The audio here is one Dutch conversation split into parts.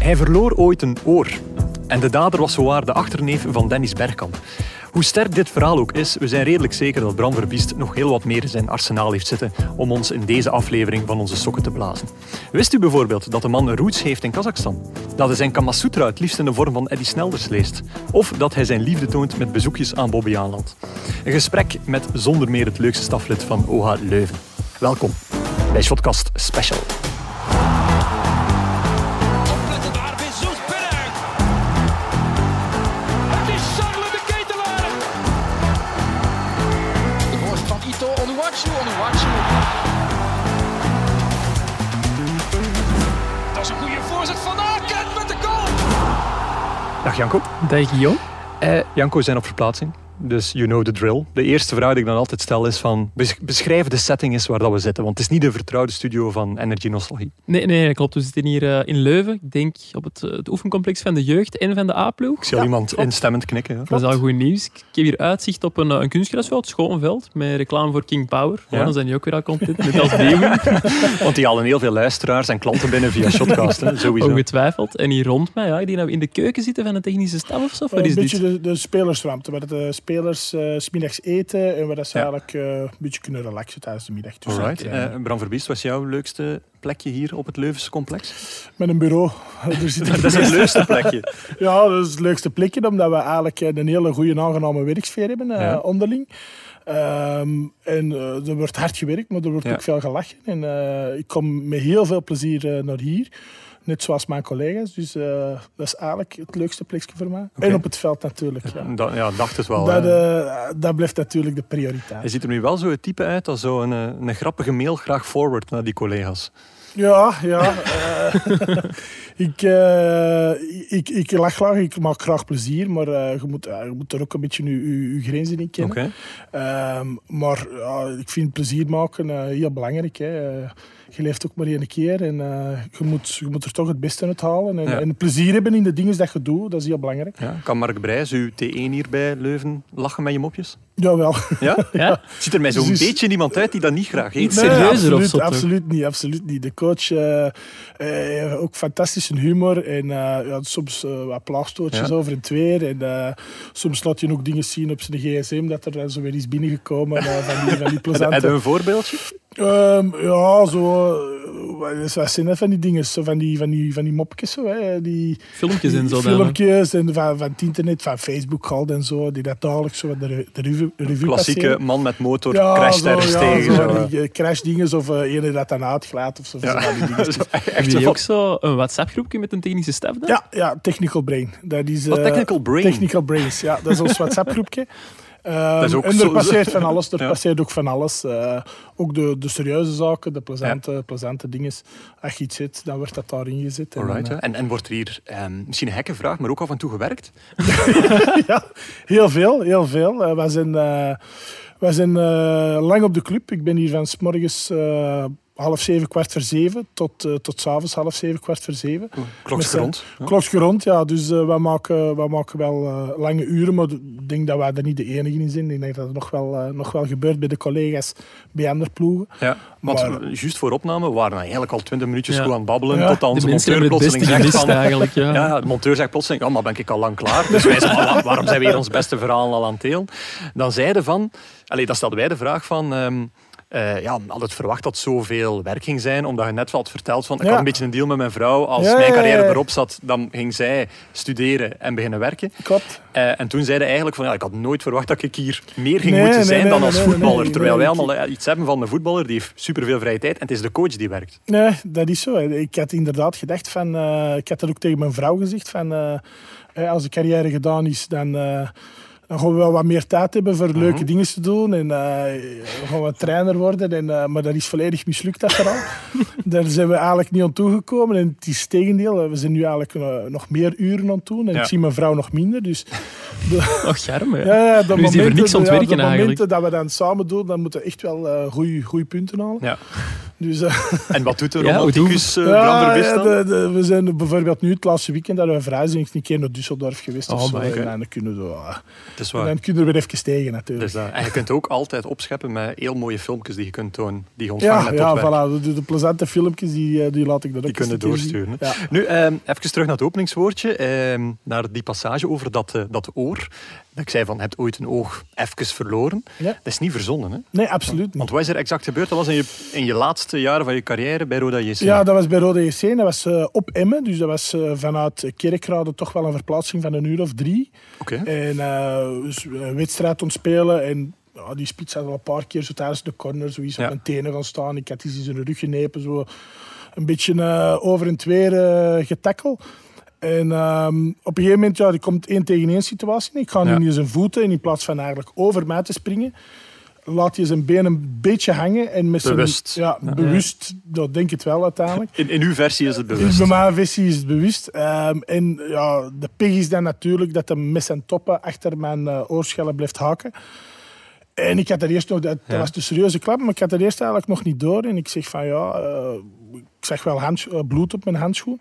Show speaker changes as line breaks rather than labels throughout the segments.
Hij verloor ooit een oor. En de dader was zowaar de achterneef van Dennis Bergkamp. Hoe sterk dit verhaal ook is, we zijn redelijk zeker dat Bram Verbiest nog heel wat meer in zijn arsenaal heeft zitten om ons in deze aflevering van onze sokken te blazen. Wist u bijvoorbeeld dat de man roots heeft in Kazachstan? Dat hij zijn Kamasutra het liefst in de vorm van Eddie Snelders leest? Of dat hij zijn liefde toont met bezoekjes aan Bobbejaanland? Een gesprek met zonder meer het leukste staflid van OH Leuven. Welkom bij Shotcast Special.
Opletten daar, Bezoet binnen. Het is Charles de Ketelaar. De voorzet van Ito Onuachu, Onuachu. Dat is een goede voorzet van Aken met de goal.
Dag Janko.
Dag Guillaume.
Eh, Janko zijn op verplaatsing. Dus you know the drill. De eerste vraag die ik dan altijd stel is van... bes- Beschrijf de setting eens waar dat we zitten. Want het is niet de vertrouwde studio van Energy Nostalgie.
Nee, nee, klopt. We zitten hier eh, in Leuven. Ik denk op het, eh, het oefencomplex van de jeugd en van de A-ploeg.
Ik zie al iemand instemmend knikken. hè.
Dat is al goed nieuws. Ik heb hier uitzicht op een, eh, een kunstgrasveld, Schoonveld, met reclame voor King Power.
Ja.
Ja. dan zijn die ook weer al content, net als Leeuwen,
Want die halen heel veel luisteraars en klanten binnen via Shotcast. Hè.
Oh,
Sowieso.
ongetwijfeld. En hier rond mij, ja, ik denk dat we in de keuken zitten van de technische staf of zo. Wat
een
is
beetje
dit?
de, de spelersruimte, waar de spelers eh, 's middags eten en waar dat ze
Ja.
eigenlijk eh, een beetje kunnen relaxen tijdens de middag. Dus
Alright.
dat, eh,
Eh, Bram Verbiest, wat is jouw leukste plekje hier op het Leuvense complex?
met een bureau. Er zit
Dat is het leukste plekje.
Ja, dat is het leukste plekje, omdat we eigenlijk eh, een hele goede, aangename werksfeer hebben eh,
Ja.
onderling. Ehm, en eh, er wordt hard gewerkt, maar er wordt
Ja.
ook veel gelachen. En eh, ik kom met heel veel plezier eh, naar hier, net zoals mijn collega's. Dus eh, dat is eigenlijk het leukste plekje voor mij.
Oké.
En op het veld natuurlijk. Ja.
Dat, ja, dacht het wel.
Dat,
hè.
eh, dat blijft natuurlijk de prioriteit.
Hij ziet er nu wel zo het type uit dat zo'n eh, een, een grappige mail graag forward naar die collega's.
Ja, ja. eh, ik, eh, ik, ik lach graag, ik maak graag plezier, maar eh, je, moet, ja, je moet er ook een beetje je, je, je grenzen in kennen.
Oké.
Ehm, maar ja, ik vind plezier maken eh, heel belangrijk. Hè. Eh, je leeft ook maar één keer en eh, je, moet, je moet er toch het beste uit halen. En,
Ja.
en plezier hebben in de dingen dat je doet, dat is heel belangrijk.
Ja. Kan Mark Brijs, uw T1 hier bij Leuven, lachen met je mopjes?
Jawel.
Ja?
Ja?
Ziet er mij zo'n
Dus-
beetje iemand uit die dat niet graag heeft?
Iets- serieuzer of
absoluut,
zo, toch?
Absoluut niet, absoluut niet. De coach eh, eh, ook fantastische humor en eh, ja, soms eh, wat plaagstootjes
Ja.
over en weer. En eh, soms laat je ook dingen zien op zijn gsm dat er dan zo weer is binnengekomen eh, van die, van
Heb
die
heb
plezante.
je een voorbeeldje?
Ehm, ja, zo. eh, wat is- Wat zijn dat van die dingen? Zo van die, van die, van die mopjes zo, hè? Die,
Filmpjes en zo.
die
dan, hè.
Filmpjes en van, van het internet, van Facebook al en zo, die dat dagelijks zo de, re- de revue, revue
Klassieke
passeren.
man met motor, crasht
zo,
ergens
ja,
tegen.
Zo,
Zo.
die, eh, crashdinges of eh, ene dat dan uitglijdt of zo.
Ja.
zo van die dingen.
Zo,
Heb
Echt zo
je
van-
ook zo een WhatsApp-groepje met een technische staf dan?
ja, ja, Technical Brain. Dat is,
Oh,
eh,
technical brain.
Technical Brains, ja. Dat is ons WhatsApp-groepje. Ehm,
is ook
en
zo-
er passeert van alles. Er
Ja.
passeert ook van alles. Eh, ook de, de serieuze zaken, de plezante, plezante dingen. Als je iets zit, dan wordt dat daarin gezet. En eh,
Alright,
dan,
ja. en, en wordt er hier ehm, misschien een gekke vraag, maar ook af en toe gewerkt?
eh, ja, heel veel, heel veel. Eh, wij zijn, eh, wij zijn eh, lang op de club. Ik ben hier van 's morgens eh, half zeven, kwart voor zeven, tot, eh, tot s'avonds half zeven, kwart voor zeven.
Klokjes
Met,
rond. Ja.
Klokje rond, ja. Dus eh, wij, maken, wij maken wel eh, lange uren, maar ik denk dat wij er niet de enige in zijn. Ik denk dat het nog wel, eh, nog wel gebeurt bij de collega's bij andere ploegen.
Ja, want
Maar-
eh, juist voor opname waren we eigenlijk al twintig minuutjes
Ja.
goed aan het babbelen,
Ja.
tot dan onze
de mensen
monteur
hebben het
plotseling
beste
zegt
gemist
van...
eigenlijk. Ja.
Ja, ja, de monteur zegt plotseling, ja, maar ben ik al lang klaar? Dus wij zeggen, "Ah, waarom zijn we hier ons beste verhaal al aan het delen? Dan zeiden van, allee, dan stelden wij de vraag van... ehm, eh, ja, altijd verwacht dat zoveel werk ging zijn, omdat je net wel had verteld van, ik
Ja.
had een beetje een deal met mijn vrouw. Als
Ja, ja,
mijn
ja,
carrière
ja.
erop zat, dan ging zij studeren en beginnen werken.
Klopt.
Eh, en toen zeiden eigenlijk van, ja, ik had nooit verwacht dat ik hier meer ging
Nee,
moeten
nee,
zijn
nee,
dan
nee,
als
nee,
voetballer.
nee, nee,
terwijl wij
nee,
allemaal eh, iets hebben van een voetballer, die heeft superveel vrije tijd en het is de coach die werkt.
Nee, dat is zo. Ik had inderdaad gedacht van... eh, ik had dat ook tegen mijn vrouw gezegd van... eh, eh, als de carrière gedaan is, dan... eh, dan gaan we wel wat meer tijd hebben
Mhm.
voor leuke dingen te doen. En eh, dan gaan we trainer worden. En, eh, maar dat is volledig mislukt, dat verhaal. Daar zijn we eigenlijk niet aan toegekomen. En het is het tegendeel. eh, We zijn nu eigenlijk eh, nog meer uren aan het doen. En
Ja.
ik zie mijn vrouw nog minder. Dus
Och, charm, Oh, hè.
ja,
Nu
ja, de
is die voor
momenten-
niks aan het
ja,
werken
de
eigenlijk.
momenten dat we dan samen doen, dan moeten we echt wel goede eh, punten halen.
Ja.
Dus, eh,
En wat doet de
Ja, hoe doen we-
romanticus eh, Bram Verbiest dan?
de- de- we zijn bijvoorbeeld nu het laatste weekend dat we vrij zijn, een keer naar Düsseldorf geweest.
Oh,
of zo.
maar, oké.
En dan kunnen, we, eh,
Het is
dan kunnen we weer even tegen natuurlijk.
Dus dat- en je kunt ook altijd opscheppen met heel mooie filmpjes die je kunt tonen, die je ontvangen
ja,
hebt op
ja
werk.
voilà. De, de- de plezante filmpjes die, eh, die laat ik dan ook
Die
eens
kunnen
te zien.
doorsturen. hè.
Ja.
Nu, ehm, even terug naar het openingswoordje. ehm, naar die passage over dat, eh, dat oor. Dat ik zei van, heb ooit een oog even verloren.
Ja.
Dat is niet verzonnen, hè?
Nee, absoluut niet.
Want wat is er exact gebeurd? Dat was in je, in je laatste jaren van je carrière bij Roda JC.
Ja, dat was bij Rode JC. en Dat was eh, op Emmen. Dus dat was eh, vanuit Kerkrade toch wel een verplaatsing van een uur of drie.
Oké.
En eh, dus een wedstrijd ontspelen. En ja, die spits had al een paar keer zo tijdens de corner zo iets
Ja.
op mijn tenen gaan staan. Ik had iets in zijn rug genepen. Zo een beetje eh, over en twee eh getakkel. En ehm, op een gegeven moment, ja, er komt één tegen één situatie. in. Ik ga
Ja.
nu in zijn voeten en in plaats van eigenlijk over mij te springen, laat hij zijn been een beetje hangen. En met zijn-
Bewust.
ja, bewust, dat denk ik het wel uiteindelijk.
In, in uw versie is het
Dus
bewust.
bij mijn visie is het bewust. Ehm, en ja, de pig is dan natuurlijk dat de mes en toppen achter mijn eh, oorschellen blijft haken. En ik had er eerst nog, dat, dat
Ja.
was de serieuze klap, maar ik had er eerst eigenlijk nog niet door. En ik zeg van ja, eh, ik zag wel handscho- eh, bloed op mijn handschoen.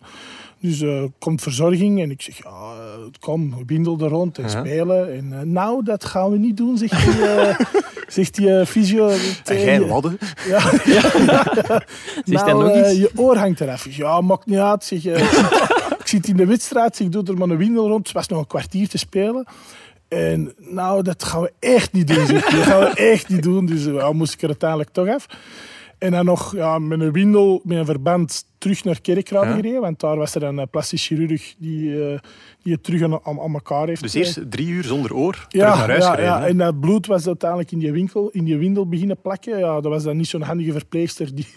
Dus eh, komt verzorging en ik zeg ja, eh, kom, windel er rond en
Ja.
spelen. En eh, nou, dat gaan we niet doen, zegt die, eh, zegt die eh, fysio.
En jij ladden.
Ja.
Zegt hij
nou,
nog
eh,
iets?
je oor hangt eraf. Ik zeg, Ja, maakt niet uit. Zeg, eh, ik, zit, ik zit in de wedstrijd, zeg, doe er maar een windel rond. Het was nog een kwartier te spelen. En nou, dat gaan we echt niet doen. Zeg. Dat gaan we echt niet doen. Dus eh, ja, moest ik er uiteindelijk toch af. En dan nog ja, met een windel, met een verband, terug naar Kerkrade
Ja.
gereden. Want daar was er een eh, plastisch chirurg die, eh, die het terug aan, aan aan elkaar heeft
Dus
eh,
eerst drie uur zonder oor, terug naar huis
ja,
gereden.
ja, en dat bloed was uiteindelijk in die winkel, in die windel beginnen plakken. Ja, dat was dan niet zo'n handige verpleegster die...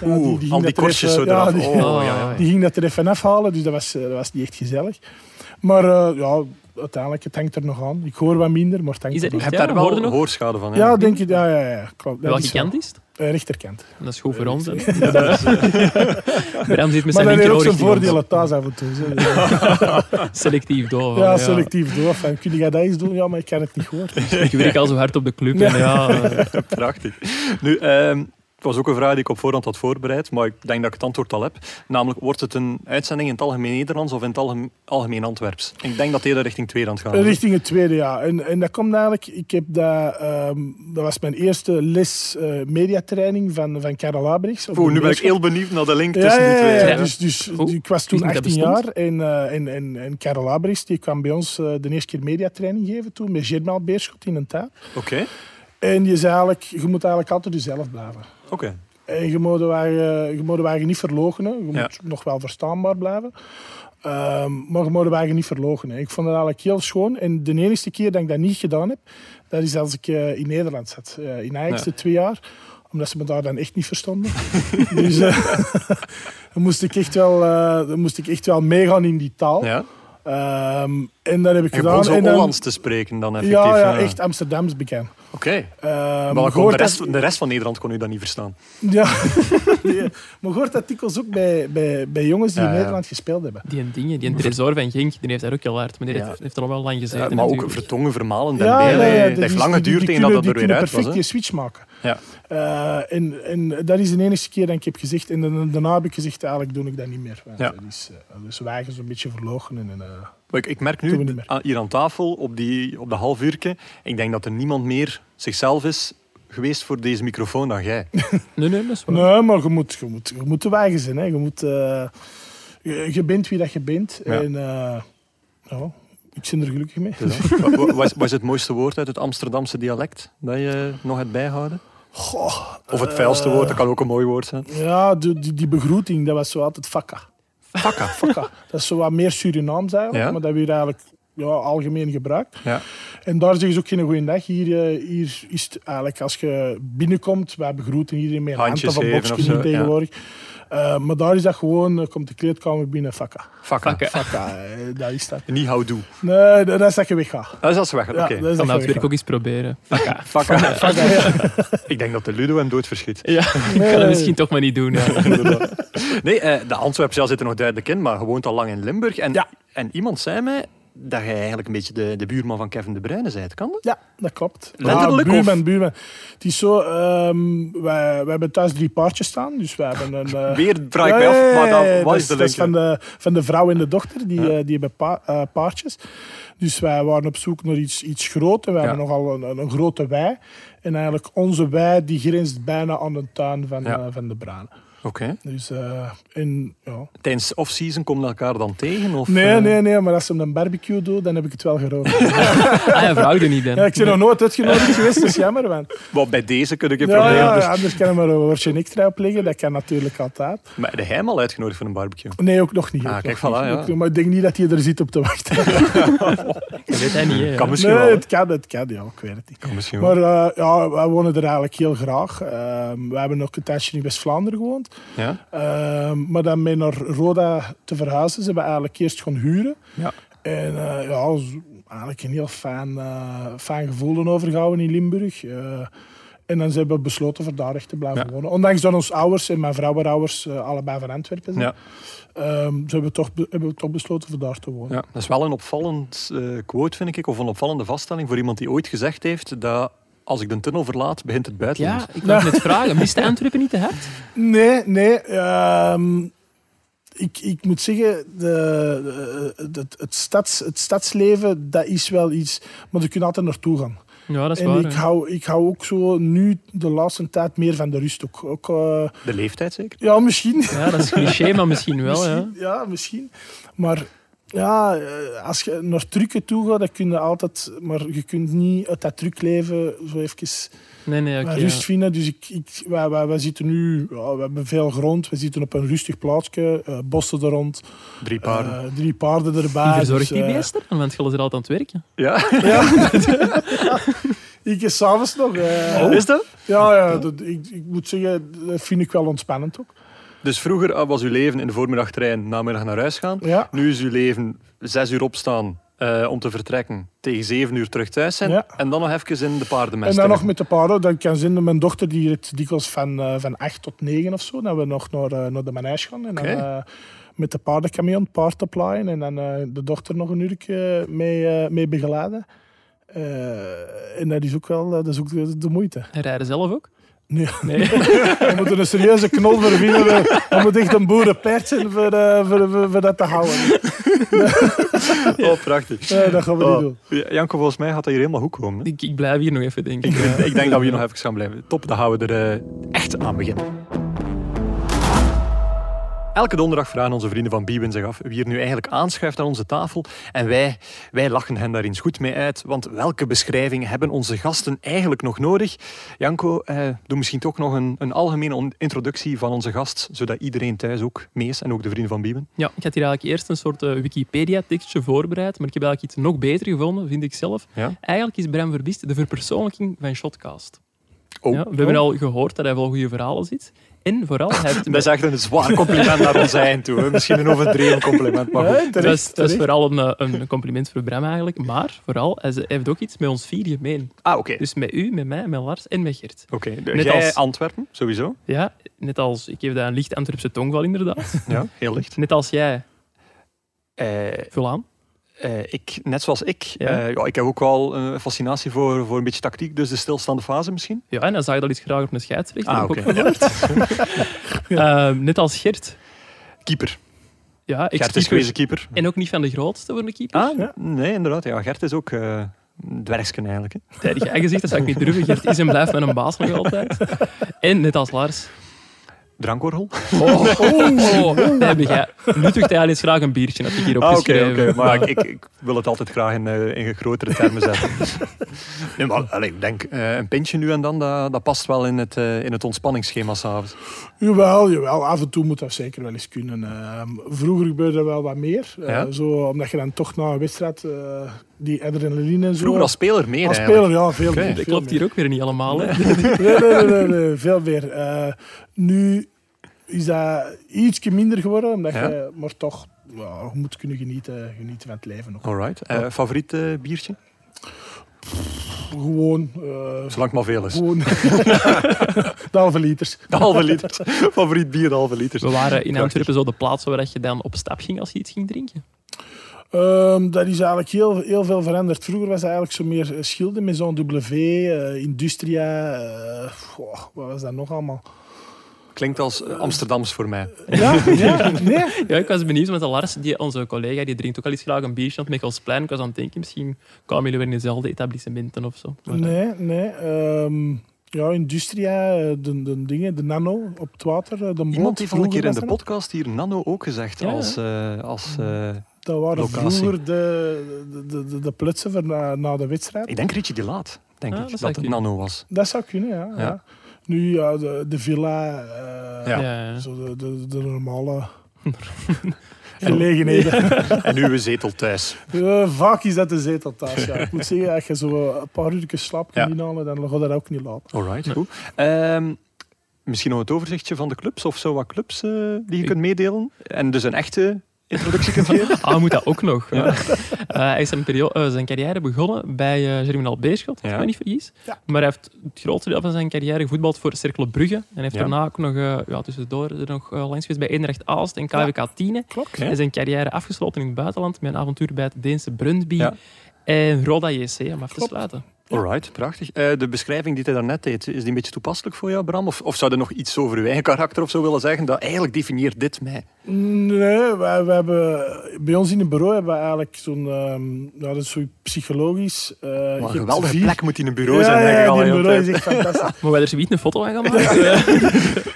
ja,
Oeh, al die
dat er
korstjes
even-
zo eraf.
die,
oh, ja, ja.
die ging dat er even afhalen, dus dat was, eh, dat was niet echt gezellig. Maar eh, ja, uiteindelijk, het hangt er nog aan. Ik hoor wat minder, maar het hangt
Is dat
er
Je
nog
hebt
Ja,
daar
hoorde
wel
nog?
hoorschade van.
aan. Ja, denk ik. Ja, ja, ja, ja, klopt. Dat
Welke
is zo.
kant is het?
Eh, rechterkant.
Dat is goed voor ons. hè. Bram zit met zijn
Maar dat heeft ook
linkeroor
zijn
richting ons.
voordelen thuis af en toe. zo. Ja,
Selectief doof.
Ja, selectief door. Van, kun je dat eens doen? Ja, maar ik kan het niet horen.
Ik werk al zo hard op de club. en ja, eh,
Prachtig. Nu, ehm, het was ook een vraag die ik op voorhand had voorbereid, maar ik denk dat ik het antwoord al heb. Namelijk, wordt het een uitzending in het algemeen Nederlands of in het algemeen, algemeen Antwerps? Ik denk dat eerder richting Tweeland gaat. hè?
Richting het tweede, ja. En, en dat komt eigenlijk... Ik heb dat, ehm, dat was mijn eerste les eh, mediatraining van, van Karel Abrechts. op
Oh, nu
de
ben ik
basisschool.
heel benieuwd naar de link
Ja,
tussen
ja,
die
ja,
twee.
ja.
hè?
Dus, dus
Oeh,
ik was toen
wist niet dat
18 jaar
bestond.
en, eh, en, en, en Karel Abrechts die kwam bij ons eh, de eerste keer mediatraining geven toen met Germaal Beerschot in een taal.
Oké.
En die zei eigenlijk, je moet eigenlijk altijd jezelf blijven.
Oké.
En je moet waar je, je moet waar je niet verlogenen. Je
Ja.
moet nog wel verstaanbaar blijven. Ehm, maar je moet waar je niet verlogenen. Ik vond het eigenlijk heel schoon. En de enige keer dat ik dat niet gedaan heb, dat is als ik eh, in Nederland zat. Eh, in Ajax
Ja.
de twee jaar. Omdat ze me daar dan echt niet verstonden. dus eh, dan, moest ik echt wel, eh, dan moest ik echt wel meegaan in die taal.
Ja.
Ehm, en dat heb ik
Je begon
gedaan.
zo
en dan-
Hollands te spreken dan effectief.
ja, ja, echt Amsterdams bekend.
Oké.
Ehm,
Maar kon
gehoord
de, rest,
dat-
de rest van Nederland kon u dat niet verstaan.
Ja, nee. maar je hoort dat dikwijls ook bij, bij, bij jongens die
Ja,
in
ja.
Nederland gespeeld hebben.
die dingen, die Tresor van Genk, die heeft daar ook heel hard. Maar die heeft, heeft er al wel lang
Eh,
gezeten.
maar ook
natuurlijk.
vertongen, vermalend en belen.
dat
Het heeft lang
is- dus die- die
geduurd tegen eh, dat
kunnen-
dat er
die
weer
kunnen
uit was.
perfect
hè?
die switch maken.
Ja.
Eh, en, en dat is de enige keer dat ik heb gezegd. En dan- daarna heb ik gezegd, eigenlijk doe ik dat niet meer. Want
Ja.
dat is, eh, dus wagen zo'n beetje verlogen. En, eh,
Maar Ik, ik merk
Doen
nu
we niet meer.
aan- hier aan tafel op, die, op de half uurke, ik denk dat er niemand meer zichzelf is geweest voor deze microfoon dan jij.
Nee, nee, dat is waar.
Nee, maar je moet, je moet, je moet de wagen zijn. Hè. Je, moet, eh, je, je bent wie dat je bent.
Ja.
En eh, ja, ik ben er gelukkig mee.
Wat- wat- Wat is- wat is het mooiste woord uit het Amsterdamse dialect dat je nog hebt bijhouden?
Goh, eh,
Of het vuilste woord, dat kan ook een mooi woord zijn.
ja, die, die, die begroeting, dat was zo altijd fakka.
Fakka.
Fakka. Dat is zo wat meer Surinaams eigenlijk,
Ja.
maar dat weer eigenlijk ja, algemeen gebruikt.
Ja.
En daar zeggen ze ook geen goeie dag. Hier, eh, hier is het eigenlijk als je binnenkomt, wij begroeten iedereen met een hand
Handjes
of een
geven
boxje
of zo,
hier tegenwoordig. Eh, maar daar is dat gewoon, eh, komt de kleedkamer binnen, fakka.
Fakka.
Fuck, hè.
Fakka, eh, dat is dat.
Niet houdoe.
Nee, dat is dat je weggaat.
Dat is als ze weg.
Ja,
Oké.
dat is
Kan
dat
dat
je
het werk ook
weggaat.
eens proberen. Fakka.
Fakka.
Fakka, ja.
Ik denk dat de Ludo hem doodverschiet.
Ja, ik kan
Nee.
het misschien toch maar niet doen. ja.
Nee, eh, de Antwerpse zit er nog duidelijk in, maar je woont al lang in Limburg. En, en iemand zei mij, dat jij eigenlijk een beetje de, de buurman van Kevin De Bruyne bent. Kan dat?
Ja, dat klopt.
Letterlijk,
Ja, buurman,
of?
buurman. Het is zo, ehm, wij, wij hebben thuis drie paardjes staan. Dus wij hebben een... eh,
Weer draai ik mij af, maar dan, wat
dat
is de
dat
link?
is van de, van de vrouw en de dochter, die, eh, die hebben pa- eh, paardjes. Dus wij waren op zoek naar iets, iets groots. En we hebben nogal een, een, een grote wei. En eigenlijk onze wei die grenst bijna aan de tuin van,
Ja.
eh, van de Braan.
Oké.
Dus, eh, en, ja.
Tijdens off-season komen we elkaar dan tegen? Of,
Nee,
eh,
nee, nee, maar als ze een barbecue doen, dan heb ik het wel gerookt.
Ah, ja, vraag er niet, Dan.
Ja, ik ben nog nooit uitgenodigd geweest, dat is jammer. Man.
Wat bij deze kun ik je
Ja,
proberen.
ja,
dus-
ja, anders kan er maar een woordje extra op liggen. Dat kan natuurlijk altijd.
dus- Maar heb jij hem al uitgenodigd voor een barbecue?
Nee, ook nog niet.
Ah,
ook
kijk,
nog
voilà,
niet.
ja.
Ook- Maar ik denk niet dat hij er zit op te wachten.
Dat weet hij niet. hè, ja.
Kan misschien
nee,
wel. hè?
het kan, het kan. Ja, ik weet het niet.
Kan misschien wel.
Maar eh, ja, wij wonen er eigenlijk heel graag. Ehm, we hebben ook een tijdje in West-Vlaanderen gewoond.
Ja?
Ehm, maar dan mee naar Roda te verhuizen, ze hebben eigenlijk eerst gaan huren.
Ja.
En eh, ja, z- eigenlijk een heel fijn, eh, fijn gevoel overgehouden in Limburg. Eh, en dan hebben we besloten voor daar echt te blijven
Ja.
wonen. Ondanks dat ons ouders en mijn vrouw en ouders eh, allebei van Antwerpen zijn,
Ja,
ehm, ze hebben, toch, be- hebben we toch besloten voor daar te wonen.
ja, dat is wel een opvallend eh, quote, vind ik, of een opvallende vaststelling voor iemand die ooit gezegd heeft dat als ik de tunnel verlaat, begint het buitenland.
Ja, ik wou het net vragen. Mist de Antwerpen niet te hard?
Nee, nee. ehm, ik, ik moet zeggen, de, de- de- het, stads, het stadsleven, dat is wel iets... Maar je kunt altijd naartoe gaan.
Ja, dat is
En
waar.
ik,
hè.
hou, ik hou ook zo nu de laatste tijd meer van de rust ook. ook eh,
De leeftijd zeker?
ja, misschien.
Ja, dat is cliché, maar misschien wel.
misschien,
Ja.
ja, misschien. Maar ja, eh, als je naar trucken toe gaat, dan kun je altijd... Maar je kunt niet uit dat truckleven zo even
Nee, nee, oké.
maar
ja.
rust vinden. Dus ik, ik, wij, wij, wij zitten nu, ja, we hebben veel grond, we zitten op een rustig plaatsje, eh, bossen er rond,
Drie
eh,
paarden.
drie paarden erbij.
Wie verzorgt
Dus,
die
eh,
beesten? dan? Want je is er altijd aan het werken.
Ja,
Ik is s'avonds nog. eh,
is dat?
Ja, ja dat, ik, ik moet zeggen, dat vind ik wel ontspannend ook.
Dus vroeger eh, was uw leven in de voormiddag trein, namiddag naar huis gaan.
Ja.
Nu is uw leven zes uur opstaan eh, om te vertrekken, tegen zeven uur terug thuis zijn
Ja.
en dan nog even in de paardenmest.
En dan nog
terecht.
met de paarden. Dan kan zin dat mijn dochter, die rit dikwijls van, eh, van 8 tot 9 of zo, dat we nog naar, eh, naar de manege gaan. En dan
Oké.
eh, met de paardencamion paard oplaaien en dan eh, de dochter nog een uurtje mee, eh, mee begeleiden. Eh, en dat is ook wel eh, dat is ook de, de moeite.
En rijden zelf ook.
Nee.
Nee.
We moeten een serieuze knol verdienen. We, we moeten echt een boerenpaard zijn voor, eh, voor, voor, voor dat te houden.
Oh, prachtig.
Nee, dat gaan we niet
Oh.
doen.
Ja, Janko, volgens mij gaat dat hier helemaal goed komen. hè?
Ik, ik blijf hier nog even, denk ik.
Ik, ik denk dat we hier nog even gaan blijven. Top, dan gaan we er eh, echt aan beginnen. Elke donderdag vragen onze vrienden van Biewen zich af wie er nu eigenlijk aanschuift aan onze tafel. En wij, wij lachen hen daar eens goed mee uit. Want welke beschrijving hebben onze gasten eigenlijk nog nodig? Janko, eh, doe misschien toch nog een, een algemene on- introductie van onze gast. Zodat iedereen thuis ook mee is en ook de vrienden van Biewen.
Ja, ik had hier eigenlijk eerst een soort eh, Wikipedia-tekstje voorbereid, maar ik heb eigenlijk iets nog beter gevonden, vind ik zelf.
Ja?
Eigenlijk is Bram Verbiest de verpersoonlijking van Shotcast.
Oh.
Ja, we hebben al gehoord dat hij wel goede verhalen ziet. En vooral, hij heeft...
Dat is echt een zwaar compliment naar ons eind toe. hè. Misschien een overdreven compliment, maar goed.
Nee,
dat is,
terecht,
dat is
terecht.
vooral een, eh, een compliment voor Bram eigenlijk. Maar vooral, hij ze- hij heeft ook iets met ons vier gemeen.
Ah, oké.
Dus met u, met mij, met Lars en met Gert.
Oké,
Net
jij
als-
Antwerpen, sowieso.
Ja, net als... Ik geef daar een licht Antwerpse tongval inderdaad.
Ja, heel licht.
Net als jij, vul aan.
Eh, ik, net zoals ik,
Ja.
eh, ja, ik heb ook wel een fascinatie voor, voor een beetje tactiek, dus de stilstaande fase misschien.
Ja, en dan zag je dat iets graag op een scheidsrechter.
Ah,
heb ik ook
oké.
gehoord. Ehm, net als Gert.
Keeper.
Ja, ik
Gert is
keeper.
gewezen keeper.
En ook niet van de grootste voor een keeper.
Ah,
Ja.
nee, inderdaad. Ja, Gert is ook eh dwergsken eigenlijk. Hè.
Tijdig aangezicht, dat zou ik niet durven. Gert is en blijft met een baas nog altijd. En net als Lars.
Drankorrel.
Oh, oh, oh. Nee, heb jij. Nu toch eigenlijk eens graag een biertje, heb ik hier
Ah, oké,
opgeschreven.
oké, maar ik, ik wil het altijd graag in, eh, in grotere termen zetten. nee, maar allee, ik denk, eh, een pintje nu en dan, dat, dat past wel in het, eh, in het ontspanningsschema s'avonds.
Jawel, jawel, af en toe moet dat zeker wel eens kunnen. Ehm, vroeger gebeurde er wel wat meer. Eh,
Ja?
zo, omdat je dan toch na een wedstrijd eh, die adrenaline en zo...
Vroeger als speler meer
Als
eigenlijk.
speler, ja, veel
Oké,
meer.
Dat
veel
klopt hier ook weer niet allemaal. Hè.
meer. Nee, nee, nee, nee, nee, veel meer. Eh, nu is dat ietsje minder geworden, omdat
Ja?
je maar toch ja, je moet kunnen genieten, genieten van het leven. Ook.
Alright. Eh, favoriet eh, biertje?
Gewoon... eh,
Zolang het maar veel is.
gewoon... de halve liters.
De halve liters. Favoriet bier, de halve liters.
We waren in
Prachtig.
Antwerpen zo de plaats waar dat je dan op stap ging als je iets ging drinken.
Ehm, daar is eigenlijk heel, heel veel veranderd. Vroeger was het eigenlijk zo meer eh, schilden met zo'n W, eh, Industria. eh, goh, wat was dat nog allemaal?
Klinkt als eh, Amsterdams voor mij.
Ja, ja, nee.
Ja, ik was benieuwd, want de Lars, die, onze collega, die drinkt ook al eens graag een biertje aan het Mechelsplein. Ik was aan het denken, misschien kwamen jullie weer in dezelfde etablissementen of zo. Maar, eh,
Nee, nee. ehm, ja, Industria, eh, de, de dingen, de nano op het water, eh, de boot.
Iemand heeft al een
vroeger
keer in
was
de
dat
podcast hier Nano ook gezegd
Ja,
als... eh, als eh,
Dat waren
Locatie.
vroeger de, de, de, de, de plutsen voor na, na de wedstrijd.
ik denk Richie de Laat, denk
Ah,
ik,
dat
dat,
zou
het
kunnen.
Nano was.
Dat zou kunnen, ja. ja.
Ja.
Nu ja, de, de villa, eh,
Ja.
ja.
zo de, de, de normale gelegenheden.
En nu een zetel thuis.
Eh, vaak is dat de zetel thuis, ja. Ik moet zeggen, als je zo een paar uur slaap kunt
Ja.
inhalen, dan gaat dat ook niet laten.
Alright, goed. Ehm, misschien nog het overzichtje van de clubs of zo wat clubs eh, die je
Ik-
kunt meedelen. En dus een echte introductie kunt geven.
Ah, moet dat ook nog. Ja. Eh, hij is zijn, perio- eh, zijn carrière begonnen bij eh Germinal Beerschot, als
Ja.
ik me niet vergis.
Ja.
Maar hij heeft het grootste deel van zijn carrière gevoetbald voor Cercle Brugge. En hij heeft
Ja.
daarna ook nog eh, ja, tussendoor er nog eh, langs geweest bij Eendracht Aalst en KWK Tiene.
Klopt.
Ja.
En zijn carrière afgesloten in het buitenland met een avontuur bij het Deense Brøndby
Ja.
en Roda JC, om af te
Klopt.
sluiten.
Alright, prachtig. Eh, de beschrijving die hij daarnet deed, is die een beetje toepasselijk voor jou, Bram? Of, of zou er nog iets over uw eigen karakter of zo willen zeggen? Dat eigenlijk definieert dit mij.
Nee, wij, wij hebben, bij ons in het bureau hebben we eigenlijk zo'n... ehm, ja, dat is zo psychologisch... eh, je
Wat
hebt
een geweldige
vier-
plek moet in een bureau
Ja,
zijn.
ja,
eigenlijk al
die
heel de
bureau
tijd.
is echt fantastisch.
Maar wij er zoiets een foto aan gaan maken? Ja.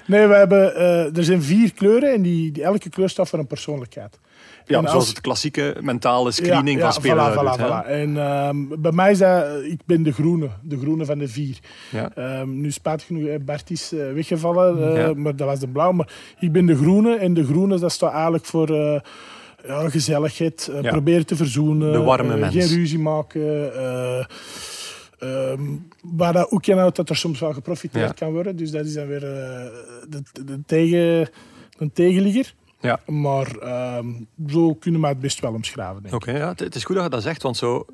Nee, we hebben, eh, er zijn vier kleuren en die, die, elke kleur staat voor een persoonlijkheid.
Ja,
En
zoals
als-
het klassieke mentale screening
ja,
van
ja,
spelers.
Voilà,
doet,
voilà,
hè?
voilà. En ehm, bij mij is dat, eh, ik ben de groene, de groene van de vier.
Ja.
Ehm, nu spijtig genoeg, eh, Bart is eh, weggevallen, eh,
Ja.
maar dat was de blauw. Maar ik ben de groene en de groene dat staat eigenlijk voor eh, ja, gezelligheid, eh,
Ja.
proberen te verzoenen,
De warme
eh,
mens.
geen ruzie maken. eh, ehm, waar dat ook in houdt dat er soms wel geprofiteerd
Ja.
kan worden. Dus dat is dan weer eh, de, de, de tegen, een tegenligger.
Ja.
Maar ehm, zo kunnen we het best wel omschrijven. Denk ik.
Oké, ja, het, het is goed dat je dat zegt, want zo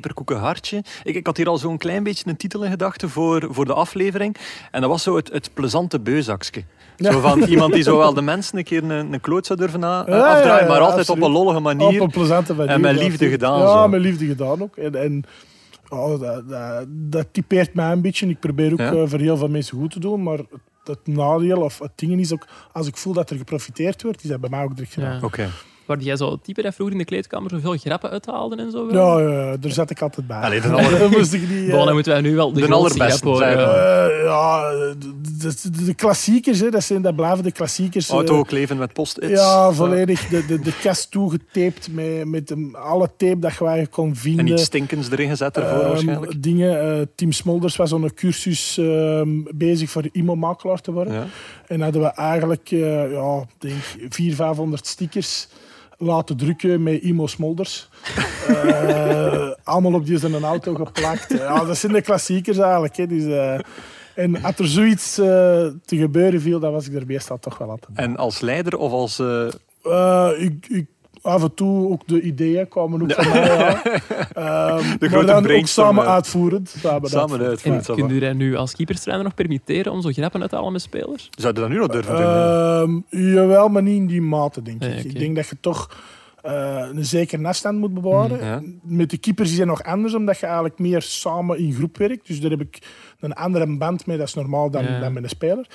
peperkoekenhartje. Ik, ik had hier al zo'n klein beetje een titel in gedachten voor, voor de aflevering. En dat was zo het, het plezante beuzakske. Zo van iemand die zowel de mensen een keer een, een kloot zou durven na,
Ja, ja,
afdraaien,
ja,
maar altijd
absoluut.
op een lollige manier.
Op een plezante manier.
En met
ja,
liefde
absoluut.
gedaan,
Ja,
zo.
met liefde gedaan ook. En, en oh, dat, dat, dat typeert mij een beetje. Ik probeer ook
Ja.
eh, voor heel veel mensen goed te doen, maar het, het nadeel of het ding is ook, als ik voel dat er geprofiteerd wordt, is dat bij mij ook direct gedaan.
Ja.
Oké.
Waar jij zo het type dat vroeger in de kleedkamer zoveel grappen uithaalde en zo.
Ja, ja, daar zat ik altijd bij.
Allee, de aller-
Dat moest ik niet... eh,
Bon, dan moeten wij nu wel de,
De
grootste
allerbeste,
grap horen.
zijn we.
eh, ja, de, de- de- de klassiekers, hè, dat, zijn, dat blijven de klassiekers. eh,
Auto kleven met post-its.
Ja, volledig de, de, de kast toegetaped met, met een- alle tape dat je waar kon
Eh, En
vinden.
iets stinkends erin gezet ervoor
Ehm,
waarschijnlijk.
Dingen, eh, Tim Smolders was zo'n cursus ehm, bezig voor IMO-makelaar te worden.
Ja.
En hadden we eigenlijk eh ja, ik denk 400, 500 stickers laten drukken met IMO Smolders. Eh, allemaal op die zijn een auto geplakt. Ja, dat zijn de klassiekers eigenlijk. Hè. Dus, eh, en als er zoiets eh, te gebeuren viel, dan was ik er meestal toch wel altijd bij.
En als leider of als... eh,
Eh, ik, ik, af en toe ook de ideeën kwamen ook van mij. Ja. Ehm, maar
grote
dan ook
brainstorm,
samen
eh,
uitvoerend. Samen,
samen
uitvoerend.
uit.
En kunt u dat nu als keeperstrainer nog permitteren om zo grappen uit te halen met spelers?
Zou je dat nu nog durven doen?
Ehm, jawel, maar niet in die mate, denk ik.
Nee, oké.
Ik denk dat je toch eh, een zekere afstand moet bewaren.
Mm, ja.
Met de keepers is het nog anders, omdat je eigenlijk meer samen in groep werkt. Dus daar heb ik een andere band mee, dat is normaal dan,
Ja.
dan met een speler.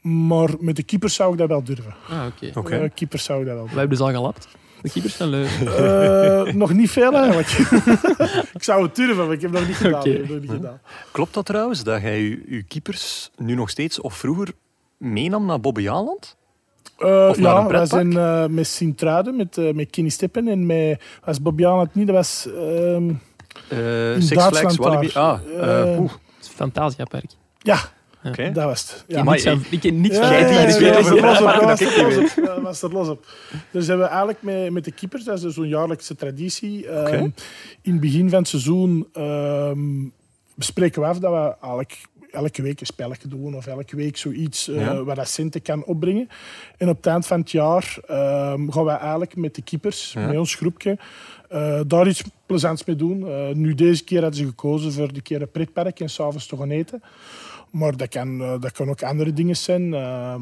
Maar met de keepers zou ik dat wel durven.
Ah, oké.
Oké.
Eh, keepers zou ik dat wel
We hebben dus al gelapt. De keepers zijn leuk.
Eh, nog niet veel eigenlijk. ik zou het durven, maar ik heb het nog niet gedaan.
Oké.
Ik heb het nog
Hm.
niet gedaan.
Klopt dat trouwens, dat jij je, keepers nu nog steeds of vroeger meenam naar Bobbejaanland?
Eh,
Of naar
ja,
een
wij
pretpark?
zijn eh, met Sint-Truiden, met, eh, met Kenny Steppen en met... Was Bobiaan het niet? Dat was... ehm,
Eh
In
Six
Duitsland
Flags, Walibi...
daar.
Ah, eh,
Eh,
oeh,
Het Fantasiapark.
ja,
oké.
dat was het. Ja.
Maar
Niks
ik-
van- Ik ken niks
Ja,
van.
Jij
ja,
die
ja,
iets
ja,
weet
was
over
er los op,
pretparken
was
dat
er
ik niet
los op, ja, was er los op. Dus hebben we eigenlijk met, met de keepers, dat is zo'n jaarlijkse traditie. ehm,
Oké.
in het begin van het seizoen ehm, bespreken we af dat we eigenlijk elke week een spelletje doen of elke week zoiets eh
Ja.
waar dat centen kan opbrengen. En op het eind van het jaar ehm, gaan we eigenlijk met de keepers,
Ja.
met ons groepje, eh, daar iets plezants mee doen. Eh, nu deze keer hadden ze gekozen voor de keer een pretpark en s'avonds te gaan eten. Maar dat kan, eh, dat kan ook andere dingen zijn. Ehm,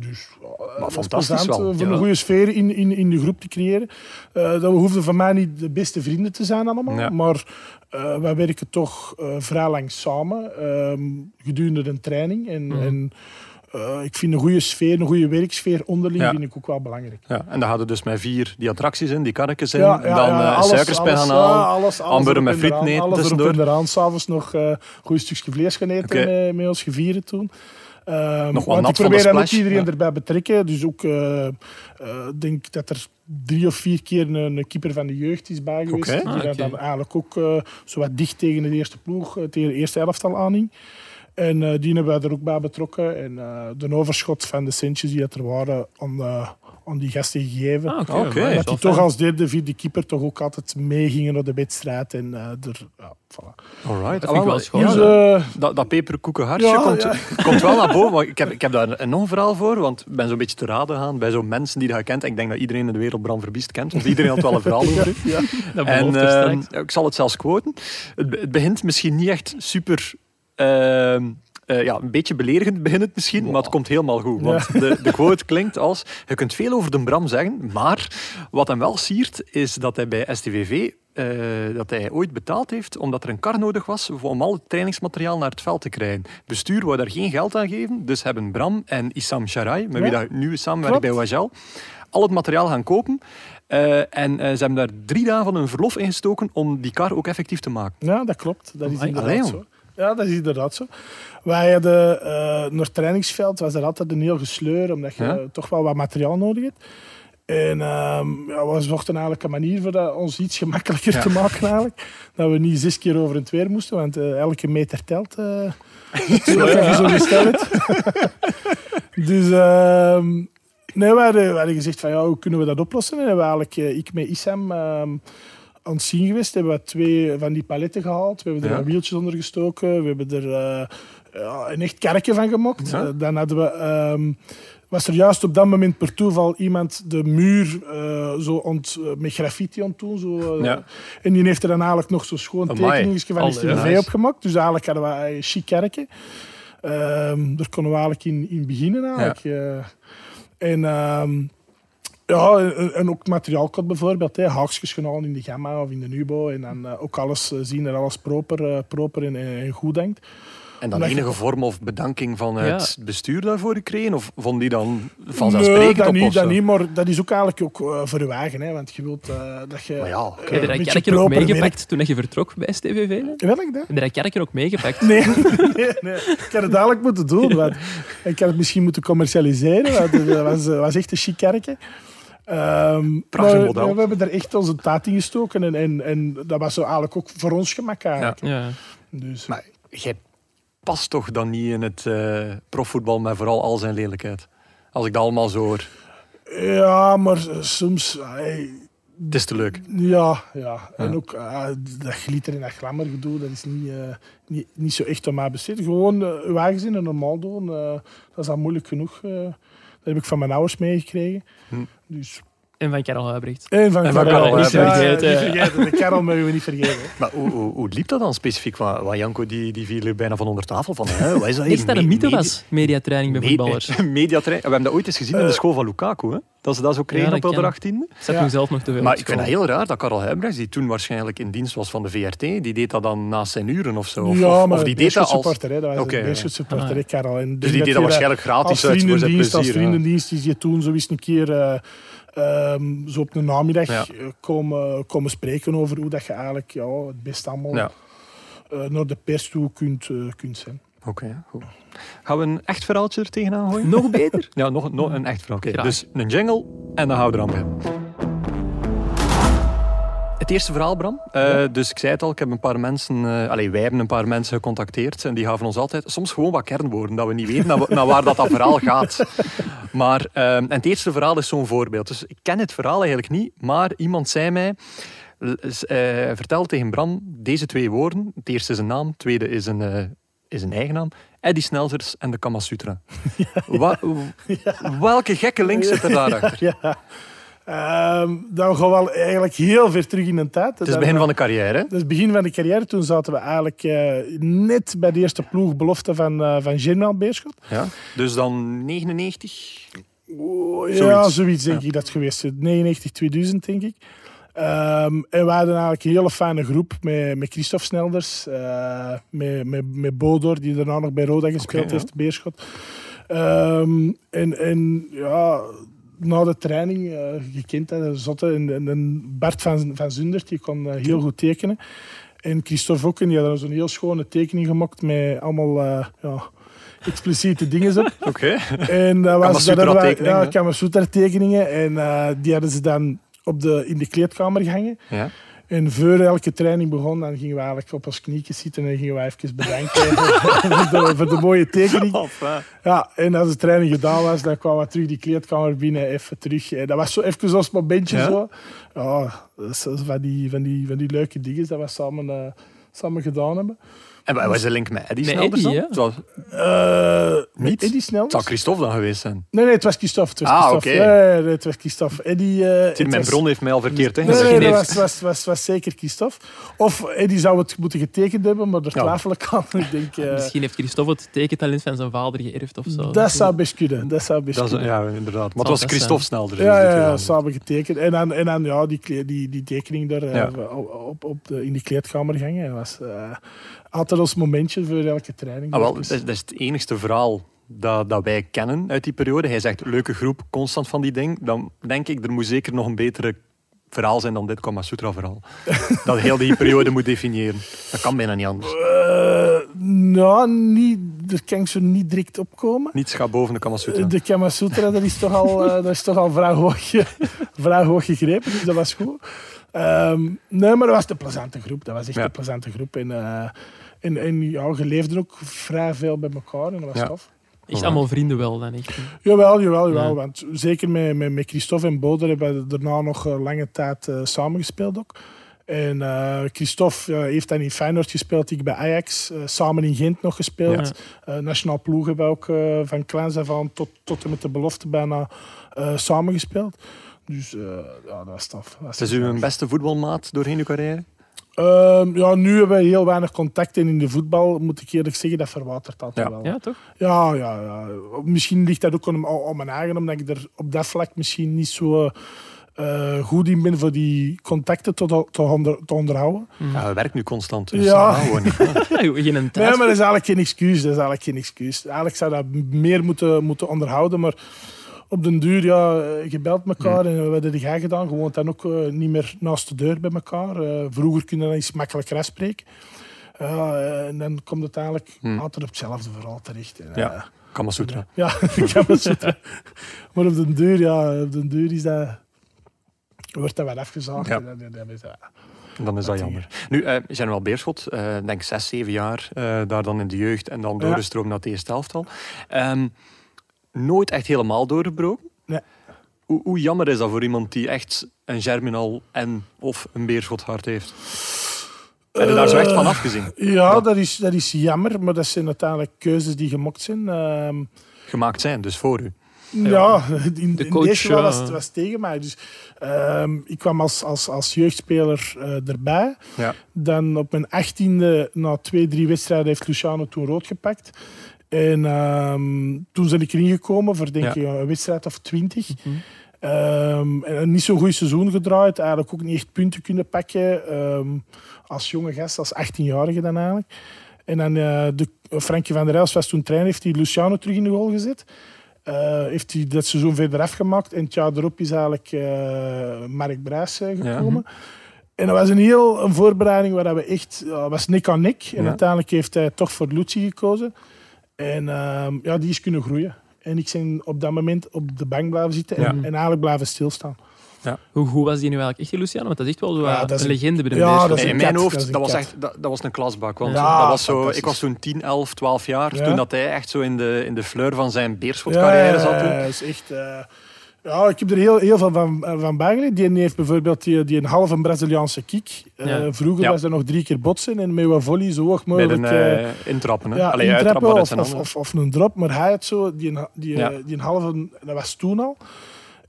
Dus eh, dat is
fantastisch
plezant,
wel,
eh, Voor
ja.
een goede sfeer in, in, in de groep te creëren. Eh, dat we hoefden van mij niet de beste vrienden te zijn allemaal.
Ja.
Maar eh, wij werken toch eh, vrij lang samen. ehm, gedurende een training. En,
Mhm.
en eh, ik vind een goede sfeer, een goede werksfeer onderling
Ja.
vind ik ook wel belangrijk.
Ja, en daar hadden dus met vier die attracties in, die karretjes in.
Ja, ja,
dan
ja,
eh,
alles-
suikerspijn
alles,
gaan halen.
ja, alles- alles
hamburger
erop
met
en
friet
eraan,
eten
Alles erop
tussendoor.
en eraan. S'avonds nog eh, een goed stukje vlees gaan eten
Oké.
met, met ons gevieren toen. Ehm,
Nog wat
want
nat
ik
van de
probeer dan ook
splash,
iedereen
ja.
erbij betrekken. Dus ook, eh, eh, denk dat er drie of vier keer een, een keeper van de jeugd is bij geweest.
Oké.
Die
Ah,
daar
oké.
dan eigenlijk ook eh zo wat dicht tegen de eerste ploeg, eh, tegen de eerste elftal aanhing. En eh, die hebben wij er ook bij betrokken. En eh, de overschot van de centjes die dat er waren, aan, eh, aan die gasten gegeven.
Ah, oké.
Oké.
dat
Dat
is wel
Dat die
fijn.
toch als derde, vierde keeper toch ook altijd meegingen naar de wedstrijd. En eh er, ja, voilà.
Alright.
Dat vind ik wel schoon.
Ah, Ja,
Dus,
dat-
eh,
dat, dat peperkoekenhartje
Ja,
komt,
ja.
komt wel naar boven. Maar ik heb, ik heb daar een enorm verhaal voor, want ik ben zo'n beetje te raden gaan bij zo'n mensen die dat kent. En ik denk dat iedereen in de wereld Bram Verbiest kent, want iedereen had wel een verhaal over.
ja.
Dat
En
belooft er
ehm,
straks.
ik zal het zelfs quoten. Het, be- het begint misschien niet echt super. ehm, eh, ja, een beetje beledigend begint het misschien, maar het komt helemaal goed. Want de, de quote klinkt als: Je kunt veel over de Bram zeggen, maar wat hem wel siert is dat hij bij STVV. eh, dat hij ooit betaald heeft omdat er een kar nodig was om al het trainingsmateriaal naar het veld te krijgen. Bestuur wou daar geen geld aan geven, dus hebben Bram en Issam Sharai, met wie
Ja.
dat nu samenwerkt bij
Klopt.
Wajal, al het materiaal gaan kopen. Eh, en eh, ze hebben daar drie dagen van hun verlof in gestoken om die kar ook effectief te maken.
Ja, dat klopt. Dat is
Amai,
inderdaad
allee, jong.
zo. Ja, dat is inderdaad zo. Wij hadden eh, naar het trainingsveld, was er altijd een heel gesleur, omdat je
Ja.
eh, toch wel wat materiaal nodig hebt. En ehm ja, we zochten eigenlijk een manier voor dat, ons iets gemakkelijker te maken. Eigenlijk. Dat we niet zes keer over het weer moesten, want eh, elke meter telt. eh natuurlijk, als je zo gesteld hebt. Dus ehm, nee, we hadden, we hadden gezegd van ja, hoe kunnen we dat oplossen? En hebben we eigenlijk, eh, ik met Issam ehm, aan het zien geweest. Hebben we twee van die paletten gehaald. We hebben er
Ja.
wat wieltjes onder gestoken. We hebben er eh, ja, een echt kerkje van gemaakt.
Ja.
Eh, dan hadden we... ehm, was er juist op dat moment per toeval iemand de muur eh, zo ont, eh, met graffiti aan het doen. Zo, eh,
Ja.
En die heeft er dan eigenlijk nog zo'n schoon
Amai.
tekeningetje van
Alle,
is
ja.
tv opgemaakt. Dus eigenlijk hadden we een chic kerkje. Ehm, daar konden we eigenlijk in, in beginnen. Eigenlijk. Eh, en... ehm, ja, en- en ook het materiaalkot bijvoorbeeld. Hè. Haakjes genomen in de gamma of in de nubo. En dan eh, ook alles eh, zien dat alles proper, eh, proper en, en en goed denkt.
En dan
Omdat je-
enige vorm of bedanking van het bestuur daarvoor gekregen? Of vond die dan
Nee,
vanzelfsprekend
dat
op?
niet,
of
dat
zo?
niet, maar dat is ook eigenlijk ook eh, voor je eigen. Hè, want je wilt eh, dat je...
Maar ja,
Heb je
oké.
Eh,
dat
beetje
kerkje ook
proper
meegepakt toen je vertrok bij STVV? Heb
Wil ik dat?
je dat kerkje ook meegepakt?
Nee, nee, nee. ik had het dadelijk moeten doen. Want ik had het misschien moeten commercialiseren. Want het eh, was, eh, was echt een chic kerkje. Ehm,
Prachtig
maar,
model.
eh, we hebben er echt onze taart in gestoken. En, en, en dat was zo eigenlijk ook voor ons gemak. eigenlijk.
Ja.
Dus,
Maar jij past toch dan niet in het eh, profvoetbal met vooral al zijn lelijkheid? Als ik dat allemaal zo hoor.
Ja, maar eh, soms... eh,
Het is te leuk.
Ja, ja. En ook ah, dat glitter en dat glamour gedoe, dat is niet, eh, niet, niet zo echt om aan besteed. Gewoon eh, uw eigen zin en normaal doen, eh, dat is al moeilijk genoeg. eh. dat heb ik van mijn ouders meegekregen.
Hm.
Dus,
En van Karel Huibrecht.
en van,
En van Karel,
Niet
niet
vergeten. eh.
vergeten.
niet vergeten. De Karel mogen we niet vergeten.
Maar hoe, hoe, hoe liep dat dan specifiek? Want want Janko die, die viel er bijna van onder tafel van. Hè? Wat is dat hier?
Is dat een
Me-
mythe
medi-
was, mediatraining bij
me-
voetballers? Ik
Mediatrain. We hebben dat ooit eens gezien in de school van Lukaku. Hè? Dat ze dat zo kregen
Ja,
op
dat
de
ken
18e.
zat
Ja.
toen zelf nog te veel
Maar
op
ik vind
school.
het heel raar dat Karel Huibrechts, die toen waarschijnlijk in dienst was van de VRT, die deed dat dan naast zijn uren of zo. Of,
ja,
of-
maar
of die
een
deed dat als...
supporter, hè. dat was
Oké, ja.
een Beerschot supporter, hè, Karel. En
Dus
ik denk
die deed dat
hij
waarschijnlijk
als
gratis uit voor zijn
vriendendienst, als
plezier. hè.
vriendendienst is je toen zo eens een keer eh, ehm, zo op een namiddag
Ja.
eh, komen, komen spreken over hoe dat je eigenlijk ja, het best allemaal
Ja,
eh, naar de pers toe kunt, eh, kunt zijn.
oké. goed. Gaan we een echt verhaaltje er tegenaan gooien?
Nog beter?
Ja, nog, nog een echt verhaal. Oké,
Graag.
dus een jingle en dan houden we er aan bij. Het eerste verhaal, Bram. Eh, Dus ik zei het al, ik heb een paar mensen... eh, allee, wij hebben een paar mensen gecontacteerd. En die gaven ons altijd soms gewoon wat kernwoorden. Dat we niet weten naar, naar waar dat, dat verhaal gaat. Maar ehm, en het eerste verhaal is zo'n voorbeeld. Dus ik ken het verhaal eigenlijk niet. Maar iemand zei mij... l- s- eh, vertel tegen Bram deze twee woorden. Het eerste is een naam, het tweede is een, eh, is een eigen naam. Eddie Snelzers en de Kama Sutra. Wa- w- Welke gekke link zit er daarachter?
Ja. Ehm, dan gaan we al eigenlijk heel ver terug in de tijd.
Het is het begin van de carrière. hè?
Dat is het begin van de carrière. Toen zaten we eigenlijk eh, net bij de eerste ploeg belofte van, eh van Germain Beerschot.
Ja. Dus dan 99.
Ja,
Zoiets.
zoiets denk ik dat het geweest is. 99, 2000 denk ik. Ehm, en we hadden eigenlijk een hele fijne groep met, met Christophe Snelders, eh, met, met, met Bodor, die daarna nog bij Roda gespeeld
Oké, ja.
heeft, Beerschot. Ehm, en, en ja, na de training, eh, je kent dat, een zotte. En, en, en Bart van, van Zundert, die kon eh, heel goed tekenen. En Christophe ook, en die hadden zo'n heel schone tekening gemaakt met allemaal eh, ja, expliciete dingen op.
Oké.
En dat was
Kamasutra
dat hadden wij-
tekeningen,
Ja,
hè?
Kamasutra tekeningen. En eh, die hadden ze dan op de, in de kleedkamer gehangen.
Ja.
En voor elke training begon, dan gingen we eigenlijk op ons knietjes zitten en gingen we even bedanken voor, de, voor de mooie tekening. Ja, en als de training gedaan was, dan kwamen we terug die kleedkamer binnen, even terug. En dat was zo even zo'n momentje
Ja?
zo. Ja, dat is van die, van, die, van die leuke dingen dat we samen, eh, samen gedaan hebben.
En waar was de link met Eddie
Met
Snelders dan?
Eddie, hè?
Het was-
Eh
Niet?
Eddie
het
Snelders?
zou Christophe dan geweest zijn.
Nee, nee, het was Christophe. Het was
Ah,
Christophe.
oké.
Nee, nee, nee, het was Christophe. Eddie, eh, het
Zie, Mijn
was-
bron heeft mij al verkeerd
Nee, nee,
ingezegd.
dat was, was, was, was zeker Christophe. Of Eddie zou het moeten getekend hebben, maar daar
Ja.
twijfel ik aan. Ik denk, eh,
Misschien heeft Christophe het tekentalent van zijn vader geërfd of zo.
dat zou best kunnen. Dat zou best
Dat is,
kunnen.
ja, inderdaad. Maar
Zal
het was
best
Christophe Snelders. die
Ja,
dit
ja, ja,
gedaan heeft.
samen getekend. En dan, en dan ja, die, kle- die, die tekening daar eh,
Ja.
op, op de, in die kleedkamer gangen. Dat was eh, altijd ons momentje voor elke training. Dus,
Ah, wel, dat, is, dat is het enigste verhaal dat, dat wij kennen uit die periode. Hij zegt, leuke groep, constant van die ding. Dan denk ik, er moet zeker nog een betere verhaal zijn dan dit Kama Sutra verhaal. dat heel die periode moet definiëren. Dat kan bijna niet anders.
Eh, nou, niet, daar kan ik zo niet direct op komen.
Niets gaat boven de Kama Sutra.
De Kama Sutra, dat is toch al, eh, dat is toch al vrij, hoog, ge- vrij hoog gegrepen, dus dat was goed. Ehm, nee, maar dat was een plezante groep. Dat was echt
Ja.
een plezante groep. En, eh, en, en ja, je leefde ook vrij veel bij elkaar en dat was
Ja.
tof.
Echt allemaal vrienden wel dan echt.
Jawel, jawel, jawel.
Ja.
Want zeker met, met, met Christophe en Boder hebben we daarna nog eh, lange tijd eh, samengespeeld ook. En eh Christophe eh, heeft dan in Feyenoord gespeeld, ik bij Ajax. eh, samen in Gent nog gespeeld. Eh, nationaal ploeg hebben we ook eh, van kleins af aan tot, tot en met de belofte bijna eh samengespeeld. Dus eh, ja, dat is tof. Dat
Het is uw beste voetbalmaat doorheen uw carrière?
Ehm, ja, nu hebben we heel weinig contact. En in de voetbal, moet ik eerlijk zeggen, dat verwatert dat
Ja.
wel.
Ja, toch?
Ja, ja, ja. Misschien ligt dat ook aan, aan mijn eigen, omdat ik er op dat vlak misschien niet zo eh, goed in ben voor die contacten te, te, onder- te onderhouden.
Ja, hij werkt nu constant. Dus
Ja.
ja. gewoon niet.
Geen een
Nee,
tijd.
maar dat is eigenlijk geen excuus. Dat is eigenlijk geen excuus. Eigenlijk zou dat meer moeten, moeten onderhouden, maar op den duur, ja, eh, je belt elkaar en wat heb jij gedaan? Je woont dan ook eh, niet meer naast de deur bij elkaar. Eh, vroeger kun je dan iets makkelijker afspreken. Ja, eh, en dan komt het eigenlijk altijd op hetzelfde verhaal terecht. En, eh,
Ja, Kama Sutra.
Ja, ik heb het zitten. Maar op den duur, ja, op den duur is dat... Wordt dat wel afgezaagd.
Ja.
en dan- dan- dan is dat-
Dan is dat jammer. Nu, eh General Beerschot, eh denk zes, zeven jaar, eh, daar dan in de jeugd en dan
Ja.
doorgestroomd naar het eerste elftal. Ehm, nooit echt helemaal doorgebroken.
Nee.
Hoe, hoe jammer is dat voor iemand die echt een Germinal en of een Beerschot hart heeft? Heb je daar zo echt van
Eh.
afgezien?
Ja, dat is, dat is jammer, maar dat zijn uiteindelijk keuzes die gemokt zijn. Ehm,
Gemaakt zijn, dus voor u.
Ja, in,
De
in
coach,
deze geval was
ja.
het was tegen mij. Dus, ehm, ik kwam als, als, als jeugdspeler eh, erbij.
Ja.
Dan op mijn achttiende, na twee, drie wedstrijden, heeft Luciano toen rood gepakt. En ehm, toen ben ik erin gekomen voor denk
Ja.
ik, een wedstrijd of twintig. Ehm, en een niet zo'n goed seizoen gedraaid. Eigenlijk ook niet echt punten kunnen pakken. ehm, als jonge gast, als 18-jarige dan eigenlijk. En dan eh, de, Frankie van der Els was toen trainer, heeft hij Luciano terug in de goal gezet. Eh, heeft hij dat seizoen verder afgemaakt. En het jaar erop is eigenlijk eh, Mark Brijs eh, gekomen. En dat was een heel een voorbereiding waar we echt... ja, was nik aan nik. En
Ja.
uiteindelijk heeft hij toch voor Lucci gekozen. En ehm, ja, die is kunnen groeien. En ik ben op dat moment op de bank blijven zitten en,
Ja.
en eigenlijk blijven stilstaan.
Hoe goed was die nu eigenlijk echt, die Luciano? Want dat is echt wel zo,
Ja,
eh,
dat is
een
een-
legende bij de
Ja,
Beerschot.
dat is
Nee, in
een
mijn
kat,
hoofd,
dat is een
dat was,
kat.
echt, dat, dat was een klasbak. Want
Ja,
dat was zo, ik
fantastisch.
was toen 10, 11, 12 jaar.
Ja.
Toen dat hij echt zo in de, in de fleur van zijn beerschotcarrière zat. toen.
dat is echt... eh, ja, ik heb er heel, heel veel van, eh, van bijgeleerd. Die heeft bijvoorbeeld die, die een halve Braziliaanse kick. Eh,
Ja.
vroeger
Ja.
was dat nog drie keer botsen en met wat volley zo
Met
hoog mogelijk...
een
eh,
eh, intrappen. Hè?
ja,
Allee,
intrappen
uittrappen, maar dat
of,
zijn
of,
andere.
of, of een drop. Maar hij had zo, eh, die, die,
Ja.
die een halve, dat was toen al.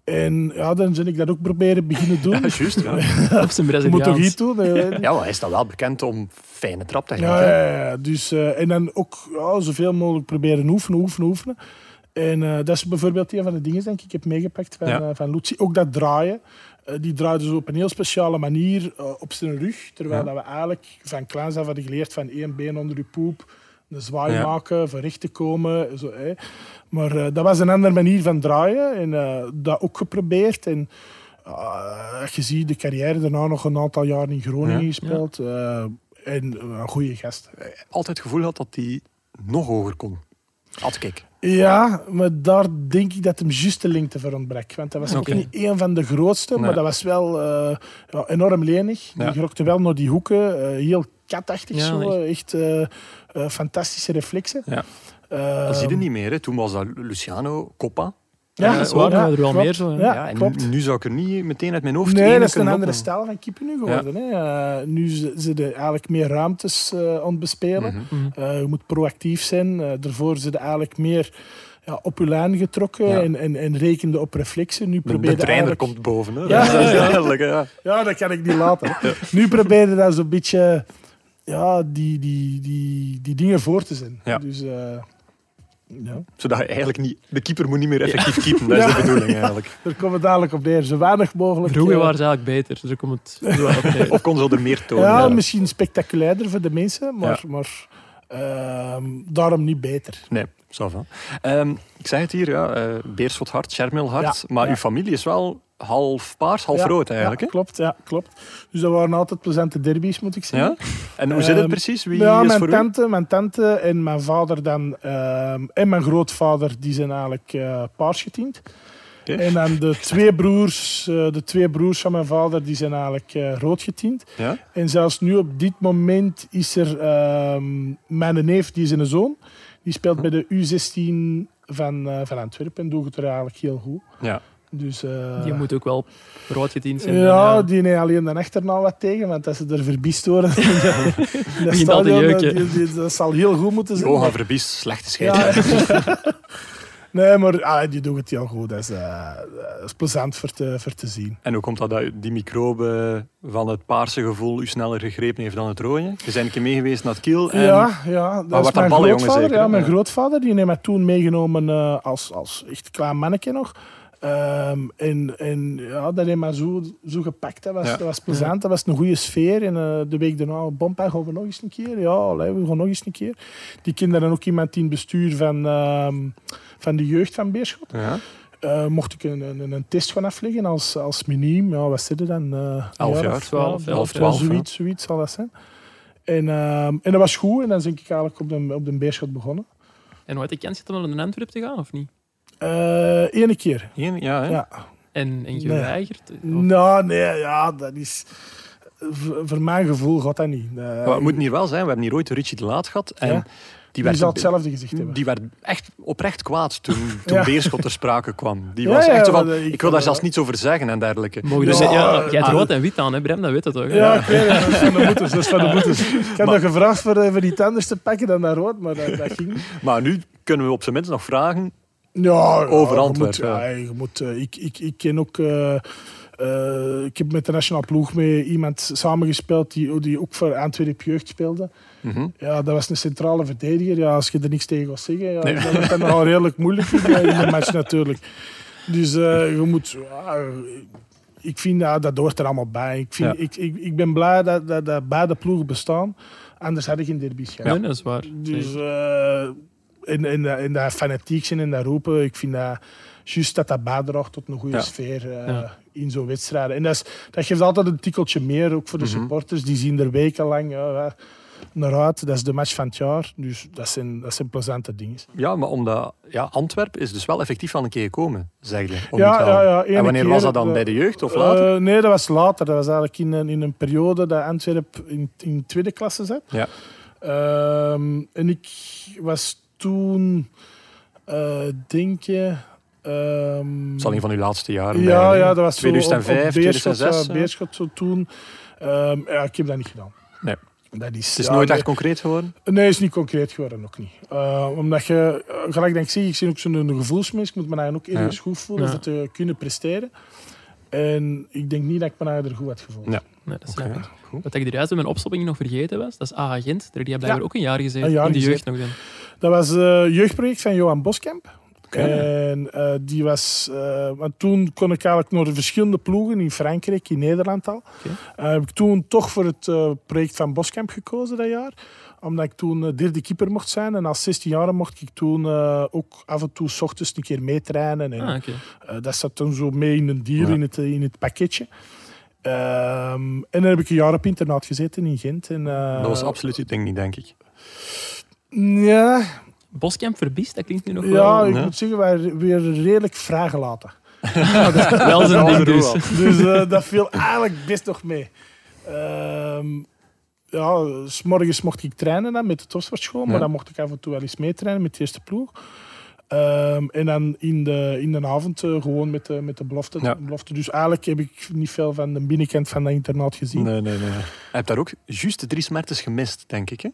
En ja, dan ben ik dat ook proberen beginnen doen.
Ja, juist. Ja.
Op zijn
Je moet toch
Braziliaans.
iets doen? hè, weet je.
ja, maar hij is dan wel bekend om fijne traptechniek.
Ja,
hè.
ja, ja. Dus, eh, en dan ook ja, zoveel mogelijk proberen oefenen, oefenen, oefenen. En eh, dat is bijvoorbeeld een van de dingen denk ik, ik heb meegepakt van,
Ja.
eh, van Lucie. Ook dat draaien. Eh, die draaide zo op een heel speciale manier eh, op zijn rug. Terwijl dat we eigenlijk van kleins af hadden geleerd van één been onder je poep. Een zwaai
Ja.
maken, van recht te komen. Zo, hè. Maar eh, dat was een andere manier van draaien. En eh, dat ook geprobeerd. En eh, als je ziet, de carrière daarna nog een aantal jaar in Groningen
Ja.
gespeeld. eh, en eh, een goede gast.
Altijd het gevoel had dat hij nog hoger kon. Had ik.
Ja, maar daar denk ik dat hem juist de lengte voor ontbrak. Want dat was
Oké.
ook niet een van de grootste,
Nee.
maar dat was wel eh, ja, enorm lenig.
Ja.
Die rokte wel naar die hoeken, eh, heel katachtig
Ja,
zo. eh, Echt eh, eh, fantastische reflexen.
Ja.
Eh,
Dat zie je niet meer. Hè. Toen was dat Luciano, Coppa.
Ja,
Ja, dat is waar,
ja,
we hadden er wel
klopt.
meer zo, hè.
Ja,
en
klopt.
nu- nu zou ik er niet meteen uit mijn hoofd
Nee,
ene
dat is een
kunnen
andere
opnoemen.
stijl van keeper nu geworden. Hè. Eh, nu zijn er eigenlijk meer ruimtes eh aan het bespelen.
Mhm.
Eh, je moet proactief zijn. Eh, daarvoor zijn er eigenlijk meer ja, op je lijn getrokken
Ja.
en, en, en rekende op reflexen. Nu
De,
probeer
de
je
trainer
eigenlijk-
komt boven. Hè.
Ja.
Dat is duidelijk. hè. Ja.
Ja, dat kan ik niet laten. Nu probeer je daar zo'n beetje ja, die, die, die, die dingen voor te zijn.
Ja.
Dus, eh, ja.
Zodat je eigenlijk niet... De keeper moet niet meer effectief keepen. Dat is de bedoeling eigenlijk.
Daar komen we dadelijk op neer. Zo weinig mogelijk.
Vroeger
eh,
waren ze eigenlijk beter, dus daar komt het wel op neer.
Of kon ze er meer tonen.
ja,
Ja.
misschien spectaculairder voor de mensen, maar,
Ja.
maar ehm, daarom niet beter.
Nee, ça va. Ehm, ik zei het hier, ja, eh, Beerschot hard, Schermel hard.
Ja,
Maar
ja.
uw familie is wel half paars, half
Ja,
rood eigenlijk.
ja,
hè?
klopt, ja, klopt. Dus dat waren altijd plezante derbies, moet ik zeggen.
Ja? En hoe zit het
Ehm,
precies? Wie
ja,
is
mijn
voor u?
tante, mijn tante en mijn vader dan, ehm, en mijn grootvader, die zijn eigenlijk eh, paars getint.
Oké.
En dan de twee, broers, eh, de twee broers van mijn vader, die zijn eigenlijk eh, rood getint.
Ja?
En zelfs nu op dit moment is er ehm, mijn neef, die is een zoon, die speelt bij de U16 van, eh, van Antwerpen en doet het er eigenlijk heel goed.
Ja.
Dus, eh,
Die moet ook wel rood gediend zijn.
ja,
dan,
die neemt alleen de achternaam wat tegen, want als ze er verbiest worden in dat- in dat
Begint al te
stadion, dat,
jeuken.
die- die- dat zal heel goed moeten zijn.
Johan
maar-
Verbies, slechte scheidsrechter.
Dus- ja. nee, maar ah, die doet het heel goed. Dat is, eh, dat is plezant voor te, voor te zien.
En hoe komt dat dat die microbe van het paarse gevoel u sneller gegrepen heeft dan het rode? Je bent een keer mee geweest naar het kiel. En...
ja, ja, dat
wat
is
dat
mijn
ballen, jongen,
grootvader.
zeker, hè?
ja, mijn
Ja.
grootvader die heeft mij toen meegenomen eh, als, als echt klein manneke nog. Ehm, en, en ja, dat heeft mij zo, zo gepakt. Dat was,
Ja.
dat was plezant, dat was een goede sfeer. En eh, de week daarna, bompa, gaan we nog eens een keer? Ja, allee, we gaan nog eens een keer. Die kinderen ook iemand in het bestuur van, ehm, van de jeugd van Beerschot.
Ja.
Eh, mocht ik een, een, een test gaan afleggen als, als miniem, ja, wat zit er dan? eh
Elf
een
jaar,
of
twaalf,
ja,
elf,
ja,
twaalf,
Zoiets, zoiets zal dat zijn. En, ehm, en dat was goed en dan ben ik eigenlijk op de, op de beerschot begonnen.
En hoe had ik kans gehad om naar de Antwerp te gaan, of niet?
Eh Eén keer.
Eén- ja, hè?
Ja.
En, en geweigerd? Of-
Nou, nee, ja, dat is. Voor, voor mijn gevoel gaat dat niet. Eh,
Maar het moet hier wel zijn, we hebben hier ooit Richie de Laat gehad. En
Ja.
die,
die
werd,
zal hetzelfde gezicht hebben.
die werd echt oprecht kwaad toen, toen
Ja.
Beerschot ter sprake kwam. Die
Ja,
was
ja,
echt zo van,
maar, eh,
ik,
ik
wil daar
kan-
zelfs niets over zeggen en dergelijke.
Mogen dus,
Ja,
ja, jij hebt
ah,
rood en wit aan, hè, Brem, dat weet dat toch? hè?
Ja, ik weet het, dat is van de boetes. Dat is van de boetes. Ik had nog gevraagd voor, eh, voor die tanders te pakken dan naar rood, maar dat, dat ging niet.
eh, Maar nu kunnen we op zijn minst nog vragen.
Ja, ja,
Over
je
Antwerpen,
moet-
ja.
Ja, je moet, eh, ik, ik, ik ken ook. eh, eh, ik heb met de nationale ploeg mee iemand samengespeeld die, die ook voor Antwerpen jeugd speelde.
Mhm.
Ja, dat was een centrale verdediger. Ja, als je er niks tegen gaat zeggen, ja,
Nee.
dan wordt dat nogal redelijk moeilijk in de, in de match natuurlijk. Dus eh, je moet... ja, ik vind dat dat hoort er allemaal bij. Ik, vind,
Ja.
ik, ik, ik ben blij dat, dat, dat beide ploegen bestaan. Anders had ik geen derby gehad.
Nee, dat is waar.
Dus
Nee.
eh, en, en, dat- en dat fanatiek zijn en dat roepen, ik vind dat juist dat dat bijdraagt tot een goede
Ja.
sfeer eh,
Ja.
in zo'n wedstrijd. En dat, is, dat geeft altijd een tikkeltje meer, ook voor
Mhm.
de supporters. Die zien er wekenlang ja, ja, naar uit. Dat is de match van het jaar. Dus dat zijn, dat zijn plezante dingen.
Ja, maar omdat ja, Antwerpen is dus wel effectief al een keer gekomen, zeg je. om
Ja,
niet te
ja,
halen.
ja, ene
en wanneer
keer,
was dat dan?
eh,
bij de jeugd of later?
Eh, nee, dat was later. Dat was eigenlijk in een, in een periode dat Antwerpen in, in tweede klasse zat.
ja.
Ehm, en ik was toen, eh, denk je. ehm,
Dat is al een van uw laatste jaren.
Ja,
bij-
ja, dat was zo op-
2005,
op Beerschot,
2006.
ja,
ja.
Beerschot zo toen. Ehm, ja, ik heb dat niet gedaan.
Nee.
Dat is,
Het is
ja,
nooit
nee.
echt concreet geworden.
Nee, is niet concreet geworden, ook niet. Eh, omdat je, eh, gelijk denk ik, zeg, ik ben ook zo'n gevoelsmens. Ik moet me daar ook ergens goed voelen
Ja.
om te kunnen presteren. En ik denk niet dat ik me daar er goed had gevoeld.
Ja.
Nee, dat snap
Oké,
ik. Wat ik er juist in mijn opstopping nog vergeten was, dat is AA Gent. Daar- Die hebben blijkbaar
Ja.
ook een jaar gezeten.
Een jaar
in de jeugd
gezeten.
nog dan.
Dat was een jeugdproject van Johan Boskamp.
Oké.
En eh, die was, eh, want toen kon ik eigenlijk naar de verschillende ploegen in Frankrijk, in Nederland al. Eh, heb ik toen toch voor het eh, project van Boskamp gekozen dat jaar. Omdat ik toen eh, derde keeper mocht zijn. En als 16 jaar mocht ik toen eh, ook af en toe 's ochtends een keer meetrainen. En,
Ah, oké.
eh, dat zat toen zo mee in een deal,
Ja.
in, het, eh, in het pakketje. Ehm, en dan heb ik een jaar op internaat gezeten in Gent. En, eh,
Dat was absoluut het ding niet, denk ik.
Ja,
Boskamp verbiest, dat klinkt nu nog
ja
wel.
ik
hè?
moet zeggen, wij re- weer redelijk vrijgelaten.
Wel
Ja,
zijn ding
doe
dus.
wel.
Dus eh, dat viel eigenlijk best nog mee. Ehm ja, s morgens mocht ik trainen dan met de topsportschool, maar
Ja.
dan mocht ik af en toe wel eens meetrainen met de eerste ploeg. Ehm, en dan in de, in de avond eh, gewoon met de, met de belofte,
Ja.
belofte. Dus eigenlijk heb ik niet veel van de binnenkant van dat internaat gezien.
Nee, nee, nee. Je hebt daar ook juist de drie smertes gemist, denk ik. Hè?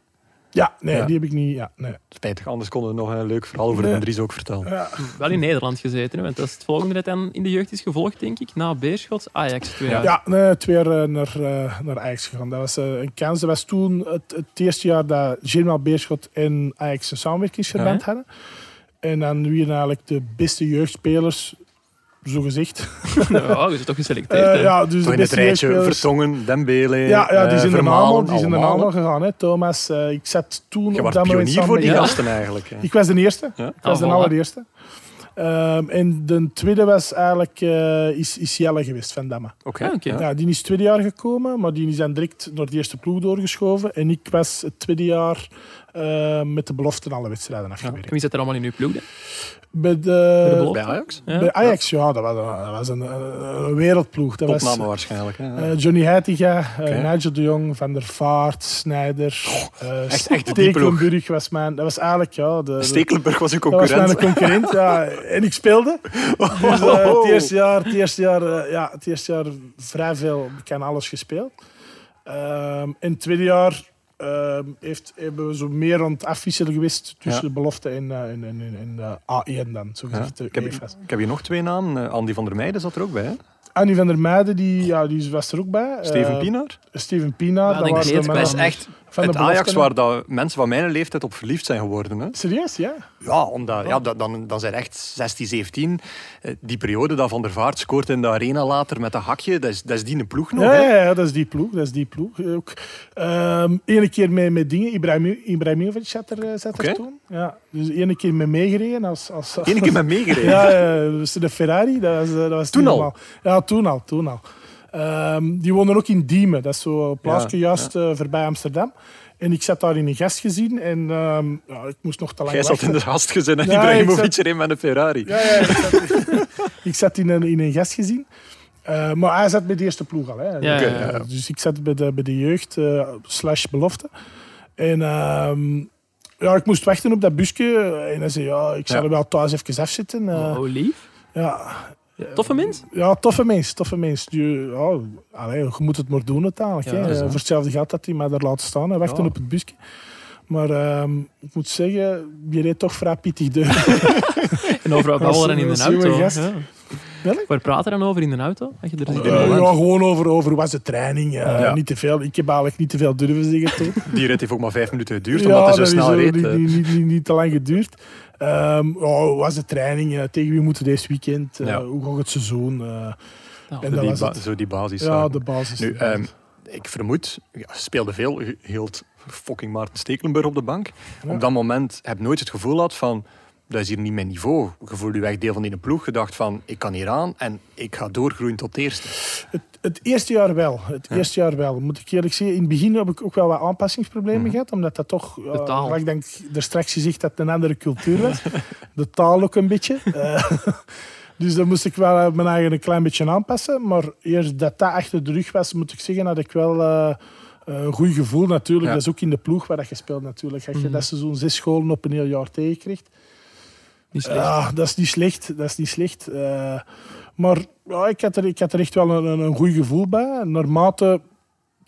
Ja, nee,
Ja.
die heb ik niet. Ja, nee.
Spijtig, anders konden we nog een leuk verhaal over
Nee. Dus
de Dries ook vertellen.
Ja.
Wel in Nederland gezeten, hè, want dat is het volgende dat dan in de jeugd is gevolgd, denk ik. Na Beerschot, Ajax twee jaar.
Ja, nee, twee jaar eh, naar, eh, naar Ajax gegaan. Dat was eh, een kans. Dat was toen het, het eerste jaar dat Germain Beerschot en Ajax een samenwerkingsverband
Ja.
hadden. En dan wie eigenlijk de beste jeugdspelers, zo gezegd.
Nou, je zit toch geselecteerd.
Eh,
hè.
ja, dus
Toch
de
in het
beste
rijtje
jeugdspelers.
Vertongen, Dembele,
Ja, ja, die
eh,
zijn er
Vermalen,
allemaal, die zijn er
allemaal.
allemaal gegaan. Hè. Thomas, eh, ik zat toen
Je
op
was
dat moment
pionier
samen
voor
met
die
jou.
gasten eigenlijk. hè.
Ik was de eerste.
Ja. Oh,
Ik was de
Ah, voilà.
allereerste. Ehm, en de tweede was eigenlijk eh, is, is Jelle geweest van Damme.
Oké.
Ah, oké.
Ja.
Ja, die is het tweede jaar gekomen, maar die is dan direct naar de eerste ploeg doorgeschoven. En ik was het tweede jaar eh, met de beloften alle wedstrijden
En
afgewerkt.
Wie zit er allemaal in uw ploeg? dan?
Bij,
Bij de
de,
belofte?
Bij Ajax?
Ja.
bij Ajax, ja, dat was, dat was een, een wereldploeg. Dat was
Topnamen waarschijnlijk. hè.
eh, Johnny Heitinga, eh,
Oké.
Nigel de Jong, Van der Vaart, Snijder, eh
echt- echt die ploeg.
Stekelenburg was mijn... Dat was eigenlijk, ja... De, de-
Stekelenburg was uw
dat was
concurrent.
mijn concurrent, ja. En ik speelde. Dus eh, het eerste jaar, het eerste jaar, eh, ja, het eerste jaar vrij veel, ik kan alles gespeeld. Ehm, in het tweede jaar ehm, heeft, hebben we zo meer aan het afwisselen geweest tussen
Ja.
de belofte en, eh, en, en, en, en de A1 dan, zo eh,
Ja.
gezegd. de
Ik, heb,
EFA's.
ik heb hier nog twee namen. Eh, Andy van der Meijden zat er ook bij. hè?
Annie van der Meijden, die, ja, die was er ook bij.
Steven
Eh,
Pienaar.
Steven Pienaar,
Ja,
dat
denk
was
ik
de
niet.
man
Dat is echt
van de
het Ajax
belofte.
waar dat mensen van mijn leeftijd op verliefd zijn geworden. Hè?
Serieus, ja?
Ja, omdat,
Oh.
ja dat, dan, dan zijn echt 16, 17. Eh, Die periode dat Van der Vaart scoort in de arena later met dat hakje, dat is, dat is die een ploeg nog.
Ja,
hè?
ja, ja, dat is die ploeg. Dat is die ploeg. Eh, Ook, ehm ene keer met, met dingen. Ibrahim- Ibrahimovic zat er, eh, zat
Oké.
er toen. Ja, dus ene keer mee meegereden. Als, als,
Eén keer met meegereden.
Ja, eh, dus de Ferrari. Dat was, eh, dat was
Toen
niet
al?
normaal. Ja, toen al. Toen al. Ehm, die woonden ook in Diemen. Dat is zo'n plaatsje
Ja,
juist eh, voorbij Amsterdam. En ik zat daar in een gastgezin. En ehm, ja, ik moest nog te lang
Jij zat
wachten.
in de gastgezin en
Ja, ik
Ibrahimovic
zat-
erin met een Ferrari.
Ja, ja, ik zat, ik zat in, een, in een gastgezin. Eh, maar hij zat bij de eerste ploeg al. Hè.
Ja,
Dus,
ja, ja.
eh, Dus ik zat bij de, bij de jeugd eh, slash belofte. En ehm, ja, ik moest wachten op dat busje. En hij zei, ja, ik zal
Ja.
er wel thuis even afzitten. Eh,
Oh, lief.
ja.
Toffe mens.
ja, toffe mens, toffe mens. Die, ja, allee, je moet het maar doen uiteindelijk.
Ja,
hè. Eh,
dat is
Voor hetzelfde geld dat hij mij daar laat staan en wachten
Ja.
op het busje. Maar ehm, ik moet zeggen, je reed toch vrij pittig deur.
En overal
Dat is-
babbelen in
dat is
de
een
auto.
jonge gast.
Ja.
Welk?
Waar praten we dan over in de auto? Dat je er zit in
Eh,
de
ja,
auto.
gewoon over, over was de training. eh,
Ja.
Niet te veel. Ik heb eigenlijk niet te veel durven zeggen toen.
Die rit heeft ook maar vijf minuten geduurd,
ja,
omdat hij zo
dat is
snel
ook
reed.
Niet,
eh.
niet, niet, niet, niet te lang geduurd. Ehm ja, was de training? eh, tegen wie moeten we deze weekend? eh,
Ja.
Hoe gaat het seizoen? eh,
Ja,
Zo
en dat
die
was
ba-
het.
Zo die basis.
Ja,
zaken.
de basis.
Nu, ehm, ik vermoed, ja, ze speelde veel, je hield fucking Maarten Stekelenburg op de bank.
Ja.
Op dat moment heb ik nooit het gevoel gehad van, dat is hier niet mijn niveau. Je voelde je echt deel van die ploeg, gedacht van, ik kan hier aan en ik ga doorgroeien tot het eerste.
Het, het eerste jaar wel. Het eerste jaar wel. Moet ik eerlijk zeggen, in het begin heb ik ook wel wat aanpassingsproblemen gehad. Omdat dat toch,
Mhm.
eh,
De taal.
ik denk, er straks gezegd dat het een andere cultuur was. De taal ook een beetje. Eh, dus dan moest ik wel eh, mijn eigen een klein beetje aanpassen. Maar eerst dat dat achter de rug was, moet ik zeggen, had ik wel... eh, een goed gevoel natuurlijk.
Ja.
Dat is ook in de ploeg waar dat je speelt natuurlijk. Als je
Mhm.
dat seizoen zes scholen op een heel jaar tegenkrijgt,
Niet slecht.
ja, dat is niet slecht. Dat is niet slecht. Eh, maar ja, ik, had er, ik had er echt wel een, een, een goed gevoel bij. Naarmate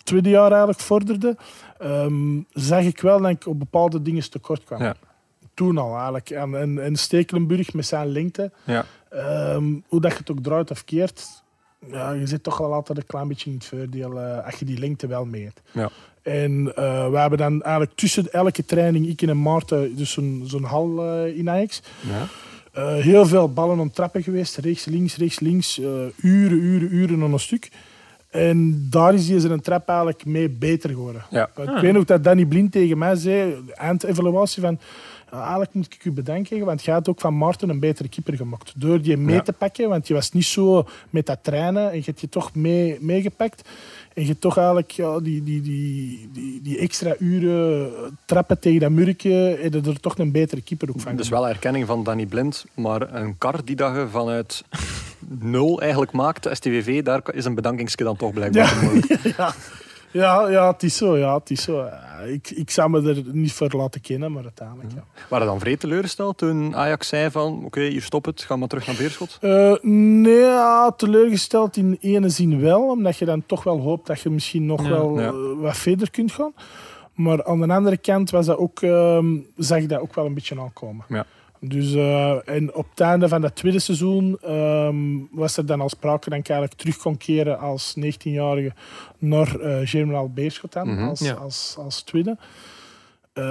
tweede jaar eigenlijk vorderde, ehm, zag ik wel dat ik op bepaalde dingen tekort kwam.
Ja.
Toen al eigenlijk. En, en, en Stekelenburg met zijn lengte,
Ja.
ehm, hoe dat je het ook draait of keert, ja, je zit toch wel altijd een klein beetje in het voordeel eh, als je die lengte wel mee hebt.
Ja.
En eh we hebben dan eigenlijk tussen elke training, ik en Maarten, dus zo'n zo'n hal eh, in Ajax.
Ja.
Eh, heel veel ballen om trappen geweest, rechts, links, rechts, links. eh, uren, uren, uren aan een stuk. En daar is deze een trap eigenlijk mee beter geworden.
Ja.
Ik weet nog dat Danny Blind tegen mij zei, eindevaluatie van... "Ja, Eigenlijk moet ik u bedenken, want jij had ook van Maarten een betere keeper gemaakt. Door die mee
Ja.
te pakken, want je was niet zo met dat trainen en je hebt je toch mee, meegepakt. En je hebt toch eigenlijk ja, die, die, die, die, die extra uren eh, trappen tegen dat murkje, heb je er toch een betere keeper ook van
Dus
gemaakt.
wel erkenning van Danny Blind, maar een kar die dat je vanuit nul eigenlijk maakt, STVV, daar is een bedankingsje dan toch blijkbaar
Ja.
voor nodig.
ja. Ja, ja, het is zo. Ja, het is zo. Eh, Ik, ik zou me er niet voor laten kennen, maar uiteindelijk. Ja.
Waren dan vreed teleurgesteld toen Ajax zei van oké, hier stop het, ga maar terug naar Beerschot?
Eh, nee, ja, teleurgesteld in ene zin wel, omdat je dan toch wel hoopt dat je misschien nog
Ja.
wel
Ja.
eh, wat verder kunt gaan. Maar aan de andere kant was dat ook, ehm, zag ik dat ook wel een beetje aankomen.
Ja.
Dus, eh, en op het einde van dat tweede seizoen ehm, was er dan al sprake dat ik eigenlijk terug kon keren als 19-jarige naar eh Germinal Beerschot dan,
Mhm.
als,
Ja.
als, als tweede. Eh,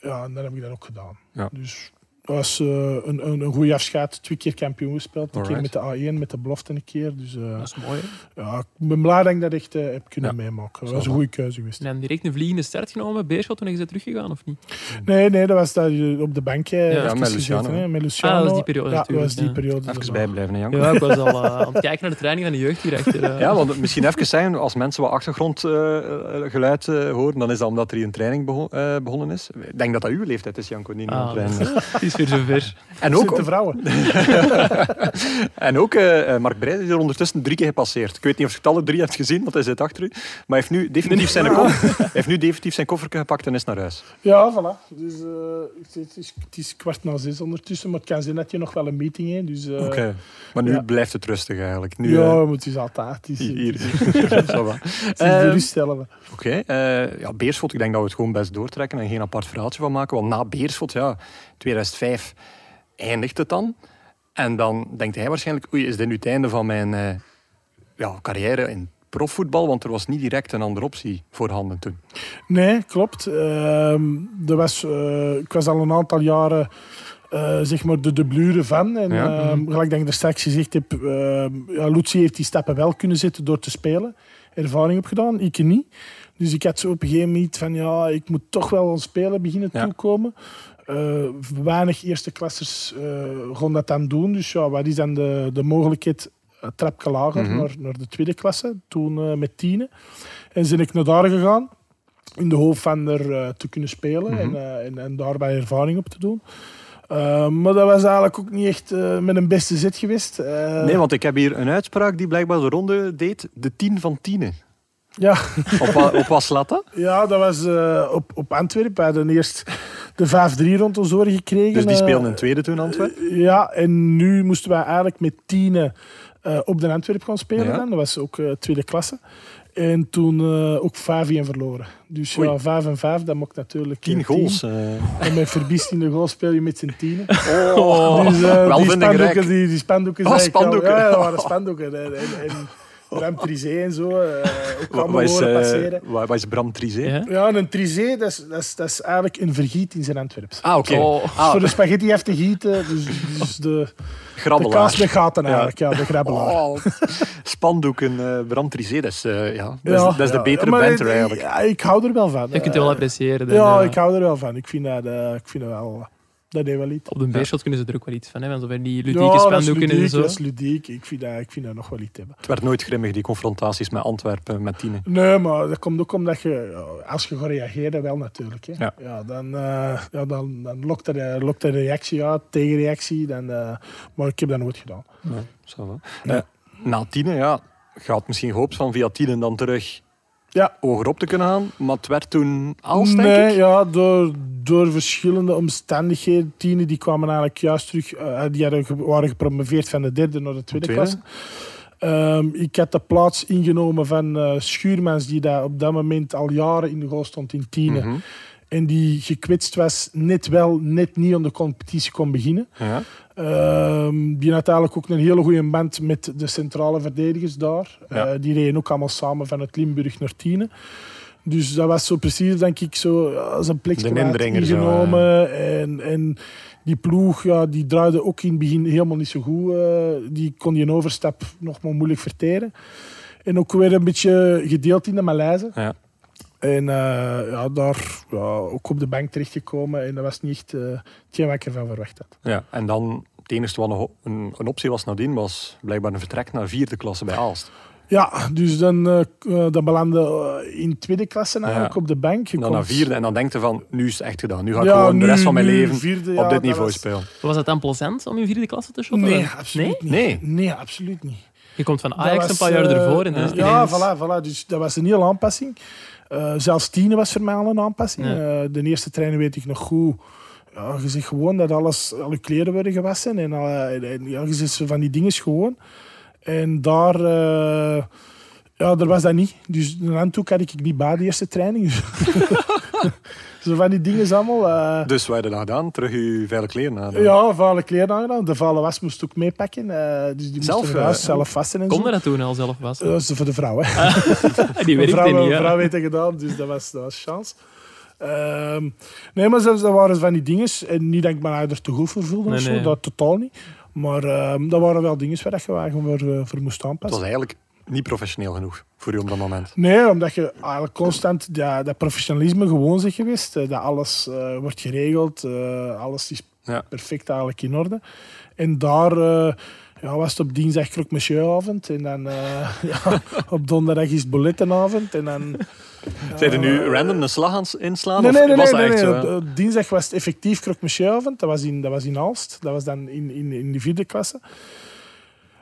ja, en dat heb ik dan ook gedaan.
Ja.
Dus dat was eh, een, een, een goede afscheid. Twee keer kampioen gespeeld. Een keer met
Alright.
de A1, met de belofte een keer. Dus eh,
Dat is mooi. hè.
ja, ik ben blij dat ik dat echt eh, heb kunnen
Ja.
meemaken. Dat
Zal
was een
wel.
goede keuze geweest.
En hebben direct een vliegende start genomen bij Beerschot toen je bent teruggegaan, of niet?
Nee, nee, dat was dat je op de bank eh,
Ja,
even
met
gezeten,
Luciano.
hè, met Luciano.
Ah, dat was die periode
Ja, dat was die
natuurlijk, ja.
periode.
Even
ervan.
bijblijven, hè, Jan.
Ja, ik was al eh, aan het kijken naar de training van de jeugd hier achter. eh.
Ja, want misschien even zijn, als mensen wat achtergrondgeluid eh, horen, dan is dat omdat er hier een training begon- eh, begonnen is. Ik denk dat dat uw leeftijd is, Janko, die nu aan het
Ah,
trainen is.
het is weer zover.
En
Zitten
ook,
vrouwen.
en ook eh, eh, Mark Breij is er ondertussen drie keer gepasseerd. Ik weet niet of je het alle drie hebt gezien, want hij zit achter u. Maar hij heeft nu definitief zijn, koffer, hij heeft nu definitief zijn kofferke gepakt en is naar huis.
Ja, voilà. Dus, eh, het, het is, het is kwart na zes ondertussen, maar het kan zijn dat je nog wel een meeting hebt. Dus, eh,
Oké. Maar nu
ja.
blijft het rustig eigenlijk. Nu,
ja,
eh,
maar het is altijd. Het is,
hier.
het is-
Ça va.
het is de
Eh,
rust stellen we.
Oké, eh, ja, Beerschot, ik denk dat we het gewoon best doortrekken en geen apart verhaaltje van maken. Want na Beerschot, ja, 2005 eindigt het dan. En dan denkt hij waarschijnlijk, oei, is dit nu het einde van mijn eh, ja, carrière in profvoetbal? Want er was niet direct een andere optie voorhanden toen.
Nee, klopt. Ehm, er was, eh, ik was al een aantal jaren eh, zeg maar de dublure van. En,
Ja. mhm.
ehm, gelijk dat ik er straks gezegd heb, ehm ja, Lutzi heeft die stappen wel kunnen zetten door te spelen. Ervaring opgedaan, ik niet. Dus ik had zo op een gegeven moment van, ja, ik moet toch wel aan spelen beginnen
Ja.
toekomen. Eh, weinig eerste klassers eh gaan dat dan doen. Dus ja, wat is dan de, de mogelijkheid? Een trapje lager
Mhm.
naar, naar de tweede klasse, toen eh, met tienen. En zijn ik naar daar gegaan in de hoop van er eh, te kunnen spelen en,
Mhm.
eh, en, en daarbij ervaring op te doen. Eh, maar dat was eigenlijk ook niet echt eh, met een beste zit geweest. Eh,
Nee, want ik heb hier een uitspraak die blijkbaar de ronde deed. De 10 van 10.
ja,
Op, wa- op wat slaat dat?
ja, dat was eh, op, op Antwerpen. We hadden eerst de 5-3 rond ons oren gekregen.
Dus die
eh,
speelden in tweede toen, Antwerpen.
Ja, en nu moesten wij eigenlijk met tienen eh, op de Antwerp gaan spelen.
Ja.
Dan. Dat was ook eh, tweede klasse. En toen eh, ook 5-1 verloren. Dus
Oei.
ja, 5 en 5, dat mocht natuurlijk...
10
eh,
goals. eh.
En met verbiest in de goal speel je met z'n tienen.
Oh,
Dus, eh,
wel
die,
vindingrijk.
spandoeken, die, die spandoeken.
Oh,
zei ik al.
spandoeken.
Ja, ja, dat waren spandoeken. En, en, en Bram Trisé en zo. eh, ook
Wa-
allemaal
Wat is,
horen
eh,
passeren.
wa- wat is Bram Trizé?
Ja.
Ja, en een Trisé, dat is, dat, is, dat is eigenlijk een vergiet in zijn Antwerps.
Ah, oké.
Oh.
Ah,
Voor de spaghetti heeft te gieten, dus, dus de, de
grabbelaar.
kaas met gaten eigenlijk, ja, de grabbelaar.
Oh, spandoeken, eh, Bram Trizé, dat is, eh, ja, dat is,
Ja,
dat is de
ja.
betere
Maar
banter
ik-
eigenlijk.
ja, ik hou er wel van.
Je kunt het wel appreciëren. dan,
Ja,
eh,
ik hou er wel van. Ik vind dat, eh, ik vind dat wel... Dat deed wel iets.
Op de beerschot kunnen ze er ook wel iets van hebben. Zo van die ludieke
Ja, dat is
spandoeken
ludiek,
en zo.
Dat is ludiek. Ik vind dat, ik vind dat nog wel iets hebben.
Het werd nooit grimmig, die confrontaties met Antwerpen, met Tine.
Nee, maar dat komt ook omdat je, ja, als je gaat reageren, wel natuurlijk. Hè.
Ja.
dan, eh, ja, dan, dan lokt, er, lokt er reactie uit, tegenreactie. Dan, eh, maar ik heb dat nooit gedaan.
Ja, zo wel. Eh, na Tine, ja, je had misschien gehoopt van via Tine dan terug
Ja.
hoger op te kunnen gaan, maar het werd toen als, denk
nee,
ik.
ja, door, door verschillende omstandigheden. Tienen die kwamen eigenlijk juist terug. eh, die hadden, ge- waren gepromoveerd van de derde naar de tweede,
Tweede.
klas. Ehm, ik had de plaats ingenomen van eh, Schuurmans, die daar op dat moment al jaren in de goal stond in Tiene.
Mhm.
En die gekwetst was, net wel, net niet aan de competitie kon beginnen.
Ja.
Ehm, die had eigenlijk ook een hele goede band met de centrale verdedigers daar.
Ja.
Eh, die reden ook allemaal samen van het Limburg naar Tiene. Dus dat was zo precies, denk ik, zo als een plekje
De
waar het
indringer zo,
ingenomen. en, en die ploeg, ja, die draaide ook in het begin helemaal niet zo goed. eh, die kon die overstap nog maar moeilijk verteren. En ook weer een beetje gedeeld in de malaise.
Ja.
En eh, ja, daar ja, ook op de bank terechtgekomen. En dat was niet echt eh, hetgeen wat ik ervan verwacht had.
Ja. En dan, het enige wat nog een, een optie was nadien, was blijkbaar een vertrek naar vierde klasse bij Aalst.
Ja, dus dan, eh, k- eh, dan belandde eh, in tweede klasse eigenlijk
Ja.
op de bank. Je
Dan
komt-
naar vierde en dan denkt je van, nu is het echt gedaan. Nu ga ik
Ja,
gewoon de
nu-
rest van mijn
nu
leven
vierde, ja,
op dit
dat
niveau
was-
spelen.
Was het dan plezant om in vierde klasse te shotten?
Nee, absoluut
Nee?
niet. Nee, absoluut niet.
Je komt van
Dat
Ajax
was,
een paar jaar
eh,
ervoor. En dan is het
ja,
ineens-
voilà, voilà. Dus dat was een hele aanpassing. Eh, zelfs Tine was voor mij al een aanpassing.
Ja.
Eh, de eerste trainen weet ik nog goed. Ja, je zegt gewoon dat alles, al je kleren worden gewassen. En, alle- en- en ja, je zegt zo van die dingen gewoon. En daar, eh, ja, daar was dat niet. Dus een handdoek had ik niet bij de eerste training. zo van die dingen allemaal. eh,
Dus wij hebben dat gedaan, terug je vuile kleren aan.
ja, vuile kleren aangedaan. De vuile was moest ik ook meepakken. eh, dus die
Zelf,
moesten we thuis
eh,
zelf vasten en zo.
Kon dat toen al zelf was?
Eh, dat is voor de vrouw, hè.
die
Een
werkte
vrouw,
niet.
een
ja.
vrouw heeft dat gedaan, dus dat was, dat was chance. Ehm, nee, maar zelfs, dat waren van die dingen. En niet dat ik mijn ouder te goed voor voelde
Nee,
of zo,
nee.
dat totaal niet. Maar ehm, dat waren wel dingen waar dat je wel gewoon voor, eh, voor moest
Het was
aanpassen.
eigenlijk niet professioneel genoeg voor u op dat moment.
Nee, omdat je eigenlijk constant dat, dat professionalisme gewoon zit geweest. eh, Dat alles eh, wordt geregeld, eh, alles is
Ja.
perfect eigenlijk in orde. En daar eh, ja, was het op dinsdag krok monsieuravond. En dan eh, ja, op donderdag is het bulletinavond. En dan
Zijn er nu random een slag aan het inslaan?
Nee,
of
nee, nee.
was
nee,
Ah, dat
nee,
echt zo?
Op- op dinsdag was het effectief croque monsieuravond. Dat was in, dat was in Aalst. Dat was dan in, in, in de vierde klasse.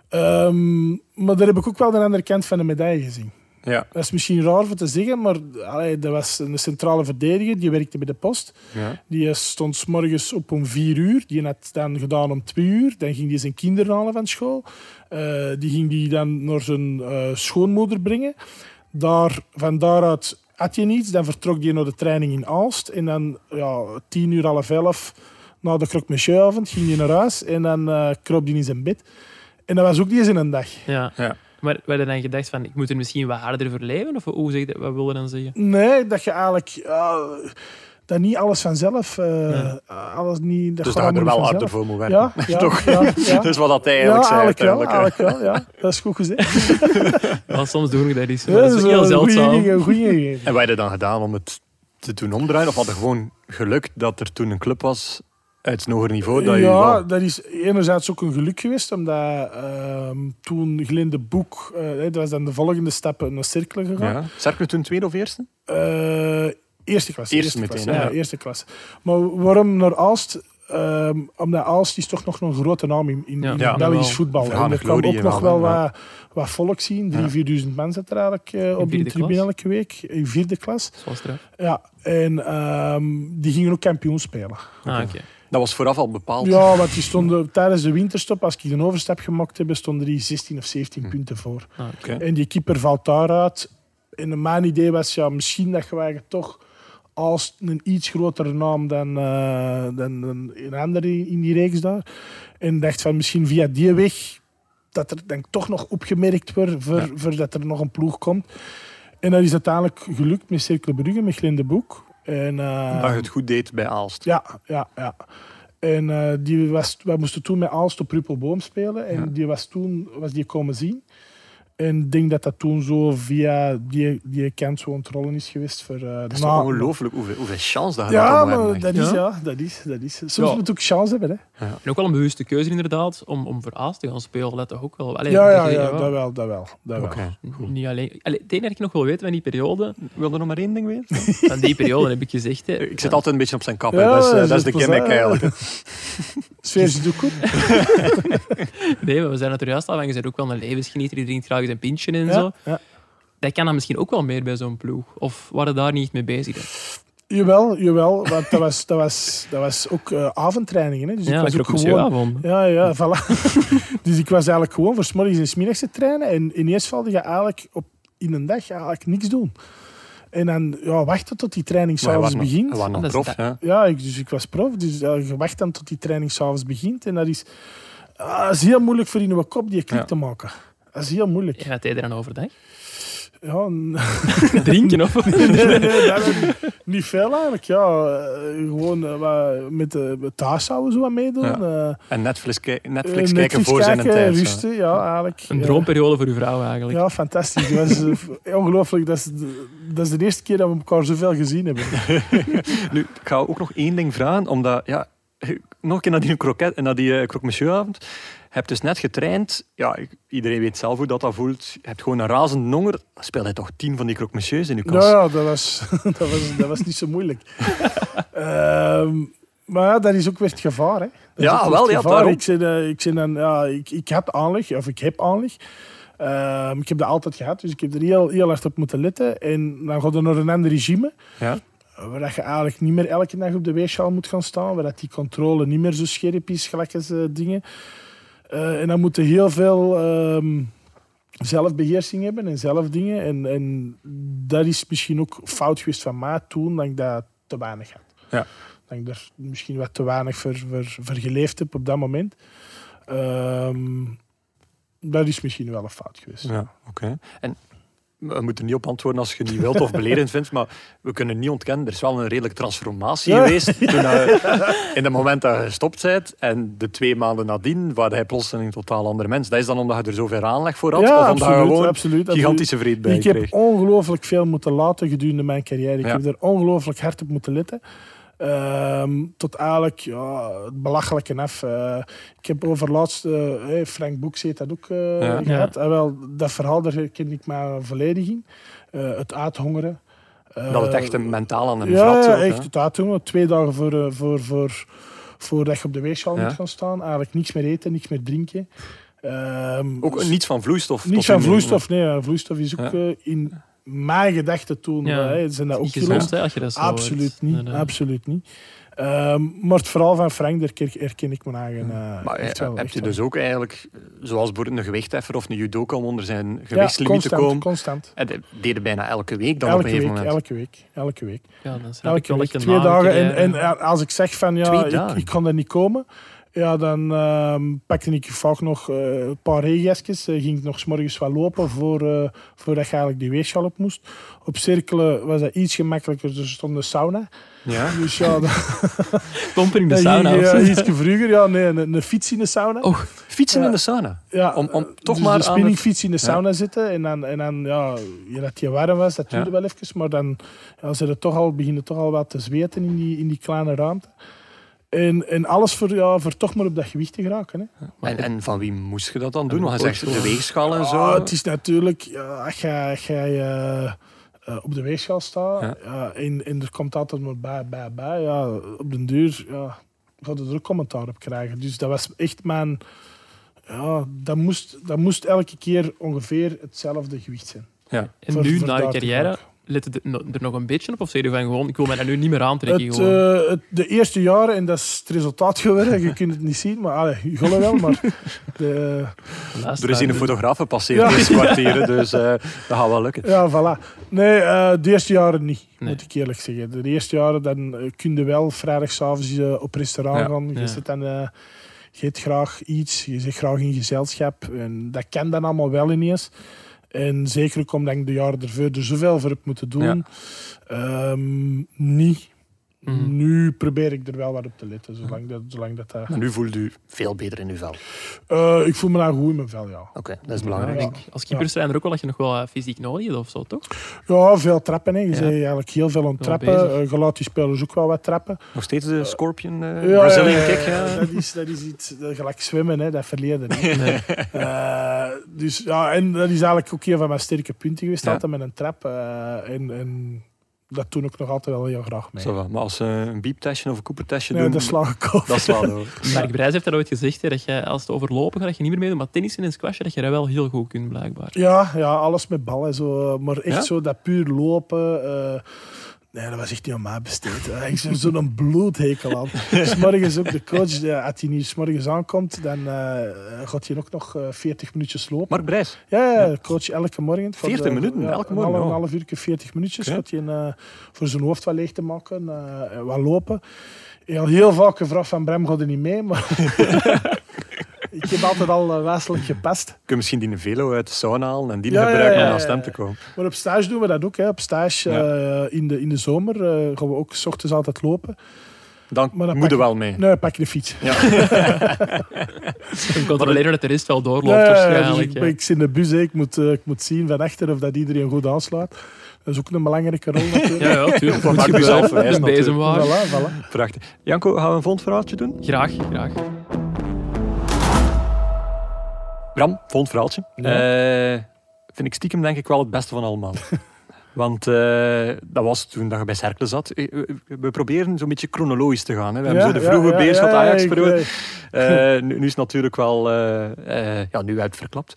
Ehm, maar daar heb ik ook wel de andere kant van de medaille gezien.
Ja.
Dat is misschien raar voor te zeggen, maar allee, dat was een centrale verdediger. Die werkte bij de post.
Ja.
Die stond 's morgens op om vier uur. Die had dan gedaan om twee uur. Dan ging hij zijn kinderen halen van school. Eh, die ging die dan naar zijn eh, schoonmoeder brengen. Daar, van daaruit had je niets. Dan vertrok hij naar de training in Aalst. En dan ja, tien uur, half elf, na de croque monsieuravond, ging hij naar huis. En dan eh kroop hij in zijn bed. En dat was ook die eens in een dag.
Ja.
Ja.
Maar we hadden dan gedacht van, ik moet er misschien wat harder voor leven? Of hoe zeg je dat? Wat wil je dan zeggen?
Nee, dat je eigenlijk... ja, dat niet alles vanzelf... eh, alles niet, dat
Dus
gaat
daar heb je er wel
allemaal niet
harder
vanzelf.
voor moet werken.
Ja, ja,
Toch?
ja, ja.
Dat is wat dat hij eigenlijk zei
wel,
uiteindelijk. hè.
eigenlijk wel, ja. Dat is goed gezegd.
Ja, soms doen we dat niet zo. Dat is heel zeldzaam.
Een goede idee.
En wij hadden dan gedaan om het te doen omdraaien? Of hadden gewoon gelukt dat er toen een club was uit het hoger niveau? Dat je
Ja,
wel-
dat is enerzijds ook een geluk geweest, omdat ehm, toen Glinde Boek, eh, dat was dan de volgende stappen naar cirkelen gegaan.
ja. Cercle toen tweede of eerste?
Eh, eerste klasse.
Eerst
klasse,
meteen, hè?
ja, eerste klasse. Maar waarom naar Aalst? Ehm, omdat Aalst is toch nog een grote naam in, in,
Ja,
in
ja,
het Belgisch
wel.
voetbal.
Vergane
En er kwam
glorie
ook nog
wel,
wel
hè, ja.
wat, wat volk zien.
Ja.
3.000, 4.000 mensen zat er eigenlijk eh, op de
vierde
tribune
klas?
elke week. In vierde klas.
Zoals straf.
Ja, en ehm, die gingen ook kampioen spelen.
Ah, oké.
Dat was vooraf al bepaald.
Ja, want die stonden tijdens de winterstop, als ik een overstap gemaakt heb, stonden die 16 of 17 punten voor.
Ah, oké.
Oké.
En die keeper valt daaruit. En mijn idee was, ja, misschien dat je eigenlijk toch als een iets grotere naam dan, eh, dan, dan een ander in in die reeks daar. En dacht van, misschien via die weg, dat er dan toch nog opgemerkt wordt, voor, voordat er nog een ploeg komt. En dat is uiteindelijk gelukt met Cirkel Brugge, met Glinde Boek. En, eh,
Dat je het goed deed bij Aalst.
ja, ja, ja. En eh, die was, wij moesten toen met Aalst op Ruppelboom spelen. En
Ja.
die was toen was die komen zien. En ik denk dat dat toen zo via die, die kant zo ontrollen is geweest. Voor, eh,
Dat is
na-
toch ongelooflijk hoeveel, hoeveel chance dat je
Ja,
dat allemaal
maar
hebt.
dat is,
Ja.
ja, dat is, dat is. Soms
Ja.
moet je ook chance hebben, hè.
En ook wel een bewuste keuze inderdaad, om, om voor Aas te gaan spelen. Dat toch ook wel. Allee,
Ja,
dat
ja,
je-
ja, dat wel, dat wel. Dat wel.
Oké.
Niet alleen. Allee, het enige dat ik nog wil weten van die periode,
Wil er nog maar één ding weten?
van die periode heb ik gezegd. Hè,
Ik zit altijd een beetje op zijn kap. hè.
Ja, dus
dat is, eh,
dat is
dat is de
plezant,
gimmick
hè.
eigenlijk.
Sfeer zit ook goed.
Nee, maar we zijn het er juist al van. Je bent ook wel een levensgenieter, die drinkt graag zijn pintje en
Ja,
zo.
ja. Dus
Dat kan dan misschien ook wel meer bij zo'n ploeg. Of waren daar niet mee bezig?
Jawel, jawel. Want dat was, dat was, dat was ook eh, avondtrainingen. Hè. Dus
Ja,
ik
dat
was
is
ook
ook een
gewoon...
zeeuwavond.
Ja, ja, voilà. dus ik was eigenlijk gewoon voor 's morgens en 's middags te trainen. En ineens valde je eigenlijk op, in een dag eigenlijk niks doen. En dan ja, wachten tot die training
Maar hij was
s'avonds
nog-
begint.
Hij was nog
Dat is
prof,
dat-
ja.
Ja, ik, dus ik was prof. Dus ja, je wacht dan tot die training s'avonds begint. En dat is, ah, dat is heel moeilijk voor in uw kop die klik
Ja.
te maken. Dat is heel moeilijk.
Gaat hij er dan overdag?
Ja, n-
Drinken of
nee, nee, nee, dat heb ik niet veel eigenlijk. Ja, eh, gewoon eh, wat- met de met thuishouden zo wat meedoen.
Ja.
eh, eh,
En Netflix, kijk- Netflix,
Netflix
kijken voor zijn
kijken,
tijd. zo.
Rusten, ja, eigenlijk.
Een
Ja.
droomperiode voor uw vrouw eigenlijk.
Ja, fantastisch. Dat was eh, ongelooflijk. Dat is, de, dat is de eerste keer dat we elkaar zoveel gezien hebben.
Nu, ik ga ook nog één ding vragen, omdat, ja, nog een keer naar die kroket en naar die uh, croque-monsieuravond. Je hebt dus net getraind, ja, ik- iedereen weet zelf hoe dat, dat voelt. Je hebt gewoon een razend honger. Dan speel je toch tien van die croque-monsieurs in je
Nou
kast?
ja, dat was, dat was, dat was niet zo moeilijk. Ehm, maar ja, dat is ook weer het gevaar. Hè. Dat is
Ja,
ook weer
wel,
het
ja,
gevaar.
daarom.
Ik, zit, eh, ik, zit dan, ja, ik, ik had aanleg, of ik heb aanleg. Ehm, ik heb dat altijd gehad, dus ik heb er heel, heel hard op moeten letten. En dan gaat er nog een ander regime,
Ja.
waar dat je eigenlijk niet meer elke dag op de weegschaal moet gaan staan, waar dat die controle niet meer zo scherp is, gelijk als eh, dingen. Eh, en dan moeten heel veel ehm, zelfbeheersing hebben en zelf dingen. En, en dat is misschien ook fout geweest van mij toen, dat ik dat te weinig had.
Ja.
Dat ik daar misschien wat te weinig voor, voor, voor geleefd heb op dat moment. Ehm, dat is misschien wel een fout geweest.
Ja, oké. En we moeten niet op antwoorden als je het niet wilt of beledigend vindt, maar we kunnen niet ontkennen, er is wel een redelijke transformatie
Ja.
geweest toen je- in het moment dat je gestopt bent en de twee maanden nadien, waar hij plotseling een totaal andere mens. Dat is dan omdat je er zoveel aanleg voor had
Ja,
of omdat je
absoluut,
gewoon
absoluut,
gigantische vreed bij
Ik heb
kreeg.
ongelooflijk veel moeten laten gedurende mijn carrière. Ik
Ja.
heb er ongelooflijk hard op moeten letten. Ehm, tot eigenlijk ja, het belachelijke af. Eh, ik heb overlaatst, eh, hey, Frank Boeks heeft dat ook eh,
Ja.
gehad. Ah, wel, dat verhaal daar herken ik maar volledig in. Eh, het uithongeren. Eh,
Dat het echt een mentaal aan hem
ja,
vrat
ja,
ook, hè?
echt het uithongeren. Twee dagen voor, eh, voor, voor, voordat je op de weegschaal
Ja.
moet gaan staan. Eigenlijk niks meer eten, niks meer drinken. Ehm,
Ook niets van vloeistof. tot
niet van
in de-
vloeistof, nee. ja, Vloeistof is ook
Ja.
eh, in mijn gedachten toen.
Ja.
eh, hè, zijn dat ook
Niet gezond,
geloofd?
hè, als je dat zo
Absoluut
hoort.
niet.
Nee, nee.
Absoluut niet. Ehm, maar het verhaal van Frank, daar ker- herken ik mijn eigen. eh,
Maar
echt
eh,
wel,
heb
echt
je
wel.
dus ook eigenlijk, eh, zoals bijvoorbeeld een gewichtheffer of een judoka, om onder zijn
Ja,
gewichtslimiet te
constant,
komen?
Constant.
En dat deden bijna elke week dan op
elke,
een gegeven
week,
moment.
elke week, elke week.
Ja, dan snap ik
Elke
wel
week,
dat je
twee
na een
dagen. En,
keer,
en
eh,
eh, als ik zeg van
Twee
ja, ik,
dagen?
ik kan er niet komen, ja, dan ehm, pakte ik vaak nog eh, een paar regenjasjes. eh, ging ik nog 's morgens wat lopen voor, eh, voordat je eigenlijk die weegschaal op moest. Op cirkelen was dat iets gemakkelijker, dus er stond een sauna.
Ja?
Dus ja, dat
Domper in de
dat
sauna.
ging,
of
eh,
zo.
iets vroeger. Ja, nee, een, een fiets in de sauna.
Oh, fietsen
Ja.
in de sauna.
Ja,
Om- om toch
dus
maar aan
de
het-
spinningfiets in de
Ja.
sauna zitten en dan, en dan ja, je dat je warm was, dat duurde
Ja.
wel even, maar dan ja, ze er toch al, beginnen toch al wat te zweten in die, in die kleine ruimte. En, en alles voor, ja, voor toch maar op dat gewicht te geraken. Hè.
En, en van wie moest je dat dan doen? Want hij
ook
zegt
zo.
de weegschaal en zo.
Ah, het is natuurlijk, ja, als jij, als jij eh, eh, op de weegschaal staat
Ja.
ja, en, en er komt altijd maar bij, bij, bij, ja, op den duur ja, ga je er ook commentaar op krijgen. Dus dat was echt mijn... Ja, dat moest, dat moest elke keer ongeveer hetzelfde gewicht zijn.
Ja.
En
voor-
nu,
voor
na je
daar te
carrière,
geraken.
lette er no- er nog een beetje op? Of zei je van gewoon, ik wil mij dat nu niet meer aantrekken?
Het,
gewoon.
eh, het- de eerste jaren, en dat is het resultaat geworden, je kunt het niet zien, maar allee, je gaat het wel, maar... De,
Er is hier een
foto.
fotograaf gepasseerd
Ja.
dit kwartier, dus eh, dat gaat wel lukken.
Ja, voilà. Nee, eh, de eerste jaren niet,
Nee.
moet ik eerlijk zeggen. De eerste jaren dan eh, kun je wel vrijdagavond eh op restaurant
Ja,
gaan. Je
ja.
zit dan, eh, je eet graag iets, je zit graag in gezelschap. En dat kan dan allemaal wel ineens. En zeker ook omdat ik de jaren ervoor er zoveel voor heb moeten doen.
Ja.
Ehm, niet.
Mhm.
Nu probeer ik er wel wat op te letten, zolang dat... Zolang dat, dat-
Maar nu voelt u veel beter in uw vel. Oké,
Eh, ik voel me daar goed in mijn vel, ja.
dat is belangrijk.
Ja.
Als keeper zijn er ook wel dat je nog wel eh, fysiek nodig hebt of zo, toch?
Ja, veel trappen. Hè. Je bent
Ja.
eigenlijk heel veel aan het
Ja,
trappen.
bezig.
Eh, je laat die spelers ook wel wat trappen.
Nog steeds de Scorpion eh,
Ja,
Brazilian
ja, ja,
kick.
ja,
Ja.
Dat, is, dat is iets, dat, gelijk zwemmen, hè, dat verleden. hè. Eh, dus ja, en dat is eigenlijk ook een van mijn sterke punten geweest,
Ja.
altijd met een trap. eh, en, en dat doe ik nog altijd wel heel graag mee.
Zo wel. Maar als ze een bieptestje of een koepertestje
Nee,
doen,
dat slaag ik over.
dat slaat over.
Mark Brijs heeft dat ooit gezegd, hè, dat je als het overlopen gaat, dat je niet meer meedoet. Maar tennissen en squashen, dat je dat wel heel goed kunt, blijkbaar.
Ja, ja, alles met ballen. Zo, maar echt
Ja?
zo dat puur lopen. eh, Nee, dat was echt niet aan mij besteed. hè. Ik ben zo'n bloedhekel aan. S'morgens ook de coach, eh, als hij niet s'morgens aankomt, dan eh, gaat hij ook nog eh, 40 minuutjes lopen.
Mark Brijs,
Ja, ja, de coach elke morgen. Voor
40
de-
minuten,
ja,
elke
een
morgen,
half- Een
ja.
half uurtje, 40 minuutjes.
Oké.
Gaat hij eh, voor zijn hoofd wat leeg te maken, eh, wat lopen. Ik had heel vaak gevraagd van Brem, gaat er niet mee? Maar ik heb altijd al eh, wijselijk gepast.
kun je misschien die velo uit de sauna halen en die
Ja, ja,
gebruiken om
ja,
naast
ja,
hem
ja.
te komen.
Maar op stage doen we dat ook. Hè. Op stage
Ja.
eh, in, de, in de zomer eh, gaan we ook s ochtends altijd lopen.
Dan
Maar dan
moet je
pak-
wel mee.
Nee, pak je de fiets.
Ik controleer dat de rest wel doorloopt,
Ja, ja, ja, dus
waarschijnlijk.
ik,
ja.
ben- ik zit in de bus, hè. ik moet, eh, ik moet zien van achter of dat iedereen goed aanslaat. Dat is ook een belangrijke rol natuurlijk.
Ja, ja, tuurlijk.
Wat
Moet
maakt u zelf
gebeuren.
wijs
Een
natuurlijk.
bezemwaar.
Voilà, voilà.
Prachtig. Janko, gaan we een volgend verhaaltje doen?
Graag, graag.
Bram, volgend verhaaltje. Eh, vind ik stiekem denk ik wel het beste van allemaal. Want eh, dat was toen dat je bij Cercle zat. Eh, We, we proberen zo'n beetje chronologisch te gaan. Hè. We hebben zo de vroege Beerschot Ajax periode.
ik, eh,
Eh, nu, nu is het natuurlijk wel eh, eh, ja, nu uitverklapt.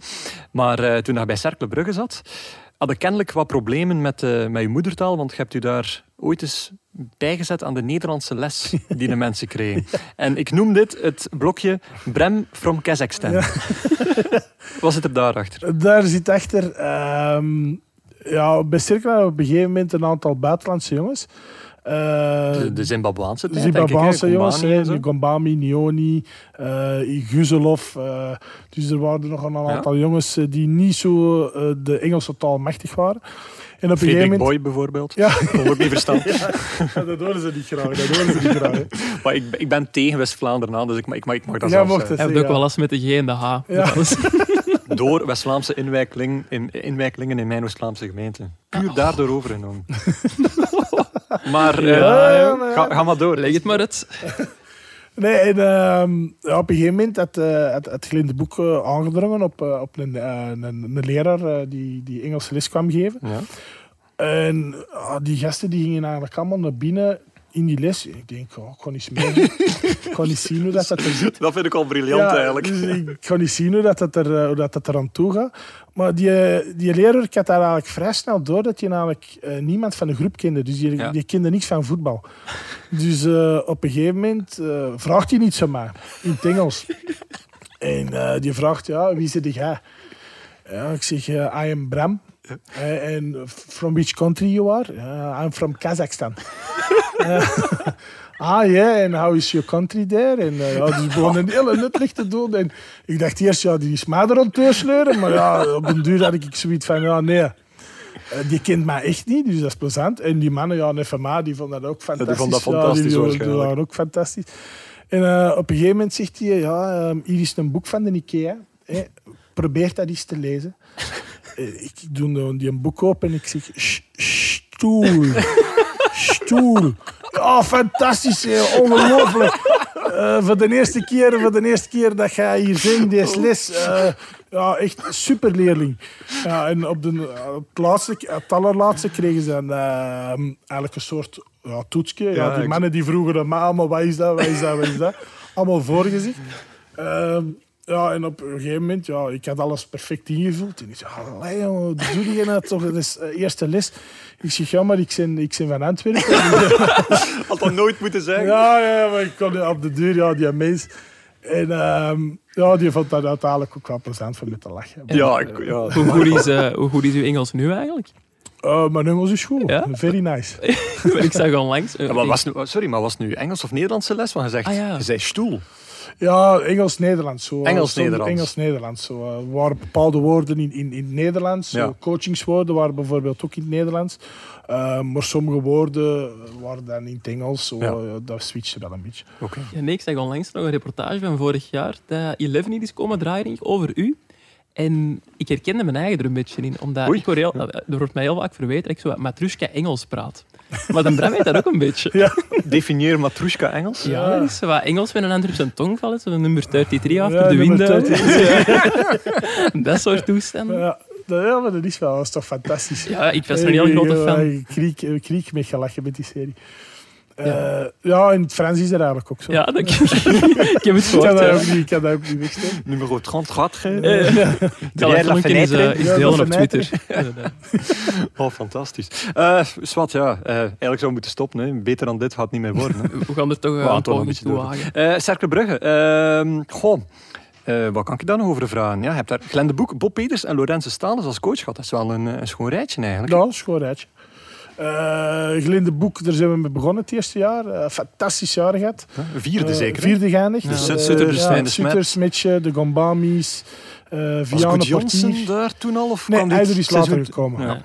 Maar eh, toen je bij Cercle Brugge zat, had ik kennelijk wat problemen met, eh, met je moedertaal. Want je hebt u daar ooit eens bijgezet aan de Nederlandse les die de mensen kregen. En ik noem dit het blokje Brem from Kazakhstan. Wat zit er daarachter?
Daar zit achter. ehm, ja, bij Cirkel hadden we op een gegeven moment een aantal buitenlandse jongens. Eh,
De, de Zimbabweanse tijd,
Zimbabweanse
denk ik, hè?
jongens, eh,
Gombani en zo.
hè, Gombami, Nioni, eh Guzelov. eh, dus er waren er nog een aantal jongens eh, die niet zo eh, de Engelse taal machtig waren. En op een gegeven
Frederik
moment.
Boy bijvoorbeeld.
Ja.
Kon ook niet verstaan.
dat horen ze niet graag. Dat horen ze niet graag. hè.
Maar ik, ik ben tegen West-Vlaanderen aan, dus ik, ma- ik, ma- ik mag dat
Jij
zelf
mocht
zeggen.
het.
Heb
Ja.
ook wel last met de G en de H.
Ja.
Dat is-
door West-Vlaamse inwijkeling, in, inwijkelingen in mijn West-Vlaamse gemeente. Puur daardoor overgenomen. maar eh,
Ja,
ja, maar ja.
Ga, ga maar door.
Leg het maar uit.
Nee, en, ehm, ja, op een gegeven moment had, eh had, had Glenn de Boek eh, aangedrongen op, eh, op een, eh, een, een leraar eh, die, die Engelse les kwam geven.
Ja.
En ah, die gasten die gingen eigenlijk allemaal naar binnen in die les. Ik denk, oh, ik kan niet meer. ik kan niet zien hoe dat, dat er zit.
Dat vind ik al briljant
Ja,
eigenlijk.
dus ik ga niet zien hoe dat, dat, er, eh, hoe dat, dat er aan toe gaat. Maar die, eh, die leraar, ik had daar eigenlijk vrij snel door dat je namelijk eh, niemand van de groep kende. Dus die,
Ja.
die kende niks van voetbal. Dus eh, op een gegeven moment eh, vraagt hij iets aan mij, in het Engels. En eh, die vraagt, ja, wie zit jij? Ja, ik zeg, eh, I am Bram. Eh, En from which country you are? Eh, I'm from Kazakhstan. Eh, ah, yeah, and how is your country there? En eh, ja, dus gewoon een hele nuttig te doen. En ik dacht eerst, ja, die is mij er aan het sleuren. Maar ja, op den duur had ik zoiets van, ja, nee. eh, Die kent mij echt niet, dus dat is plezant. En die mannen, ja, en FMA, die vonden dat ook
die
fantastisch.
vonden dat
Ja,
fantastisch
die, die,
waarschijnlijk.
waren ook fantastisch. En eh, op een gegeven moment zegt hij, ja, ehm, hier is een boek van de Ikea. Hè. Probeer dat eens te lezen. Eh, ik doe dan die een boek open en ik zeg, "Sch- stoel. Stoel. Ja, fantastisch, hè. ongelooflijk. Eh, voor, de eerste keer, voor de eerste keer dat jij hier zingt, deze les. eh, ja, echt super leerling. Ja, en op, de, op het, laatste, het allerlaatste kregen ze een, eh, eigenlijk een soort ja, toetsje. Ja,
Ja,
die
ik-
mannen die vroegen aan mij allemaal, wat is dat, wat is dat, wat is dat. Allemaal voorgezicht. Ehm, ja, en op een gegeven moment, ja, ik had alles perfect ingevuld. En ik zei, allee jongen, wat doe je nou toch? Dat is eh, eerste les. Ik zeg, ja, maar ik ben, ik ben van Antwerpen.
Had dat nooit moeten zeggen.
ja, ja, maar ik kon op de duur, ja, die mens. En ehm, ja, die vond dat uiteindelijk ook wel plezant voor me te lachen.
Ja, ik, ja.
Hoe goed, is, eh, hoe goed is uw Engels nu eigenlijk?
Eh, mijn Engels is goed.
Ja?
Very nice.
Ik zag onlangs... eh,
Ja, maar was, nu- sorry, maar was het nu Engels of Nederlandse les? Want je zegt,
Ah, ja.
je zei stoel.
Ja, Engels-Nederlands. zo.
Engels-Nederlands.
Engels-Nederlands. zo. Eh, Er waren bepaalde woorden in, in, in het Nederlands.
Ja.
Zo, coachingswoorden waren bijvoorbeeld ook in het Nederlands. Eh, maar sommige woorden waren dan in het Engels. Zo,
Ja.
eh, dat switchte wel een beetje.
Oké.
Ja, nee, ik zag onlangs nog een reportage van vorig jaar dat Eleven hier is komen draaien over u. En ik herkende mijn eigen er een beetje in, omdat
Oei.
ik hoor heel, eh, er wordt mij heel vaak verweten dat ik zo wat Matrushka Engels praat. Maar dan Bram weet dat ook een beetje. Ja,
Definieer matrushka Engels.
dat is zo wat Engels met een ander op zijn tong vallen, zo'n nummer 33 after
Ja,
de
nummer
window. dat soort toestanden.
Ja, dat, ja, maar dat is wel dat is toch fantastisch.
Ja, ik was een heel
Ik,
grote
eh,
fan.
Ik kriek, ik kriek mee gelachen met die serie. Eh, ja, in het Frans is dat eigenlijk ook zo.
Ja, dat, ik heb het
Ik kan
gehoord.
dat
ja.
ook niet, ik kan dat ook niet wegstemmen.
Nummer 30 gaat ge.
Eh,
Jij
Dat
laat
filmpje is, eh,
verneiteren.
is
Ja,
delen
dat
op Twitter. Inderdaad.
Oh, fantastisch. Eh Swat, ja. eh, eigenlijk zou we moeten stoppen. Hè. Beter dan dit gaat het niet meer worden. Hè.
We gaan er toch eh,
Wou
een
Anton nog
poging
iets
toe
doen.
wagen.
Eh Cercle Brugge. ehm, goh. Eh, wat kan ik daar nog over vragen? Ja, je hebt daar Glenn de Boek, Bob Peters en Lorenzo Stalens als coach gehad. Dat is wel een, eh, een schoon rijtje eigenlijk.
Ja, schoon rijtje. Eh Glinde Boek, daar zijn we mee begonnen het eerste jaar. Eh, fantastisch jaar gehad.
Een Vierde
Eh,
zeker. hè?
Vierde geëindigd.
Dus
Eh,
Sutter, De
ja,
Stijn, De
Sutter, Smetje, de Gombamis, eh
Was
Vianne
Goed Johnson
Portier.
daar toen al? Of
Nee,
kwam dit
Eider is later
seizoen-
gekomen.
Ja.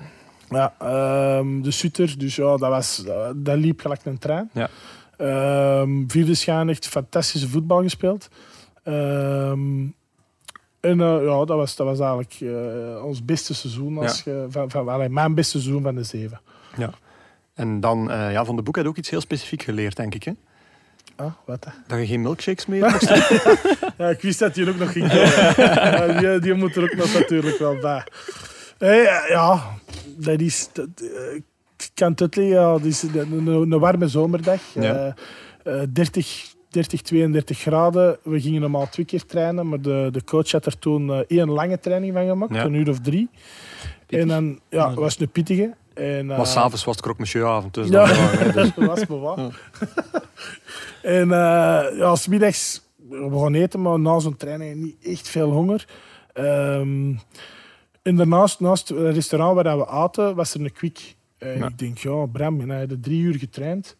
Ja. ehm, de Sutter, dus ja, dat, was, dat, dat liep gelijk een trein.
Ja.
Ehm, vierde schaanigd, fantastische voetbal gespeeld. Ehm, en eh, ja, dat was, dat was eigenlijk eh, ons beste seizoen. Als je- van, van, allee, mijn beste seizoen van de zeven.
En dan, eh, ja, Van de Boek had ook iets heel specifiek geleerd, denk ik. Hè?
Ah, wat hè?
Dat je geen milkshakes meer mocht
Ja, ik wist dat die er ook nog ging komen. Ja, die, die moet er ook nog natuurlijk wel bij. Nee, eh, ja, dat is... dat, eh, ik kan het uitleggen, ja, het is een, een- een warme zomerdag.
Ja.
Eh, eh, 30, 30, 32 graden. We gingen normaal twee keer trainen, maar de, de coach had er toen eh, één lange training van gemaakt,
Ja.
een uur of drie. En dan ja,
Inderdaad.
was het een pittige. En, eh,
Maar s'avonds was het croque monsieuravond. Dus
ja,
dan, ja, dus-
dat was me wat. En eh ja, smiddags we gaan eten, maar na zo'n training niet echt veel honger. Ehm, en daarnaast, naast het restaurant waar we aten, was er een kwik. En
Ja.
ik denk, ja, Bram, je hebt drie uur getraind.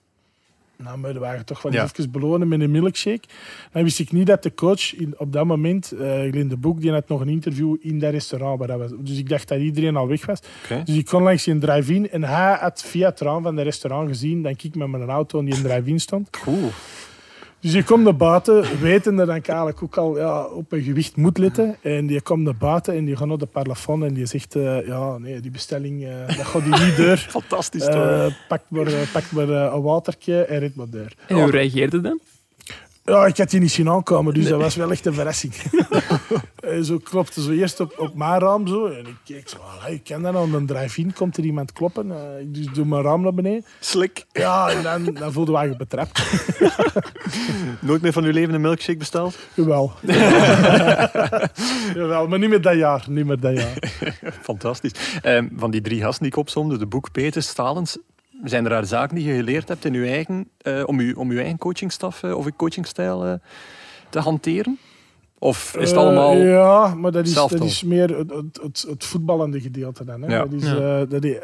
Nou, maar we waren toch wel
Ja.
even belonen met een milkshake. Dan wist ik niet dat de coach in, op dat moment, eh Glinde Boek, die had nog een interview in dat restaurant. Waar dat we, dus ik dacht dat iedereen al weg was.
Oké.
Dus ik kon langs die drive-in en hij had via het raam van het restaurant gezien dat ik met mijn auto in die drive-in stond.
Oeh.
Dus je komt naar buiten, wetende dat ik eigenlijk ook al ja, op mijn gewicht moet letten. En die komt naar buiten en die gaat naar de parlofoon en die zegt, eh, ja, nee, die bestelling, eh, dat gaat die niet door.
Fantastisch toch?
Eh pak maar, eh, pak maar eh, een watertje en rit maar door.
En hoe reageerde dan?
Ja, ik had die niet zien aankomen, dus dat was wel echt een verrassing. en zo klopte ze eerst op, op mijn raam zo. En ik keek zo, "Allee, ik ken dat nou, een drive-in komt er iemand kloppen. Eh, ik dus doe mijn raam naar beneden.
Slik.
Ja, en dan, dan voelde we eigenlijk betrapt.
Nooit meer van uw leven een milkshake besteld?
Jawel. Jawel, maar niet meer dat jaar. Niet meer dat jaar.
Fantastisch. Ehm, van die drie gasten die ik opzomde, de boek Peters, Stalens, zijn er daar zaken die je geleerd hebt in uw eigen, eh, om, uw, om uw eigen coachingstaf eh, of uw coachingstijl eh, te hanteren? Of is het
Eh,
allemaal...
ja, maar dat is, dat
zelftal?
is meer het, het, het, het voetballende gedeelte dan. Hè.
Ja.
Dat is,
Ja.
eh, dat is-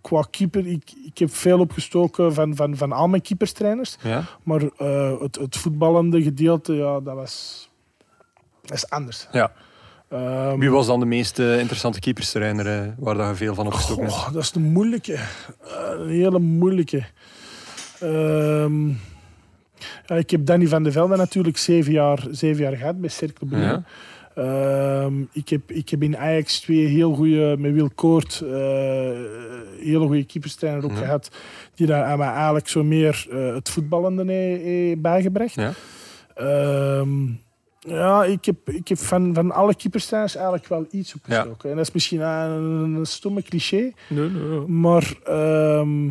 qua keeper, ik, ik heb veel opgestoken van, van, van al mijn keeperstrainers.
Ja?
Maar eh, het, het voetballende gedeelte, ja, dat was dat is anders.
Ja.
Ehm,
Wie was dan de meest eh, interessante keeperstrainer eh, waar dat je veel van opgestoken hebt?
goh, dat is een moeilijke. Eh, een hele moeilijke. Ehm, ja, ik heb Danny van de Velde natuurlijk zeven jaar, zeven jaar gehad bij Cercle Brugge.
Ja.
Ehm, ik, heb, ik heb in Ajax twee heel goede, met Wil Koort, eh, hele goede keeperstrainer ook
Ja.
gehad. Die daar aan mij eigenlijk zo meer eh, het voetballende heeft heeft bijgebracht.
Ja.
Ehm, ja, ik heb, ik heb van, van alle keeperstrainers eigenlijk wel iets opgestoken. En dat is misschien een, een stomme cliché,
Nee, nee.
maar ehm,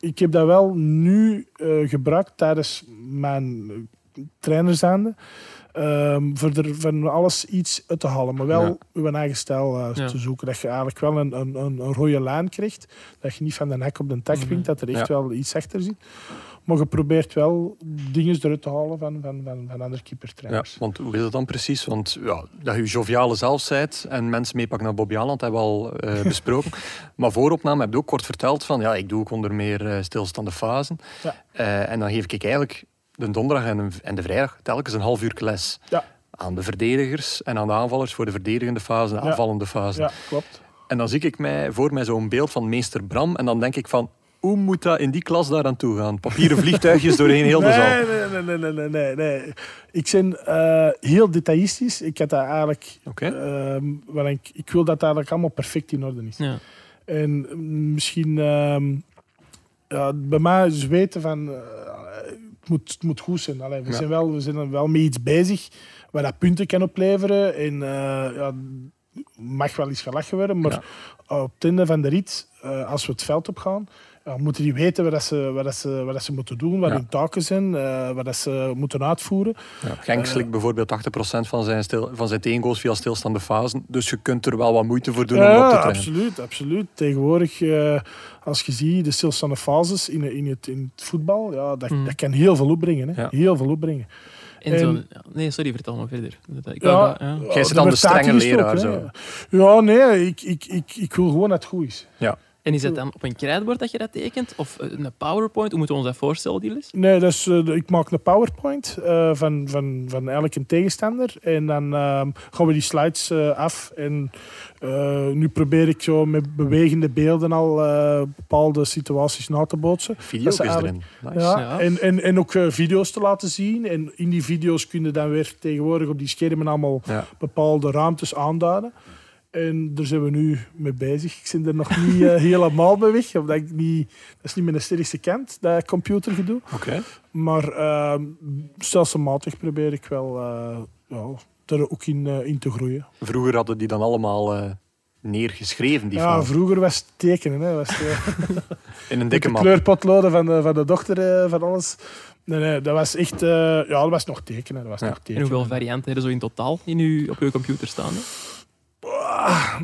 ik heb dat wel nu eh, gebruikt tijdens mijn eh, trainerzaande. ehm voor er van alles iets uit te halen, maar wel
Ja.
uw eigen stijl eh,
Ja.
te zoeken. Dat je eigenlijk wel een, een, een, een rode lijn krijgt. Dat je niet van de nek op de tak springt, dat er echt
Ja.
wel iets achter zit. Maar je probeert wel dingen eruit te halen van, van, van, van andere
Ja,
keepertrainers.
want hoe is dat dan precies? Want ja, dat je joviale zelf zijt en mensen meepakt naar Bobby Aland hebben we al eh, besproken. maar vooropname heb je ook kort verteld van ja, ik doe ook onder meer eh, stilstaande fasen.
Ja.
Eh, en dan geef ik eigenlijk de donderdag en de, en de vrijdag telkens een half uur les.
Ja.
Aan de verdedigers en aan de aanvallers voor de verdedigende fase en de
Ja.
aanvallende fase.
ja klopt.
En dan zie ik mij, voor mij zo'n beeld van meester Bram en dan denk ik van hoe moet dat in die klas daar aan toe gaan? Papieren vliegtuigjes doorheen heel de zaal.
nee, nee, nee, nee, nee, nee, nee. Ik ben eh, heel detailistisch. Ik heb dat eigenlijk.
Oké.
ehm, wel, ik, ik wil dat het eigenlijk allemaal perfect in orde is.
Ja.
En mm, misschien ehm, ja, bij mij is weten van eh, het, moet, het moet goed zijn. Allee, we,
Ja.
zijn wel, we zijn er wel mee iets bezig waar dat punten kan opleveren. En eh, ja, mag wel eens gelachen worden, maar eh, op het einde van de rit, eh, als we het veld op gaan, ja, moeten die weten wat, dat ze, wat, dat ze, wat dat ze moeten doen, wat
Ja.
hun taken zijn, eh, wat dat ze moeten uitvoeren.
Ja. Genk
Eh.
slikt bijvoorbeeld 80% van zijn, stil, van zijn tegengoals via stilstaande fasen. Dus je kunt er wel wat moeite voor doen om op te
Ja,
trainen.
absoluut, absoluut. Tegenwoordig, eh, als je ziet de stilstaande fases in, in, het, in het voetbal, ja, dat,
Mm.
dat kan heel veel opbrengen. Hè.
Ja.
Heel veel opbrengen.
En zo'n- ja, nee, sorry, vertel maar verder. Ik
Ja.
wou dat- ja.
Jij zit
de
dan de strenge
Mercator is het
leraar.
ook,
zo.
hè. Ja, nee, ik, ik, ik, ik wil gewoon dat het goed is.
En is dat dan op een krijtbord dat je dat tekent? Of eh, een PowerPoint? Hoe moeten we ons dat voorstellen, Dilis?
Nee, dus eh, ik maak een PowerPoint eh, van, van, van eigenlijk een tegenstander. En dan ehm, gaan we die slides eh, af. En eh, nu probeer ik zo met bewegende beelden al eh, bepaalde situaties na te bootsen.
Video is
Dat is
erin. Nice.
Ja,
Ja.
En, en, en ook eh, video's te laten zien. En in die video's kun je dan weer tegenwoordig op die schermen allemaal
Ja.
bepaalde ruimtes aanduiden. En daar zijn we nu mee bezig. Ik zit er nog niet eh, helemaal mee weg. Omdat ik niet, dat is niet mijn sterkste kant, dat computergedoe.
Oké.
Maar ehm stelselmatig probeer ik wel eh ja, er ook in, eh, in te groeien.
Vroeger hadden die dan allemaal eh, neergeschreven, die
ja,
fasen.
vroeger was het tekenen. Hè, was het, eh,
In een dikke
met
map.
de kleurpotloden van de, van de dochter, eh, van alles. Nee, nee, dat was echt... eh, ja, dat was nog tekenen. Dat was
Ja.
nog
En
tekenen.
hoeveel varianten hebben zo in totaal in uw, op uw computer staan? hè?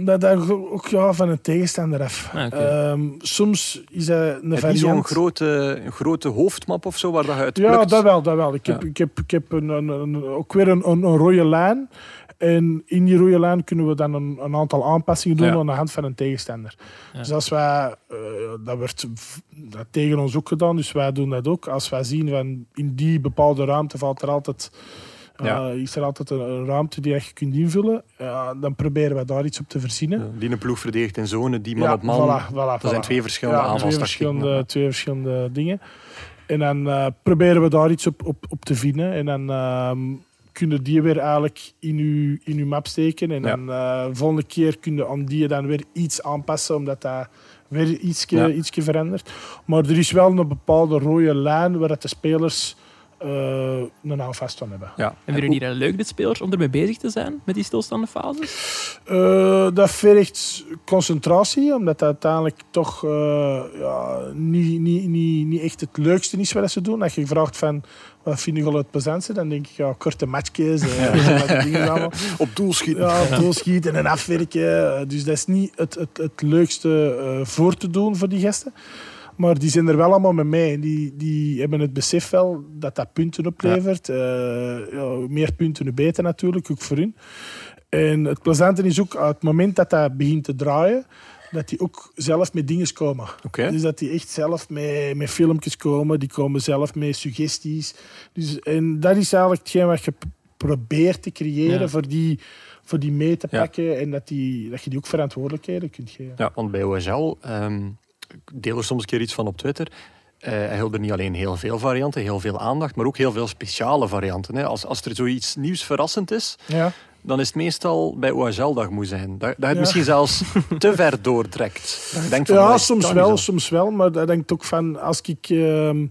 Dat hangt ook ja, van een tegenstander af.
Ah, oké.
Ehm, soms is dat een
Heb je zo'n
variant...
grote, een grote hoofdmap of zo waar dat je uit
ja,
plukt?
dat wel, dat wel. Ik
Ja.
heb, ik heb, ik heb een, een- een- ook weer een, een, een rode lijn. En in die rode lijn kunnen we dan een, een aantal aanpassingen doen
Ja.
aan de hand van een tegenstander.
Ja.
Dus als wij, eh, dat werd v- dat tegen ons ook gedaan, dus wij doen dat ook. Als wij zien van in die bepaalde ruimte valt er altijd, eh,
Ja.
is er altijd een, een ruimte die je kunt invullen, ja, dan proberen wij daar iets op te verzinnen.
Ja, Die een ploeg verdedigt in zone, die man op man.
voilà, voilà,
Dat zijn
voilà.
twee verschillende
ja, twee
aanvalstactieken.
verschillende, twee verschillende dingen. En dan eh, proberen we daar iets op, op, op te vinden. En dan ehm, kunnen die weer eigenlijk in uw, in uw map steken. En
Ja.
dan eh, volgende keer kunnen aan die dan weer iets aanpassen, omdat dat weer ietsje,
Ja.
ietsje verandert. Maar er is wel een bepaalde rode lijn waar dat de spelers eh een houvast van hebben.
Ja.
En vinden jullie dat leuk, de spelers, om ermee bezig te zijn met die stilstaande fases?
Eh, dat vergt concentratie, omdat dat uiteindelijk toch eh, ja, niet, niet, niet, niet echt het leukste is wat ze doen. Als je vraagt van wat vind je wel het plezantste, dan denk ik ja, korte matchjes, eh, wat dingen allemaal.
Op doel schieten.
ja, doelschieten en afwerken. Eh, Dus dat is niet het, het, het leukste eh, voor te doen voor die gasten. Maar die zijn er wel allemaal mee mee. En Die, die hebben het besef wel dat dat punten oplevert. Eh, ja, hoe meer punten, hoe beter natuurlijk, ook voor hun. En het plezante is ook, uit het moment dat dat begint te draaien, dat die ook zelf met dingen komen.
Oké.
Dus dat die echt zelf met, met filmpjes komen, die komen zelf met suggesties. Dus, en dat is eigenlijk hetgeen wat je p- probeert te creëren
Ja.
voor, die, voor die mee te
Ja.
pakken en dat, die, dat je die ook verantwoordelijkheden kunt geven.
Ja, want bij OSL, ehm, ik deel er soms een keer iets van op Twitter. Eh, hij hield er niet alleen heel veel varianten, heel veel aandacht, maar ook heel veel speciale varianten. Hè. Als, als er zoiets nieuws verrassend is,
Ja,
dan is het meestal bij OSL dat je moet zijn. Dat, dat je het
Ja.
misschien zelfs te ver doortrekt. Je denkt van,
ja
"Amai, dat
soms
kan
wel,
niet zo."
soms wel. Maar dat denkt ook van, als ik ehm,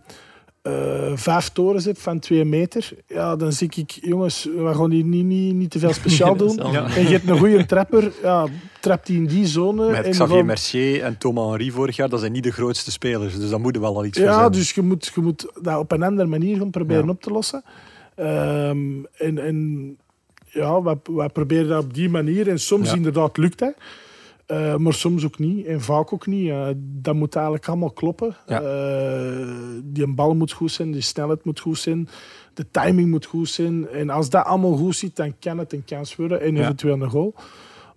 eh, vijf torens heb van twee meter, ja, dan zie ik, jongens, we gaan hier niet, niet, niet te veel speciaal
Nee, dat is
doen.
allemaal-
En je hebt een goede trapper, ja, trapt die in die zone.
Met
en
Xavier
dan-
Mercier en Thomas Henry vorig jaar, dat zijn niet de grootste spelers. Dus daar moeten wel al iets voor
Ja,
zijn.
dus je moet, je moet dat op een andere manier gaan proberen
Ja.
op te lossen. Ehm, en, en ja, wij, wij proberen dat op die manier. En soms
Ja.
inderdaad lukt dat. Eh, maar soms ook niet. En vaak ook niet. Eh, dat moet eigenlijk allemaal kloppen.
Ja.
Eh, die bal moet goed zijn, die snelheid moet goed zijn, de timing moet goed zijn. En als dat allemaal goed zit, dan kan het een kans worden en
Ja.
eventueel een goal.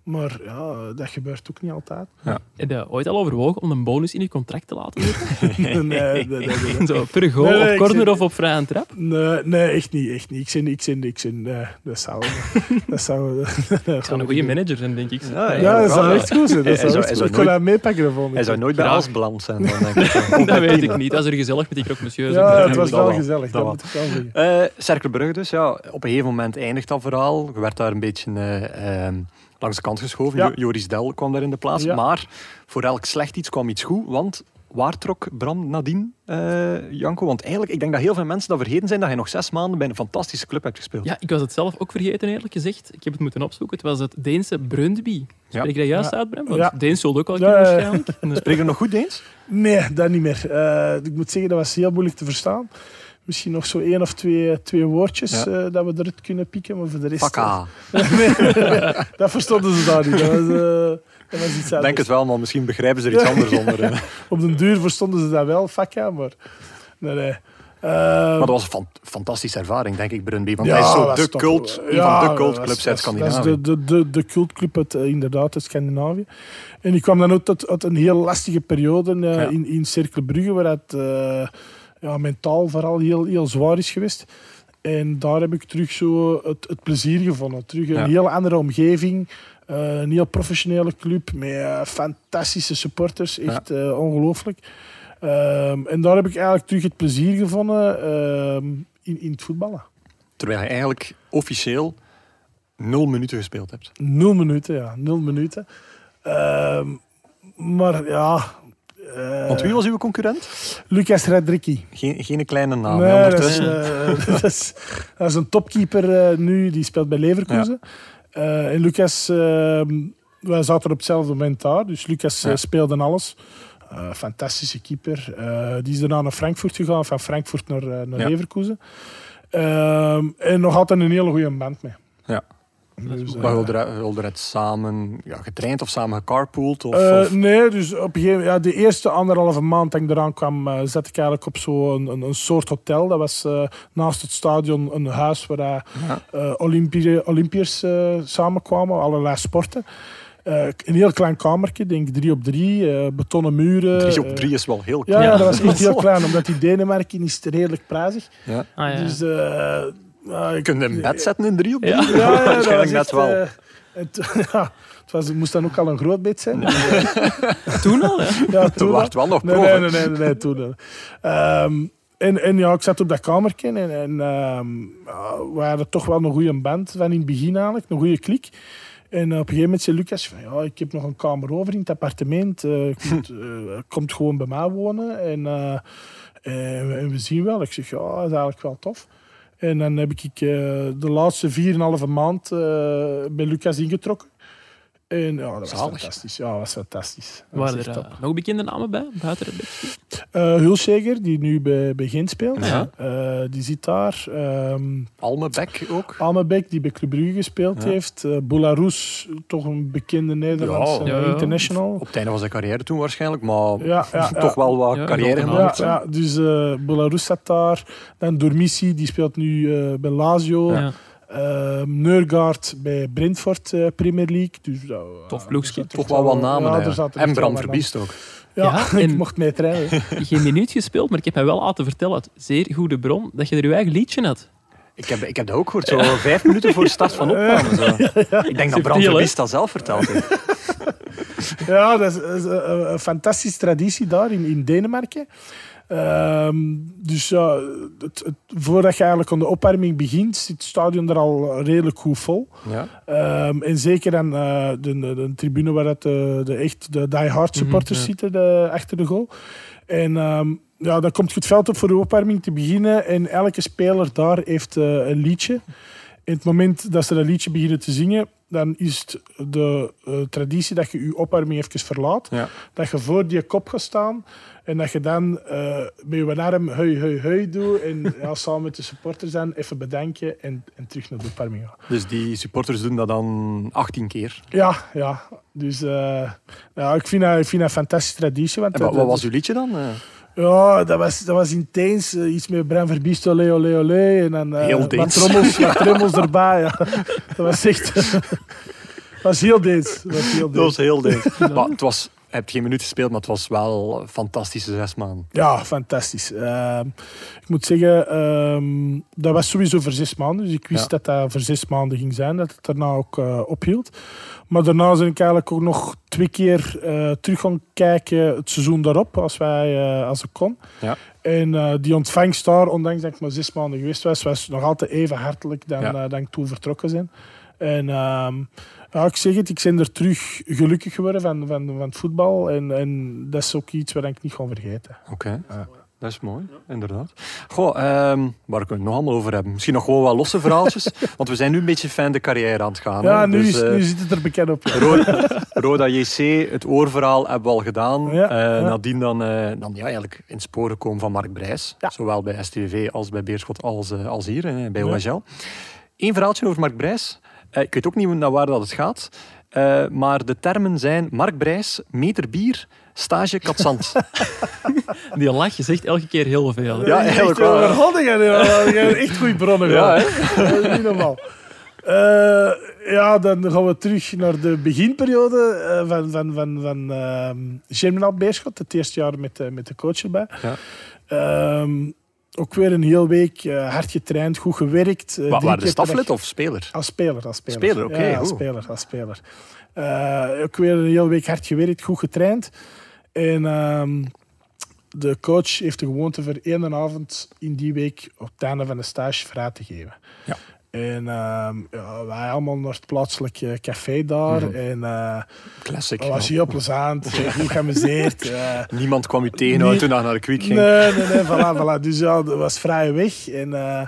Maar ja, dat gebeurt ook niet altijd.
Heb je ooit al overwogen om een bonus in je contract te laten zitten?
Nee, nee, nee, nee.
Zo, per goal,
Nee, nee,
op
ik
corner
zit-
of op vrije trap?
Nee, nee, echt niet. Echt niet. Ik zin, ik zin, ik zin. Nee, dat zou. dat zou.
Dat zou een goede manager zijn, denk ik.
Ja, ja.
Ja, dat zou
Ja.
echt goed zijn.
Hij
Dat zou
zou-
echt
hij
goed-
zou
ik kon
nooit-
dat meepakken de volgende
Hij zou
keer.
nooit bij
Graag.
Asbland zijn. Dan, denk ik.
Dat weet ik niet. Dat is er gezellig met die croque monsieur.
Ja, het was
dat
wel
wel,
gezellig.
dat
Dat moet ik wel zeggen.
Eh Cercle Brugge dus, ja. Op een gegeven moment eindigt dat verhaal. Je werd daar een beetje eh, ehm, langs de kant geschoven.
Ja.
Jo- Joris Del kwam daar in de plaats.
Ja.
Maar voor elk slecht iets kwam iets goed, want waar trok Bram nadien, eh, Janko? Want eigenlijk, ik denk dat heel veel mensen dat vergeten zijn dat hij nog zes maanden bij een fantastische club hebt gespeeld.
Ja, ik was het zelf ook vergeten, eerlijk gezegd. Ik heb het moeten opzoeken. Het was het Deense Brøndby. Spreek ik dat juist
Ja.
uit, Bram? Want
Ja.
Deens zult ook al
Ja,
kunnen,
ja, ja.
waarschijnlijk.
Spreek je nog goed Deens?
Nee, dat niet meer. Eh, ik moet zeggen, dat was heel moeilijk te verstaan. Misschien nog zo één of twee, twee woordjes
Ja.
eh, dat we eruit kunnen pikken, maar voor de rest...
Pakka.
Dat verstonden ze daar niet. Dat was, eh, dat was iets
Ik
anders.
denk het wel, man. Misschien begrijpen ze er iets anders onder. eh.
Op den duur verstonden ze dat wel, fakka, maar... Nee, nee. Eh,
Maar dat was een fan- fantastische ervaring, denk ik, Brunby. Want
Ja,
hij is zo
dat
de
top.
cult, een
Ja,
van de
dat
cultclubs
is-
uit
Dat
Scandinavië.
is de, de, de, de cultclub uit, eh, inderdaad, uit Scandinavië. En ik kwam dan ook tot, uit een heel lastige periode eh,
Ja.
in, in Cercle Brugge, waar het eh, ja, mentaal vooral heel, heel zwaar is geweest. En daar heb ik terug zo het, het plezier gevonden. Terug een
Ja.
heel andere omgeving. eh, een heel professionele club met eh, fantastische supporters. Echt eh, ongelooflijk. Ehm, en daar heb ik eigenlijk terug het plezier gevonden ehm, in, in het voetballen.
Terwijl hij eigenlijk officieel nul minuten gespeeld hebt.
Nul minuten, ja. Nul minuten. Ehm, maar ja... eh,
Want wie was uw concurrent?
Lucas Radricki.
Geen, geen kleine naam. hè,
nee, dat, is,
Ah, ondertussen.
eh, dat, is, dat is een topkeeper eh, nu, die speelt bij Leverkusen. Eh, en Lucas, ehm, wij zaten er op hetzelfde moment daar, dus Lucas eh,
Ja.
speelde alles. Eh, fantastische keeper. Eh, die is daarna naar Frankfurt gegaan, van Frankfurt naar, eh, naar
Ja.
Leverkusen. Ehm, en nog altijd een hele goede band mee.
Ja.
Dus,
Maar
eh,
wilde er- wilde er het samen ja, getraind of samen gecarpoold? Of,
Eh,
of-
nee, dus op een gegeven ja, de eerste anderhalve maand dat ik eraan kwam, eh zat ik eigenlijk op zo'n een, een soort hotel. Dat was eh, naast het stadion een huis waar eh,
Ja.
eh, Olympi- Olympiërs eh, samenkwamen, allerlei sporten. Eh, een heel klein kamertje, denk ik drie op drie, eh, betonnen muren.
Drie op
eh,
drie is wel heel
ja,
klein.
ja, dat was echt heel klein, omdat die Denemarken is redelijk prijzig.
Ja.
Ah, ja.
Dus eh, eh,
Je
ik
kunt in bed zetten in drie op drie.
Ja.
ja, ja, dat was
Waarschijnlijk net
echt,
wel.
eh, het, ja, het, was, het moest dan ook al een groot bed zijn. eh,
Toen al, hè?
Ja,
Toen
toen al.
werd wel nog
Nee,
prof, hè.
nee, nee, nee, nee, nee, toen. eh. Ehm, en, en ja, ik zat op dat kamertje en, en ehm, ja, we hadden toch wel een goede band van in het begin eigenlijk, een goede klik. En op een gegeven moment zei Lucas van ja, ik heb nog een kamer over in het appartement. eh, ik moet, eh, komt gewoon bij mij wonen en, eh, en, en we zien wel. Ik zeg ja, dat is eigenlijk wel tof. En dan heb ik eh, de laatste 4,5 maand eh, bij Lucas ingetrokken. En ja, dat was
Zalig.
fantastisch. Ja, dat was fantastisch. Dat was
Waren
echt
er
top.
eh, nog bekende namen bij, buiten de bek?
Eh Hulseger, die nu bij, bij Gent speelt.
Ja.
Eh, die zit daar. Ehm
Almebek ook.
Ah. Amebeck, die bij Club Brugge gespeeld
Ja.
heeft. Eh Boularus, toch een bekende Nederlandse
Ja.
eh,
Ja.
international.
Op het einde van zijn carrière toen waarschijnlijk, maar
Ja, ja, ja.
toch wel wat
Ja,
carrière
nog een
gemaakt.
Ja, ja, dus eh Belarus zat daar. Dan Dormissi, die speelt nu eh, bij Lazio.
Ja.
Ehm, Neurgaard bij Brentford eh, Premier League. Dus, ja,
Tof
er
ploegje.
zaten
Toch
echt
wel wat namen.
ja, er
hè.
zaten
en
echt wel
Bram
wat
Verbiest ook.
namen. Ja,
Ja,
ik
en-
mocht mee trainen.
Geen minuut gespeeld, maar ik heb mij wel laten vertellen uit zeer goede bron dat je er je eigen liedje had.
Ik heb, ik heb dat ook gehoord, zo vijf minuten voor de start van
Eh,
opname. Zo. Ik denk dat Bram
hè?
Verbiest dat zelf verteld heeft.
Ja, dat is, dat is een, een- een fantastische traditie daar in, in Denemarken. Ehm, dus ja, het, het- voordat je eigenlijk aan de opwarming begint, zit het stadion er al redelijk goed vol.
Ja.
Ehm, en zeker aan eh, de, de, de tribune waar het, de, de echt de die-hard supporters
Mhm,
zitten de- achter de goal. En ehm, ja, dan komt je het veld op voor de opwarming te beginnen. En elke speler daar heeft eh, een liedje. In het moment dat ze dat liedje beginnen te zingen, dan is het de eh, traditie dat je je opwarming even verlaat.
Ja.
Dat je voor die kop gaat staan en dat je dan eh met je arm hui hui hui doet. En ja, samen met de supporters dan even bedanken en, en terug naar de opwarming gaan.
Dus die supporters doen dat dan 18 keer.
Ja, ja. Dus eh, ja, ik, vind dat, ik vind dat een fantastische traditie. Want
En wat,
dat-
wat
dat-
was uw liedje dan? Eh,
Ja, dat was, dat was intens. Eh, Iets met Bram Verbiest, olé, olé, olé. En dan eh,
Heel
wat,
Deens.
trommels, wat trommels erbij. Ja. Dat was echt... Dat was heel Deens. Dat was heel
Dat was
Deens.
heel dik. Maar het was, je hebt geen minuut gespeeld, maar het was wel een fantastische zes maanden.
Ja, fantastisch. Ehm, ik moet zeggen, ehm, dat was sowieso voor zes maanden. Dus ik wist
Ja.
dat dat voor zes maanden ging zijn. Dat het daarna ook eh, ophield. Maar daarna ben ik eigenlijk ook nog twee keer eh, terug gaan kijken het seizoen daarop, als, wij, eh, als ik kon.
Ja.
En eh, die ontvangst daar, ondanks dat ik maar zes maanden geweest was, was nog altijd even hartelijk dan,
Ja.
eh, dan ik toen vertrokken ben. En ehm, Ja, ik zeg het, ik ben er terug gelukkig geworden van, van, van het voetbal. En, en dat is ook iets wat ik niet ga vergeten.
Oké.
Ja.
Dat is mooi, inderdaad. Goh, ehm, waar kunnen we het nog allemaal over hebben? Misschien nog gewoon wat losse verhaaltjes. want we zijn nu een beetje fan de carrière aan het gaan. hè.
Ja, nu,
Dus,
is,
eh,
nu zit het er bekend op.
Ro- Roda JC, het oorverhaal hebben we al gedaan.
Ja,
Eh,
ja.
Nadien dan, eh, dan ja, eigenlijk in sporen komen van Mark Brijs.
Ja.
Zowel bij STV als bij Beerschot als, eh, als hier, eh, bij
Ja.
OHL. Eén verhaaltje over Mark Brijs. Eh, ik weet ook niet naar waar dat het gaat. Eh, maar de termen zijn Mark Brijs, meter bier, stage katzand.
Die lach je zegt elke keer heel veel.
Ja,
echt,
eigenlijk wel,
eh,
ja.
God, jij hebt- jij hebt echt goede bronnen
Ja,
gehad. Dat is niet normaal. Eh, ja, dan gaan we terug naar de beginperiode eh, van, van, van, van ehm Germinal Beerschot. Het eerste jaar met, eh, met de coach erbij.
Ja.
Ehm, ook weer een heel week eh, hard getraind, goed gewerkt. eh,
Wa-
drie
waren de
keer per dag-
staflid of speler?
als speler, als speler.
Speler, oké,
Ja, als
goed.
speler, als speler. Eh, ook weer een hele week hard gewerkt, goed getraind. En ehm, de coach heeft de gewoonte voor één avond in die week op het einde van de stage vrij te geven.
Ja.
En ehm, ja, wij allemaal naar het plaatselijke café daar.
Mhm.
En eh
Classic.
dat was
ja.
heel plezant, eh, goed geamuseerd. eh,
Niemand kwam u tegenhouden
Nee.
toen je naar de kwiek ging.
Nee, nee, nee, voilà, voilà. Dus ja, dat was vrije weg. En eh,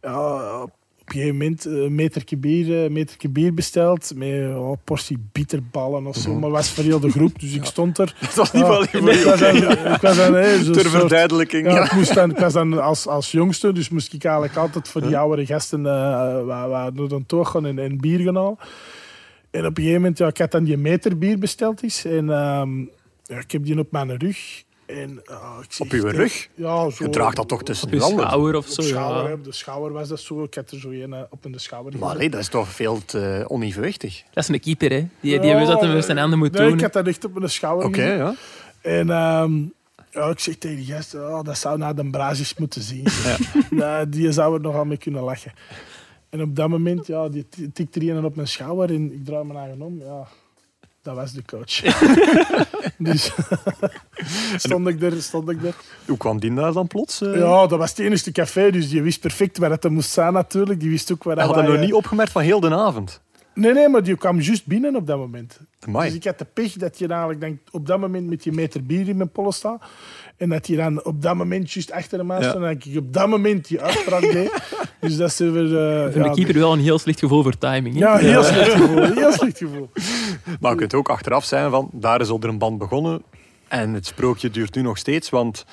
ja, op een gegeven moment eh, een meterke bier, eh, een meterke bier besteld. Met eh, ja, een portie bitterballen of zo. Maar was voor heel de groep, dus ik stond er.
Mhm. Dat was niet
Ja,
wel
ik was aan- ik was aan, eh, zo'n
ter
soort-
verduidelijking.
ja,
ja.
ik, moest dan, ik was dan als, als jongste, dus moest ik eigenlijk altijd voor die oudere gasten eh, waar, waar door dan toch gaan en, en bier gaan halen. En op een gegeven moment, ja, ik had dan die meter bier besteld is. En ehm, ja, ik heb die op mijn rug. En, ah, ik zie
Op uw
echt-
rug?
Ja, zo.
Je draagt dat toch tussen
Op je
je handen?
schouder of
Op
zo.
schouder, hè,
ja.
op de schouder was dat zo. Ik had er zo een eh, op in de schouder.
Maar
gedaan.
allee, dat is toch veel te onevenwichtig.
Dat is een keeper, hè? Die, die wist dat hij met zijn handen moet
Oh, nee,
doen.
ik had dat echt op mijn schouder gedaan.
ja.
En ehm, ja, ik zeg tegen die gast, oh, dat zou naar de Brazis moeten zien. Nou, die zou er nogal mee kunnen lachen. En op dat moment, ja, die ti- tikt er een op mijn schouder en ik draai mijn eigen om. Ja, dat was de coach. dus stond ik er, stond ik er.
Hoe kwam die daar dan plots? eh?
Ja, dat was het enige café, dus die wist perfect waar het moest zijn natuurlijk. Die wist ook waar
Hij had
wij,
dat nog
eh,
niet opgemerkt van heel de avond.
Nee, nee, maar die kwam juist binnen op dat moment.
Amai.
Dus ik had de pech dat je namelijk denkt, op dat moment met die meter bier in mijn pollen staat. En dat je dan op dat moment juist achter hem aan
Ja.
stond. En dat ik op dat moment die uitspraak deed. Dus dat is weer... eh,
Ik vind
ja,
de keeper wel een heel slecht gevoel voor timing. hè.
Ja, heel slecht gevoel. Heel slecht gevoel.
Maar je kunt ook achteraf zijn van, daar is onder een band begonnen. En het sprookje duurt nu nog steeds, want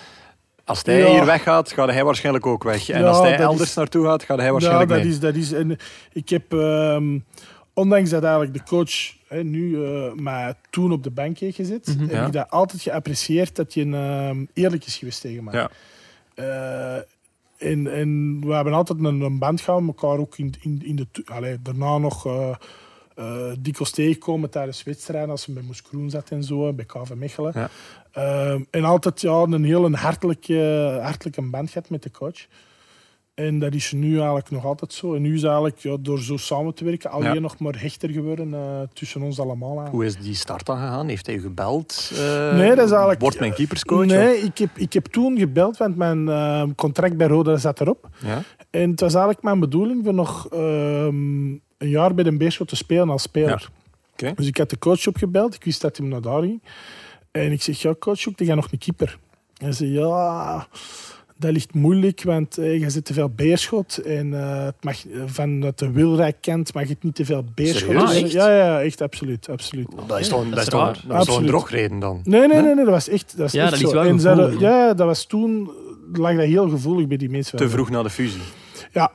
als hij
Ja.
hier weggaat, gaat hij waarschijnlijk ook weg. En
Ja,
als hij
dat
elders
is-
naartoe gaat, gaat hij
Ja,
waarschijnlijk
Nou, dat
mee.
is, dat is. En ik heb, ehm, ondanks dat eigenlijk de coach hè, nu, eh maar toen op de bank heeft gezet, heb
Ja.
ik dat altijd geapprecieerd dat je een, ehm, eerlijk is geweest tegen mij.
Ja.
Eh, en, en we hebben altijd een, een band gehad, elkaar ook in, in, in de, to- allee, daarna nog eh eh dikwijls tegenkomen tijdens wedstrijden, als ze bij Moes Kroen zat en zo, bij KV Mechelen.
Ja.
Ehm, en altijd ja, een heel een hartelijke, hartelijke band gehad met de coach. En dat is nu eigenlijk nog altijd zo. En nu is eigenlijk ja, door zo samen te werken alleen
Ja.
nog maar hechter geworden eh, tussen ons allemaal. eigenlijk.
Hoe is die start dan gegaan? Heeft hij u gebeld? Eh,
Nee, dat is eigenlijk-
Wordt mijn keeperscoach?
Nee, ik heb, ik heb toen gebeld, want mijn eh, contract bij Roda zat erop.
Ja?
En het was eigenlijk mijn bedoeling om nog ehm, een jaar bij de Beerschot te spelen als speler.
oké.
Dus ik had de coach opgebeld. Ik wist dat hij me naar daar ging. En ik zeg, ja coach, zoek jij nog een keeper? Hij zei, ja, dat ligt moeilijk, want eh, je zit te veel Beerschot. En eh, het mag, eh, vanuit de Wilrijk kent mag het niet te veel Beerschot.
Serieus?
zijn. Ja, ja, echt, absoluut, absoluut.
Dat is toch een, dat is
is
toch een-
raar.
dat is toch een
Absoluut.
drogreden dan?
Nee, nee, nee, nee, dat was echt, dat was
Ja,
echt
dat
zo.
ligt wel
En ze hadden-
gevoelig.
ja, dat was toen lag dat heel gevoelig bij die mensen.
Te vroeg na de fusie.
Ja.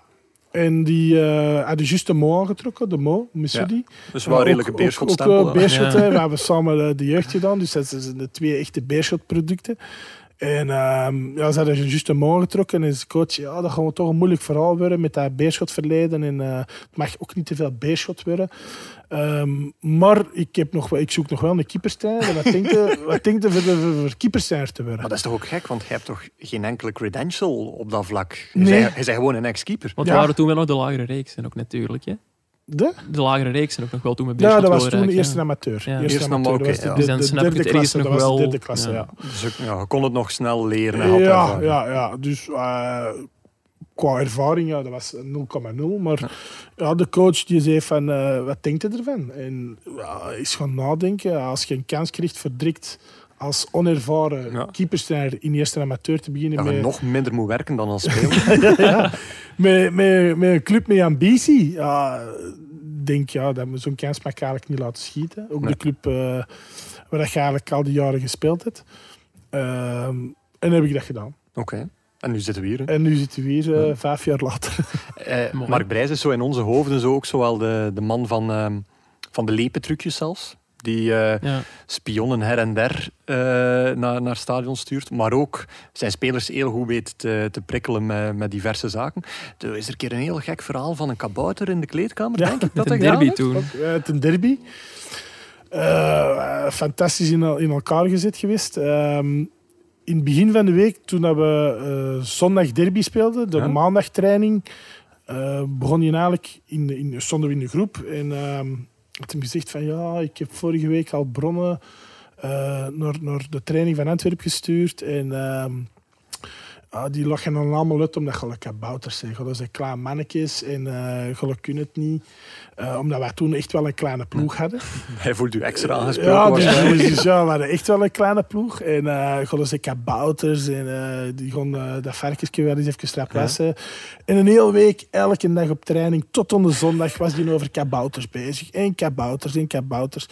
En die eh, hadden juist de Mo aangetrokken, de Mo, Missoudi.
Dus
Maar
wel
ook-
redelijke
ook-
beerschotstempel.
Ook, eh, Beerschot,
Ja.
hè. we hebben samen eh, de jeugd gedaan. Dus dat zijn de twee echte Beerschot-producten. En ehm, ja, ze hadden juist de Mo getrokken. En de coach, ja, dat gaan we toch een moeilijk verhaal worden met dat Beerschot-verleden. En eh, het mag ook niet te veel Beerschot worden. Ehm, maar ik, heb nog, wel- ik zoek nog wel een keeperstijl. En Wat denk je- wat denk je voor, de- voor, voor keeperstijl te worden?
Maar dat is toch ook gek, want je hebt toch geen enkele credential op dat vlak? Je
Nee.
bent- Je bent gewoon een ex-keeper.
Want
Ja.
we waren toen wel nog de lagere reeks en ook natuurlijk. Hè?
De?
De lagere reeks en ook nog wel toen met
Ja,
Beerschot
dat was toen
Wilrijk,
de
hè.
eerste amateur.
Ja.
Eerste
Eerste
amateur, dat
amateur,
was de,
oké, ja.
Dus
de-
dan
de
snap ik
derde
het ergens
klasse. Dat
nog
was de
wel.
derde klasse, ja.
Ja.
Dus ik- ja, je kon het nog snel leren. en had
Ja,
ervaring.
ja, ja. Dus eh, qua ervaring, ja, dat was 0,0. Maar ja. de coach die zei van, eh, wat denkt hij ervan? En ja, hij is gaan nadenken. Als je een kans krijgt, verdrikt als onervaren
Ja.
keeperstrainer in eerste amateur te beginnen
Dat je
met,
nog minder moet werken dan als speler.
ja, met, met, met een club met ambitie. Ja, ik denk ja, dat we zo'n kans mag ik eigenlijk niet laten schieten. Ook
Nee.
de club eh, waar dat je eigenlijk al die jaren gespeeld hebt. Ehm, en heb ik dat gedaan.
Oké. En nu zitten we hier. hè.
En nu zitten we hier eh, vijf jaar later.
Eh,
Mooi.
Mark Brijs is zo in onze hoofden zo ook zowel de, de man van, ehm, van de lepentrucjes zelfs. Die eh,
Ja.
spionnen her en der eh, naar, naar stadion stuurt. Maar ook zijn spelers heel goed weet te, te prikkelen met, met diverse zaken. Er is er een keer een heel gek verhaal van een kabouter in de kleedkamer,
Ja,
denk ik. Dat
Met
hij
een
gedaan
derby
heeft.
toen.
Ook, eh, ten derby. Eh, fantastisch in, el- in elkaar gezet geweest. Ehm, in het begin van de week, toen dat we eh, zondag derby speelden, de
Ja.
maandagtraining, eh, begon je eigenlijk in, de- in, stonden we in de groep. En ehm had hem gezegd van ja, ik heb vorige week al bronnen eh, naar, naar de training van Antwerpen gestuurd. En ehm, ja, die lachen dan allemaal uit omdat je lekker bouters zijn. Dat zijn klein mannetjes en eh gelukkig kunnen het niet. Eh, omdat wij toen echt wel een kleine ploeg hadden.
Hij voelt u extra aangesproken.
Ja, dus,
waarschijnlijk.
dus ja, we hadden echt wel een kleine ploeg. En eh gewoon zijn kabouters en eh, die gewoon eh, dat varkensje wel eens even strap wassen. En een hele week, elke dag op training, tot op de zondag, was die over kabouters bezig. En kabouters en kabouters.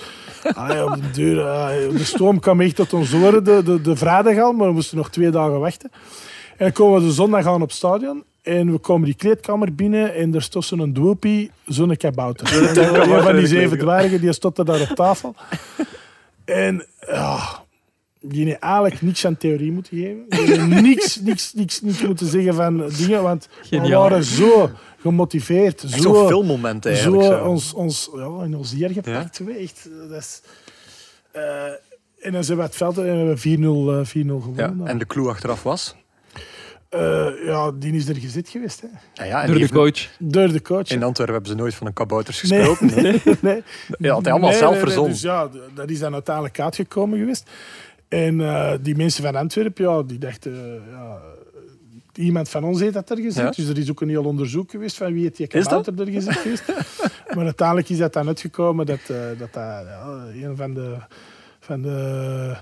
Allee, Ah, op de duur, eh, de stoom kwam echt tot ons oren de, de, de vrijdag al, maar we moesten nog twee dagen wachten. En dan komen we de zondag aan op het stadion. En we komen die kleedkamer binnen en er stond zo'n doopie, zo'n kabouter. En Een van die zeven dwergen, die stond er daar op tafel. En ja, die heeft eigenlijk niks aan theorie moeten geven. Die heeft niks, niks, niks, niks moeten zeggen van dingen, want we
Geniaal.
waren zo gemotiveerd.
Echt zo'n
Zo,
filmmoment
zo,
eigenlijk. zo.
ons, ons ja, in ons hier gepakt. zo, Echt, dat is, eh, en dan zijn we het veld en hebben we 4-0 eh, 4-0
Ja.
gewonnen.
En de clue achteraf was...
Eh, ja, die is er gezet geweest. Hè.
Ja, ja, en
Door
die
de
heeft-
coach.
Door de coach.
in Antwerpen hebben ze nooit van een kabouters
Nee,
gesproken.
nee, nee.
Ja, had hij allemaal
Nee,
zelf
nee, nee.
verzonnen.
Dus ja, d- dat is dan uiteindelijk uitgekomen geweest. En eh, die mensen van Antwerpen, ja, die dachten... eh, ja, iemand van ons heeft dat er gezet.
Ja.
Dus er is ook een heel onderzoek geweest van wie heeft die
dat?
kabouter er gezet geweest. maar uiteindelijk is dat dan uitgekomen dat eh, dat, dat ja, een van de... Van de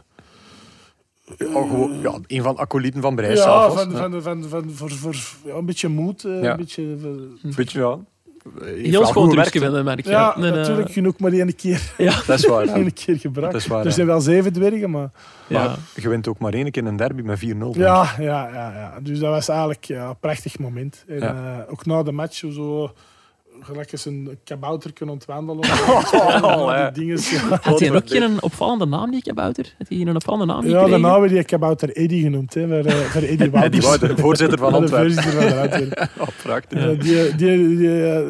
Oh, gewoon, ja, een van de acolyten van Brijs
ja,
zelf
van,
was.
van,
Ja.
van, van, van, voor, voor, ja, een beetje moed. eh,
Ja.
Een beetje, eh,
Beetje, ja. Heeft wel
Heel schoon
goed gewerkt.
trucje vinden, merk je.
ja,
En, eh,
natuurlijk genoeg maar één keer,
Dat is waar.
één keer gebruikt.
Dat is waar,
er
ja.
zijn wel zeven dwergen, maar...
Maar
ja.
je wint ook maar één keer een derby met 4-0. denk ik.
Ja, ja, ja, ja. Dus dat was eigenlijk ja, een prachtig moment. En,
Ja.
eh, ook na de match, zo gelijk eens een kabouter kunnen ontwandelen.
Oh, hè.
die dingen. Ja,
Had hij ook geen opvallende naam, die kabouter? Had hij een opvallende naam
ja
gekregen?
daarna hebben die kabouter Eddie genoemd, hè, voor, eh, voor Eddie Wouters.
Eddie Wouter, voorzitter van
Ja, de
Antwerpen.
voorzitter van de Antwerpen.
Oh, prachtig.
Ja, die, die, die, eh,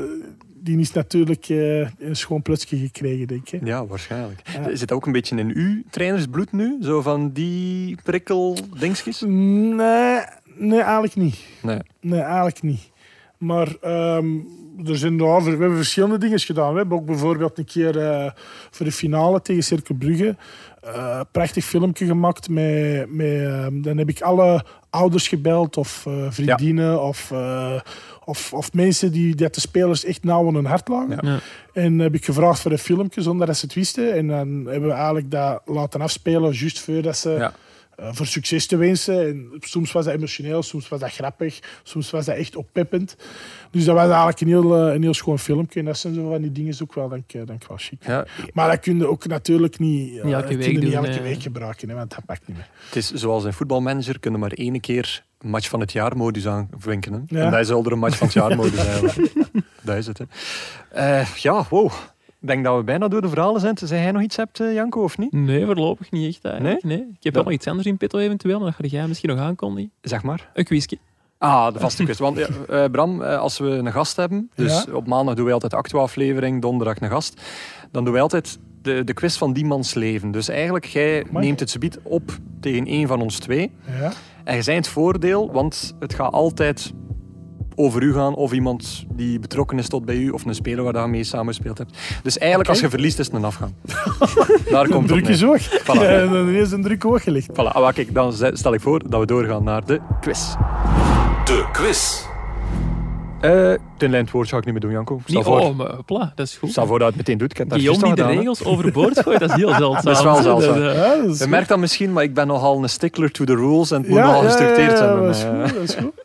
die is natuurlijk eh, een schoon plutsje gekregen, denk ik. hè.
Ja, waarschijnlijk.
Ja.
Zit dat ook een beetje in uw trainersbloed nu? Zo van die prikkeldingsjes?
Nee, nee, eigenlijk niet.
Nee.
Nee, eigenlijk niet. Maar ehm, er zijn, ja, we hebben verschillende dingen gedaan. We hebben ook bijvoorbeeld een keer eh, voor de finale tegen Cirkel Brugge eh, een prachtig filmpje gemaakt. Met, met, ehm, dan heb ik alle ouders gebeld of eh, vriendinnen of, eh, of, of mensen die dat de spelers echt nauw aan hun hart lagen.
Ja.
Ja.
En heb ik gevraagd voor een filmpje zonder dat ze het wisten. En dan hebben we eigenlijk dat laten afspelen, juist voordat ze
Ja.
eh, voor succes te wensen. En soms was dat emotioneel, soms was dat grappig, soms was dat echt oppeppend. Dus dat was eigenlijk een heel, eh, een heel schoon filmpje. En dat zijn zo van die dingen ook wel, denk ik, denk ik wel chic.
Ja,
Maar dat kun je ook natuurlijk niet, eh,
Niet elke
dat kun je
week
niet
doen,
elke
eh.
week gebruiken, hè, want dat pakt niet meer.
het is zoals een voetbalmanager kunnen maar één keer match van het jaar modus aanvinken. Hè?
Ja.
En dat is al een match van het jaar modus eigenlijk. dat is het. Hè. Eh, ja, wow. Ik denk dat we bijna door de verhalen zijn. Zeg jij nog iets hebt, eh, Janko, of niet?
Nee, voorlopig niet echt eigenlijk. Nee? Ik heb wel nog iets anders in petto eventueel, maar dat ga jij misschien nog aankondigen.
Zeg maar.
Een quizje.
Ah, de vaste quiz. Want ja, eh, Bram, eh, als we een gast hebben, dus
Ja.
op maandag doen wij altijd de actua-aflevering, donderdag een gast, dan doen wij altijd de, de quiz van die mans leven. Dus eigenlijk, jij
Amai.
neemt het subiet op tegen één van ons twee.
Ja.
En je zijn het voordeel, want het gaat altijd over u gaan of iemand die betrokken is tot bij u of een speler waar je mee samengespeeld hebt. Dus eigenlijk,
Oké.
als je verliest, is het een afgang. Daar komt het op
Druk
neer.
is hoog.
Voilà.
Ja, en dan is een druk hoog gelegd.
Voilà, ah, wel, kijk, dan stel ik voor dat we doorgaan naar de quiz.
De quiz.
Eh
Ten lijn het woord zou ik niet meer doen, Janko. Stel
Niet,
voor.
oh, maar hopla, dat is goed.
stel voor dat je het meteen doet. Ik heb het daar
Guillaume die
juist
de
al gedaan, hè.
regels overboord gooit, dat is heel zeldzaam.
Dat is wel zeldzaam.
Dus, eh,
Ja, dat
Je
is goed.
merkt dat misschien, maar ik ben nogal een stickler to the rules en het moet
Ja,
nogal
ja,
gestructureerd
ja, ja,
zijn. eh, bij mij,
dat is goed,
hè.
dat is goed.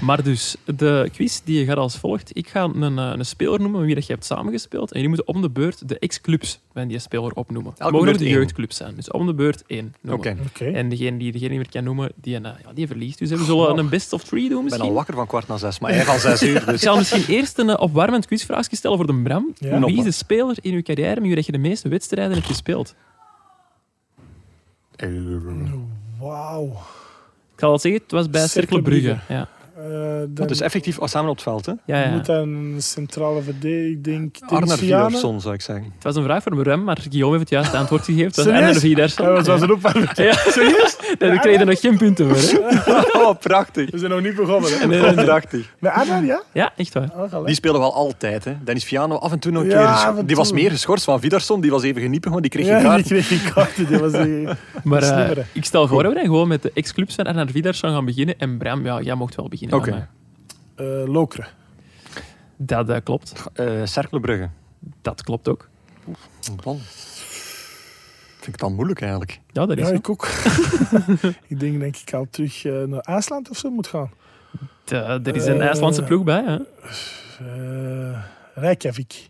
Maar dus, de quiz die gaat als volgt. Ik ga een, eh, een speler noemen wie dat je hebt samengespeeld. En jullie moeten om de beurt de ex-clubs van die speler opnoemen. Het Mogen ook
beurt
de
één.
jeugdclubs zijn. Dus om de beurt één
Oké,
noemen.
Oké.
En degene die degene niet meer kan noemen, die, eh, ja, die verliest. Dus we zullen een best of three doen
Oh. ik ben al
misschien.
wakker van kwart na zes, maar hij van zes uur.
Ik
Dus.
zal misschien eerst een eh, opwarmend quizvraagje stellen voor de Bram.
Ja.
Wie is de speler in uw carrière met wie dat je de meeste wedstrijden hebt gespeeld?
Wauw.
Ik zal wel zeggen, het was bij
Cercle
Cercle Brugge. Ja.
Eh,
Dat
dan
is eh, effectief al samen op het veld. Hè?
Ja, ja.
moet een centrale verdediging, ik denk
Arner
Tenerife.
Villeurson zou ik zeggen.
Het was een vraag voor de Bram, maar Guillaume heeft het juiste antwoord gegeven. Het was
Serieus?
Arne Vierderson.
Dat was een opwarming.
Ja. Serieus? Daar kreeg je nog geen punten voor. Hè?
Oh, prachtig. Oh,
We zijn nog niet begonnen. Hè?
Nee, nee, nee.
Prachtig.
Met Arner, ja?
Ja, echt waar.
Oh, gelijk.
Die spelen wel altijd. Hè. Dennis Fiano af en toe nog een
Ja,
keer.
af en
gescho- Die
toe.
was meer geschorst van Vidarsson. Die was even geniepig, want die kreeg geen
Ja, die
kaart.
kreeg geen kaarten. Die was die...
Maar eh,
Slimmer, hè?
ik stel voor dat we dan gewoon met de ex-clubs van Arnaud Vidar zouden gaan beginnen. En Bram, ja, jij mocht wel beginnen.
Oké.
maar, eh,
Eh, Lokeren.
Dat eh, klopt.
Eh Cerkelenbrugge.
Dat klopt ook.
Man. Vind ik dan moeilijk eigenlijk.
Ja, dat is
Ja,
zo.
ik ook. ik denk denk ik al terug eh, naar IJsland of zo moet gaan.
Eh, er is een
Eh.
IJslandse ploeg bij. Hè?
Eh Reykjavik.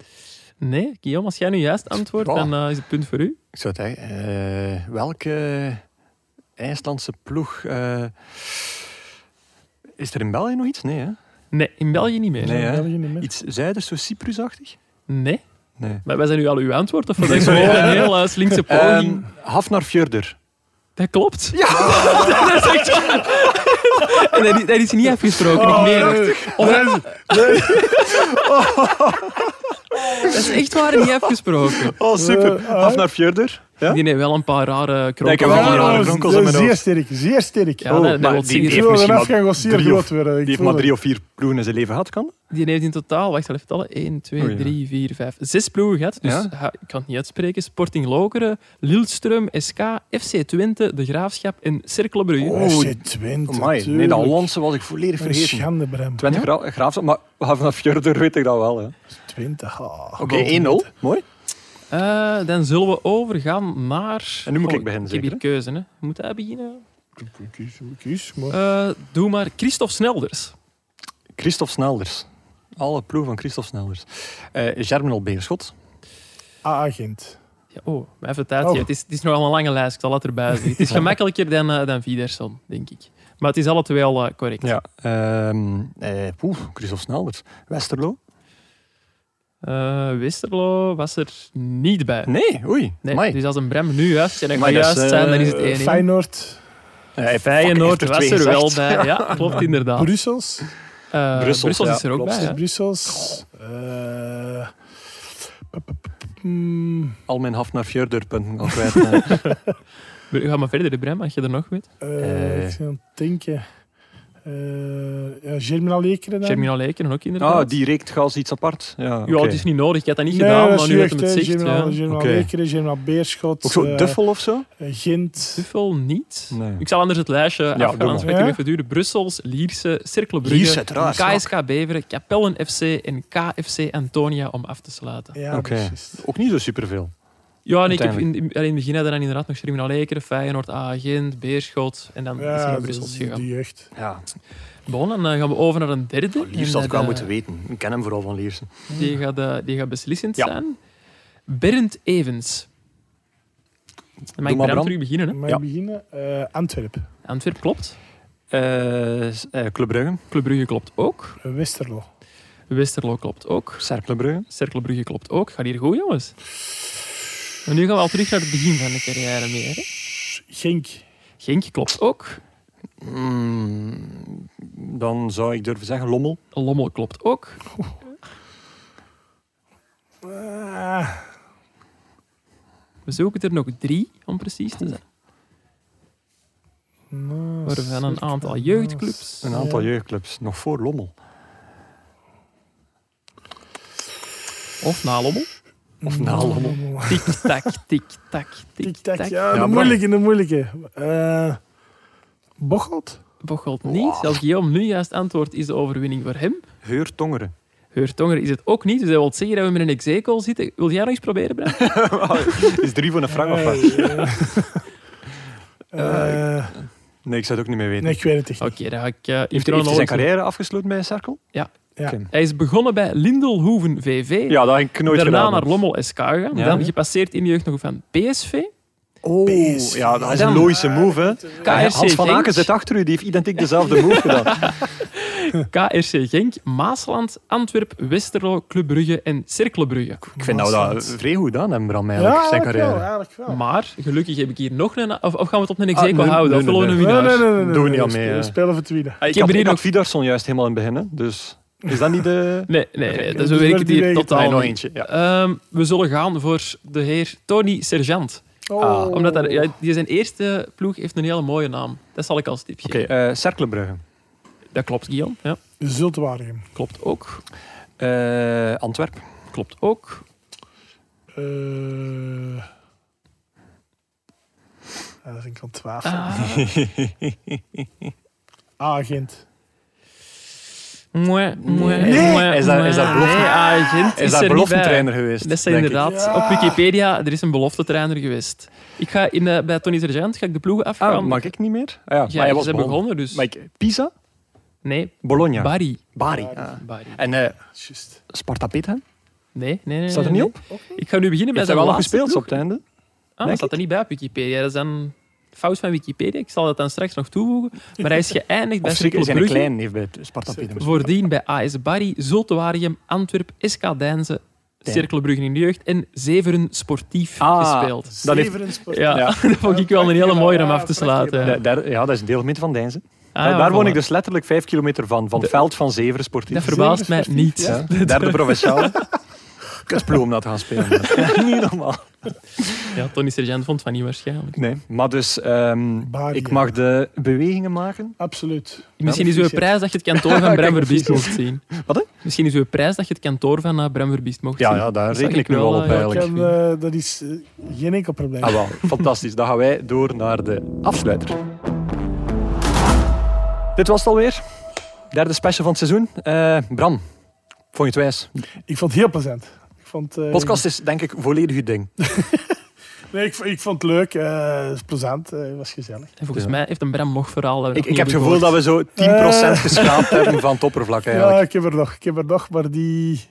Nee, Guillaume, als jij nu juist antwoordt,
Ja.
dan eh, is het punt voor u.
Ik zou het zeggen, eh, welke IJslandse ploeg. eh, is er in België nog iets? Nee, hè?
Nee, in België niet meer.
Nee,
Ja,
hè?
België niet meer.
Iets zuiders, zo Cyprusachtig?
Nee?
Nee.
Maar wij zijn nu al uw antwoord, of was dat
sorry.
gewoon een heel eh, slinkse
Ehm
poging?
Hafnar Fjörder.
Dat klopt. Ja! dat is echt waar. En dat is, dat is niet
Oh,
afgesproken, nog meer. Of- Dat is echt waar niet afgesproken.
Oh, super.
Eh, ah.
Hafnar Fjörder. Ja?
Die heeft wel een paar rare
ik heb
kroken.
wel
van
een
haar.
rare
dat is-
ronkels
dat
in
is
mijn
Oh, zeer
hoofd.
sterk, zeer sterk.
Ja, dat, dat
maar eh,
wil
die
zeggen-
ik
heeft
voel
misschien
eraf
maar
gaan gossier
drie of-
groot worden. Ik
Die heeft
voel
maar
het.
drie of vier ploegen in zijn leven gehad, kan?
Die heeft in totaal, wacht, ik zal even tellen. 1, 2,
Oh ja.
3, 4, 5, 6 ploegen gehad. Dus
Ja?
ha, ik kan het niet uitspreken. Sporting Lokeren, Lilström, SK, FC Twente, De Graafschap en Cercle Brugge.
Oh, shit, Twente,
Amai, nee,
tuurlijk.
dat Hollandse was ik volledig
Een
vergeten.
schande, Bram.
Twente
Ja?
Gra- Graafschap, maar Hafnar Fjörder weet ik dat wel. hè. Oké,
Twente, ha.
1-0. Mooi.
Eh, dan zullen we overgaan naar...
En nu moet ik
Oh,
beginnen,
Ik heb hier
zeker,
keuze, hè. Moet hij beginnen?
Kies, kies, maar...
Eh, doe maar Christophe Snelders.
Christophe Snelders. Alle ploeg van Christophe Snelders. Eh Germinal Beerschot.
Ah, A-agent.
Ja, oh, maar even tijd.
Oh.
hier. Het, is, het is nogal een lange lijst, ik zal het erbij zeggen. Het is gemakkelijker dan, eh, dan Viderson, denk ik. Maar het is alle twee al eh, correct.
Ja. Ehm eh, poeh, Christophe Snelders. Westerlo.
Eh, Westerlo was er niet bij.
Nee, oei.
Eh. Nee,
Amai.
dus als een Brem nu juist en ik
Amai, dat
juist
is, eh,
zijn, dan is het
Eh,
1 1
Feyenoord,
Hey,
Feyenoord was er wel bij. Ja, klopt inderdaad.
Brussels.
Eh,
Brussel,
Brussel,
ja,
is er ook
klopt.
bij. hè.
Brussels. Eh, p- p- p- mm,
Al mijn half naar Fjörderpunten al kwijt. eh.
Br- Ga maar verder, de Brem, als je er nog weet.
eh,
Eh.
Ik ben aan het denken. Eh, ja, Germinal Lekeren dan?
Germinal Leken ook inderdaad.
ah, die reekt gauw iets apart. Ja, oké.
Ja, het is niet nodig. Ik had dat niet
Nee,
gedaan,
dat
maar
is
nu dat
jeugd,
hem
hè.
het zegt.
Germinal,
ja.
Germinal
Oké.
Lekeren, Germinal Beerschot.
Ook zo
eh,
Duffel of zo?
Gent.
Duffel niet.
Nee.
Ik zal anders het lijstje
doe
afgaan,
maar.
anders ben ik er
Ja?
even duren. Brussels, Lierse, Cercle
Lierse,
Brugge,
uiteraard,
KSK Beveren, Kapellen FC en KFC Antonia om af te sluiten.
Ja,
Oké.
precies.
Ook niet zo superveel.
Ja, en ik heb in, in, in het begin hadden we dan inderdaad nog Germinal Ekeren, Feyenoord, Agent, Beerschot en dan is hij
Ja, dus
naar
dat
Brussel
is de
gegaan.
jeugd.
Ja,
Bon, dan eh, gaan we over naar een derde.
Liers
En
Oh, had ik
dat,
wel
eh,
moeten weten. Ik ken hem vooral van Liers.
Die gaat, eh, die gaat beslissend
Ja.
zijn. Bernd Evens. Dan mag
maar,
ik Bram
Bram.
terug beginnen. Hè?
Mag
Ja.
ik beginnen? Eh, Antwerpen.
Antwerp klopt.
Eh, s- eh, Club Brugge.
Club Brugge klopt ook.
Eh, Westerlo.
Westerlo klopt ook.
Cercle Brugge.
Cercle Brugge klopt ook. Gaat hier goed, jongens. En nu gaan we al terug naar het begin van de carrière meer. Hè?
Genk.
Genk klopt ook.
Mm, dan zou ik durven zeggen Lommel.
Lommel klopt ook.
Ah,
We zoeken er nog drie, om precies te zijn.
nou,
Waarvan een
Cirkel,
aantal
nou,
jeugdclubs.
Een aantal
Ja.
jeugdclubs. Nog voor Lommel.
Of na Lommel.
nou,
Of na Lommel.
Tik-tak, tik-tak,
Tic-tac.
tik-tak.
Ja, de
Bram.
moeilijke, de moeilijke. Eh Bocholt?
Bocholt niet. Als Guillaume nu juist antwoordt, is de overwinning voor hem.
Heur Tongeren.
Heurtonger is het ook niet, dus dat wil zeggen dat we met een exekel zitten. Wil jij nog eens proberen, Bram?
Is drie voor een frank of wat?
Eh,
Nee, ik zou het ook niet meer weten.
nee, ik weet het echt
Oké,
niet.
dan ga ik... eh, in
Heeft, heeft hij zijn
chronologische-
carrière afgesloten bij een cirkel?
Ja.
Oké.
Hij is begonnen bij Lindelhoeven VV.
Ja, dat heb ik nooit
daarna
gedaan.
naar Lommel SK gegaan.
Ja.
Dan gepasseerd in de jeugd nog van PSV.
Oh,
Pees.
ja, dat is een
Dan-
logische move, hè.
KRC
Hans van Aken
Genk,
zit achter u, die heeft identiek dezelfde move gedaan.
KRC Genk, Maasland, Antwerp, Westerlo, Club Brugge en Cercle Brugge.
Ik vind nou dat
Maasland.
vrij goed aan hem, Bram,
Ja,
eigenlijk, eh, zijn
eigenlijk wel,
carrière.
eigenlijk wel.
Maar gelukkig heb ik hier nog een... Of, of gaan we het op een exekel
Oh. Ah, nee,
houden? of
nee,
willen we
nee,
een
nee.
Nee,
winnaar?
nee, nee, nee, nee,
Doen we
nee,
niet aan
we
mee,
spelen-
hè.
We spelen voor het winnen.
Ah,
Ik
Ik
heb
had,
er hier
ik had
nog-
Vidarsson juist helemaal in het begin, hè. dus is dat niet de...
Nee, nee, nee. Dus
dus
we werken
wordt
het
die
hier
weg-
Nee,
totaal
nog
niet.
eentje, ja.
Ehm, we zullen gaan voor de heer Tony Sergeant.
Ah.
Oh.
Omdat daar, ja, die zijn eerste ploeg heeft een hele mooie naam. Dat zal ik als tip
Oké,
geven.
eh, Cerkelenbrugge.
Dat klopt, Guillaume. Ja,
Zult Waregem.
klopt ook.
Eh, Antwerp.
Klopt ook.
Eh, ja, dat vind ik aan het
Ah.
twijfelen. Agent.
Mooi, mooi.
Nee. Is dat- is dat belofte-
Nee, agent
Is daar
er niet bij.
beloftentrainer geweest?
Dat zijn
denk ik.
inderdaad.
Ja.
Op Wikipedia, er is een belofte trainer geweest. Ik ga in, eh, bij Tony Sergeant ga ik de ploegen afgaan.
Ah, mag ik niet meer? Ah, ja,
Ja,
maar hij was
ze
begonnen.
begonnen dus.
Maar ik- Pisa?
Nee,
Bologna.
Barry.
Bari. ah.
Bari.
Barry.
En eh
Just.
Sparta Peterhem?
Nee, nee, nee.
Staat er
nee,
niet op?
nee. Ik ga nu beginnen met
Heeft
zijn
hij wel nog
laatste
gespeeld op het
ploeg.
einde?
Ah,
denk
dat staat er niet bij op Wikipedia. Dat is een fout van Wikipedia. Ik zal dat dan straks nog toevoegen. Maar hij is geëindigd bij
Of zeker zijn een
Cirkel Brugge.
klein heeft bij het Sparta Peterhem.
Voordien bij AS Barry, Zultuarium, Antwerp, SK Deinze, Cirkel Brugge in de jeugd en Zeveren Sportief
Ah.
gespeeld.
Dat heeft-
Zevenensport.
Ja,
Ja.
dat vond ik wel een hele mooie om af te sluiten.
Da- daar- ja, dat is een deelgemeente van Deinzen.
Ah,
daar
ja,
daar woon
voilà.
ik dus letterlijk vijf kilometer van, van het veld van Zeveren
Dat
Sportief.
verbaast mij niet.
Ja, derde provinciaal. Kutsploeg om dat te gaan spelen. Dat is niet normaal.
Ja, Tony Sergeant vond van niet waarschijnlijk.
Nee, maar dus ehm,
Bari,
ik
ja.
mag de bewegingen maken.
Absoluut.
Misschien is uw
vies, hè.
prijs dat je het kantoor van Bram
Kijk,
Verbiest
vies.
mocht zien.
Wat, hè?
Misschien is uw prijs dat je het kantoor van eh, Bram Verbiest mocht
Ja,
zien.
ja daar
Dat
reken
zag
ik nu wel op
eh,
Ik
eigenlijk.
heb, eh, dat is eh, geen enkel probleem.
Ah, wel, fantastisch. Dan gaan wij door naar de afsluiter. Dit was het alweer. Derde special van het seizoen. Eh, Bram, vond je het wijs?
Ik vond het heel plezant. Ik vond, eh,
Podcast is denk ik volledig uw ding.
Nee, ik, ik vond het leuk. eh, het is plezant. eh, het was gezellig.
En volgens mij heeft een Bram nog verhaal. dat we
Ik,
nog
ik heb
niet
het gevoel dat
gehoord.
we zo 10%
Eh.
geschaapt hebben van het oppervlak
Ja,
eigenlijk.
ik heb er nog. Ik heb er nog, maar die...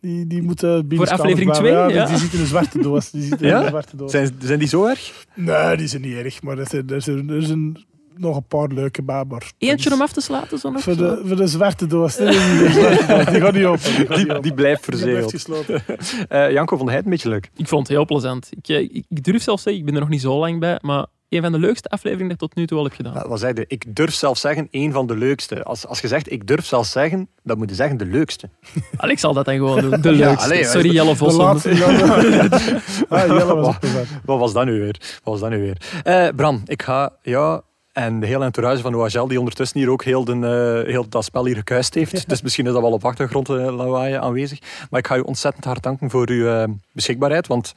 Die, die moeten binnen
aflevering twee,
Ja, die-
ja.
Die zitten in een zwarte doos. Die zitten in
Ja?
een zwarte doos.
Zijn, zijn die zo erg?
Nee, die zijn niet erg. Maar er zijn, er zijn, er zijn nog een paar leuke bij. Maar
Eentje om af te sluiten, zo nog?
Voor de, voor de zwarte doos. Nee, nee, nee, de zwarte doos. Die gaat niet open. Die, gaat niet
Die, die
open.
blijft
Die blijft
verzegeld.
gesloten.
Eh, Janko vond hij het een beetje leuk.
Ik vond het heel plezant. Ik, eh, ik, ik durf zelfs zeggen, ik ben er nog niet zo lang bij, maar een van de leukste afleveringen dat ik tot nu toe al heb gedaan.
Ja, Wat zei hij? Ik durf zelf zeggen, één van de leukste. Als, als je zegt, ik durf zelf zeggen, dan moet je zeggen de leukste.
Alex zal dat dan gewoon doen.
Ja,
De leukste.
allee,
Sorry, Jelle
De
Vossen.
laatste. Ja, ah, Jelle was ook plezant.
Wat was dat nu weer? Wat was dat nu weer? Eh, Bram, ik ga ja en de hele entourage van OHL, die ondertussen hier ook heel, de, eh, heel dat spel hier gekuist heeft. Dus misschien is dat wel op achtergrond eh, lawaai aanwezig. Maar ik ga u ontzettend hard danken voor uw eh, beschikbaarheid. Want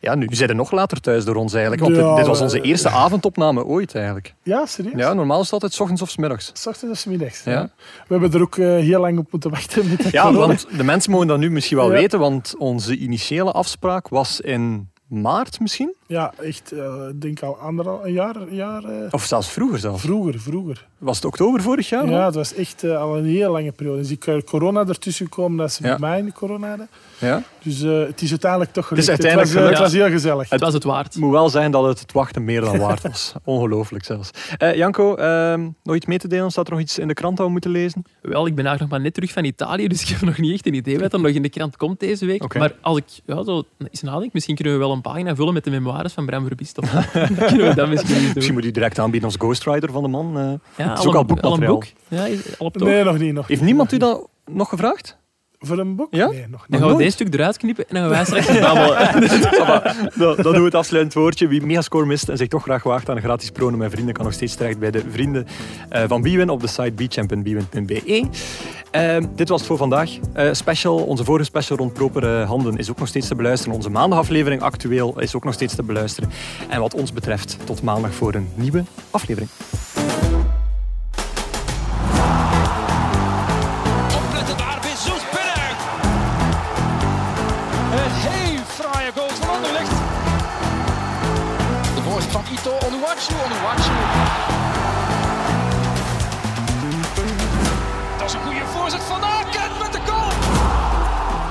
ja, nu zijn er nog later thuis door ons eigenlijk. Want
Ja,
dit- dit was onze
eh,
eerste avondopname ooit eigenlijk.
Ja, serieus?
Ja, normaal is het altijd 's ochtends of 's middags.
S ochtends of 's middags.
Ja.
Ja. We hebben er ook eh, heel lang op moeten wachten. Met dat
Ja,
corona.
want de mensen mogen dat nu misschien wel
Ja.
weten, want onze initiële afspraak was in maart misschien?
ja echt, eh, ik denk al anderhalf een jaar. een jaar eh,
Of zelfs vroeger zelf.
vroeger, vroeger.
Was het oktober vorig jaar?
Ja, het was echt eh, al een heel lange periode. Dus ik eh, corona ertussen gekomen, dat ze
Ja.
bij mij in de corona hadden.
ja.
Dus eh, het is uiteindelijk toch gelukt.
uiteindelijk
het, was, eh,
gelukt.
het was heel gezellig.
Het was het waard.
Ik moet wel zeggen dat het het wachten meer dan waard was. Ongelooflijk zelfs. Eh, Janko, ehm, nog iets mee te delen? Staat er nog iets in de krant dat we moeten lezen?
Wel, ik ben eigenlijk nog maar net terug van Italië, dus ik heb nog niet echt een idee wat er nog in de krant komt deze week.
Oké.
Maar als ik ja, zo eens nadenk, misschien kunnen we wel een pagina vullen met de memoires van Bram Verbiest. of zo. Dan kunnen we dat misschien eens doen.
Misschien moet u direct aanbieden als ghostwriter van de man. eh.
Ja,
is ook al boekmateriaal.
boek. Ja, is- al op de
nee, nog niet. Nog
Heeft
niet.
niemand u dat nog gevraagd?
Voor een boek?
Ja?
Nee, nog niet.
Dan gaan we
nooit.
deze stuk eruit knippen en dan gaan wij straks babbelen.
Dan, dan doen we het afsluitend woordje. Wie Megascore mist en zich toch graag waagt aan een gratis prono met vrienden, kan nog steeds terecht bij de vrienden eh, van Bwin op de site bchamp.bwin.be. Ehm, dit was het voor vandaag. Eh, special, onze vorige special rond propere handen is ook nog steeds te beluisteren. Onze maandagaflevering actueel is ook nog steeds te beluisteren. En wat ons betreft, tot maandag voor een nieuwe aflevering.
watch you, on watch you. Dat is een goede voorzet van Aken met de goal.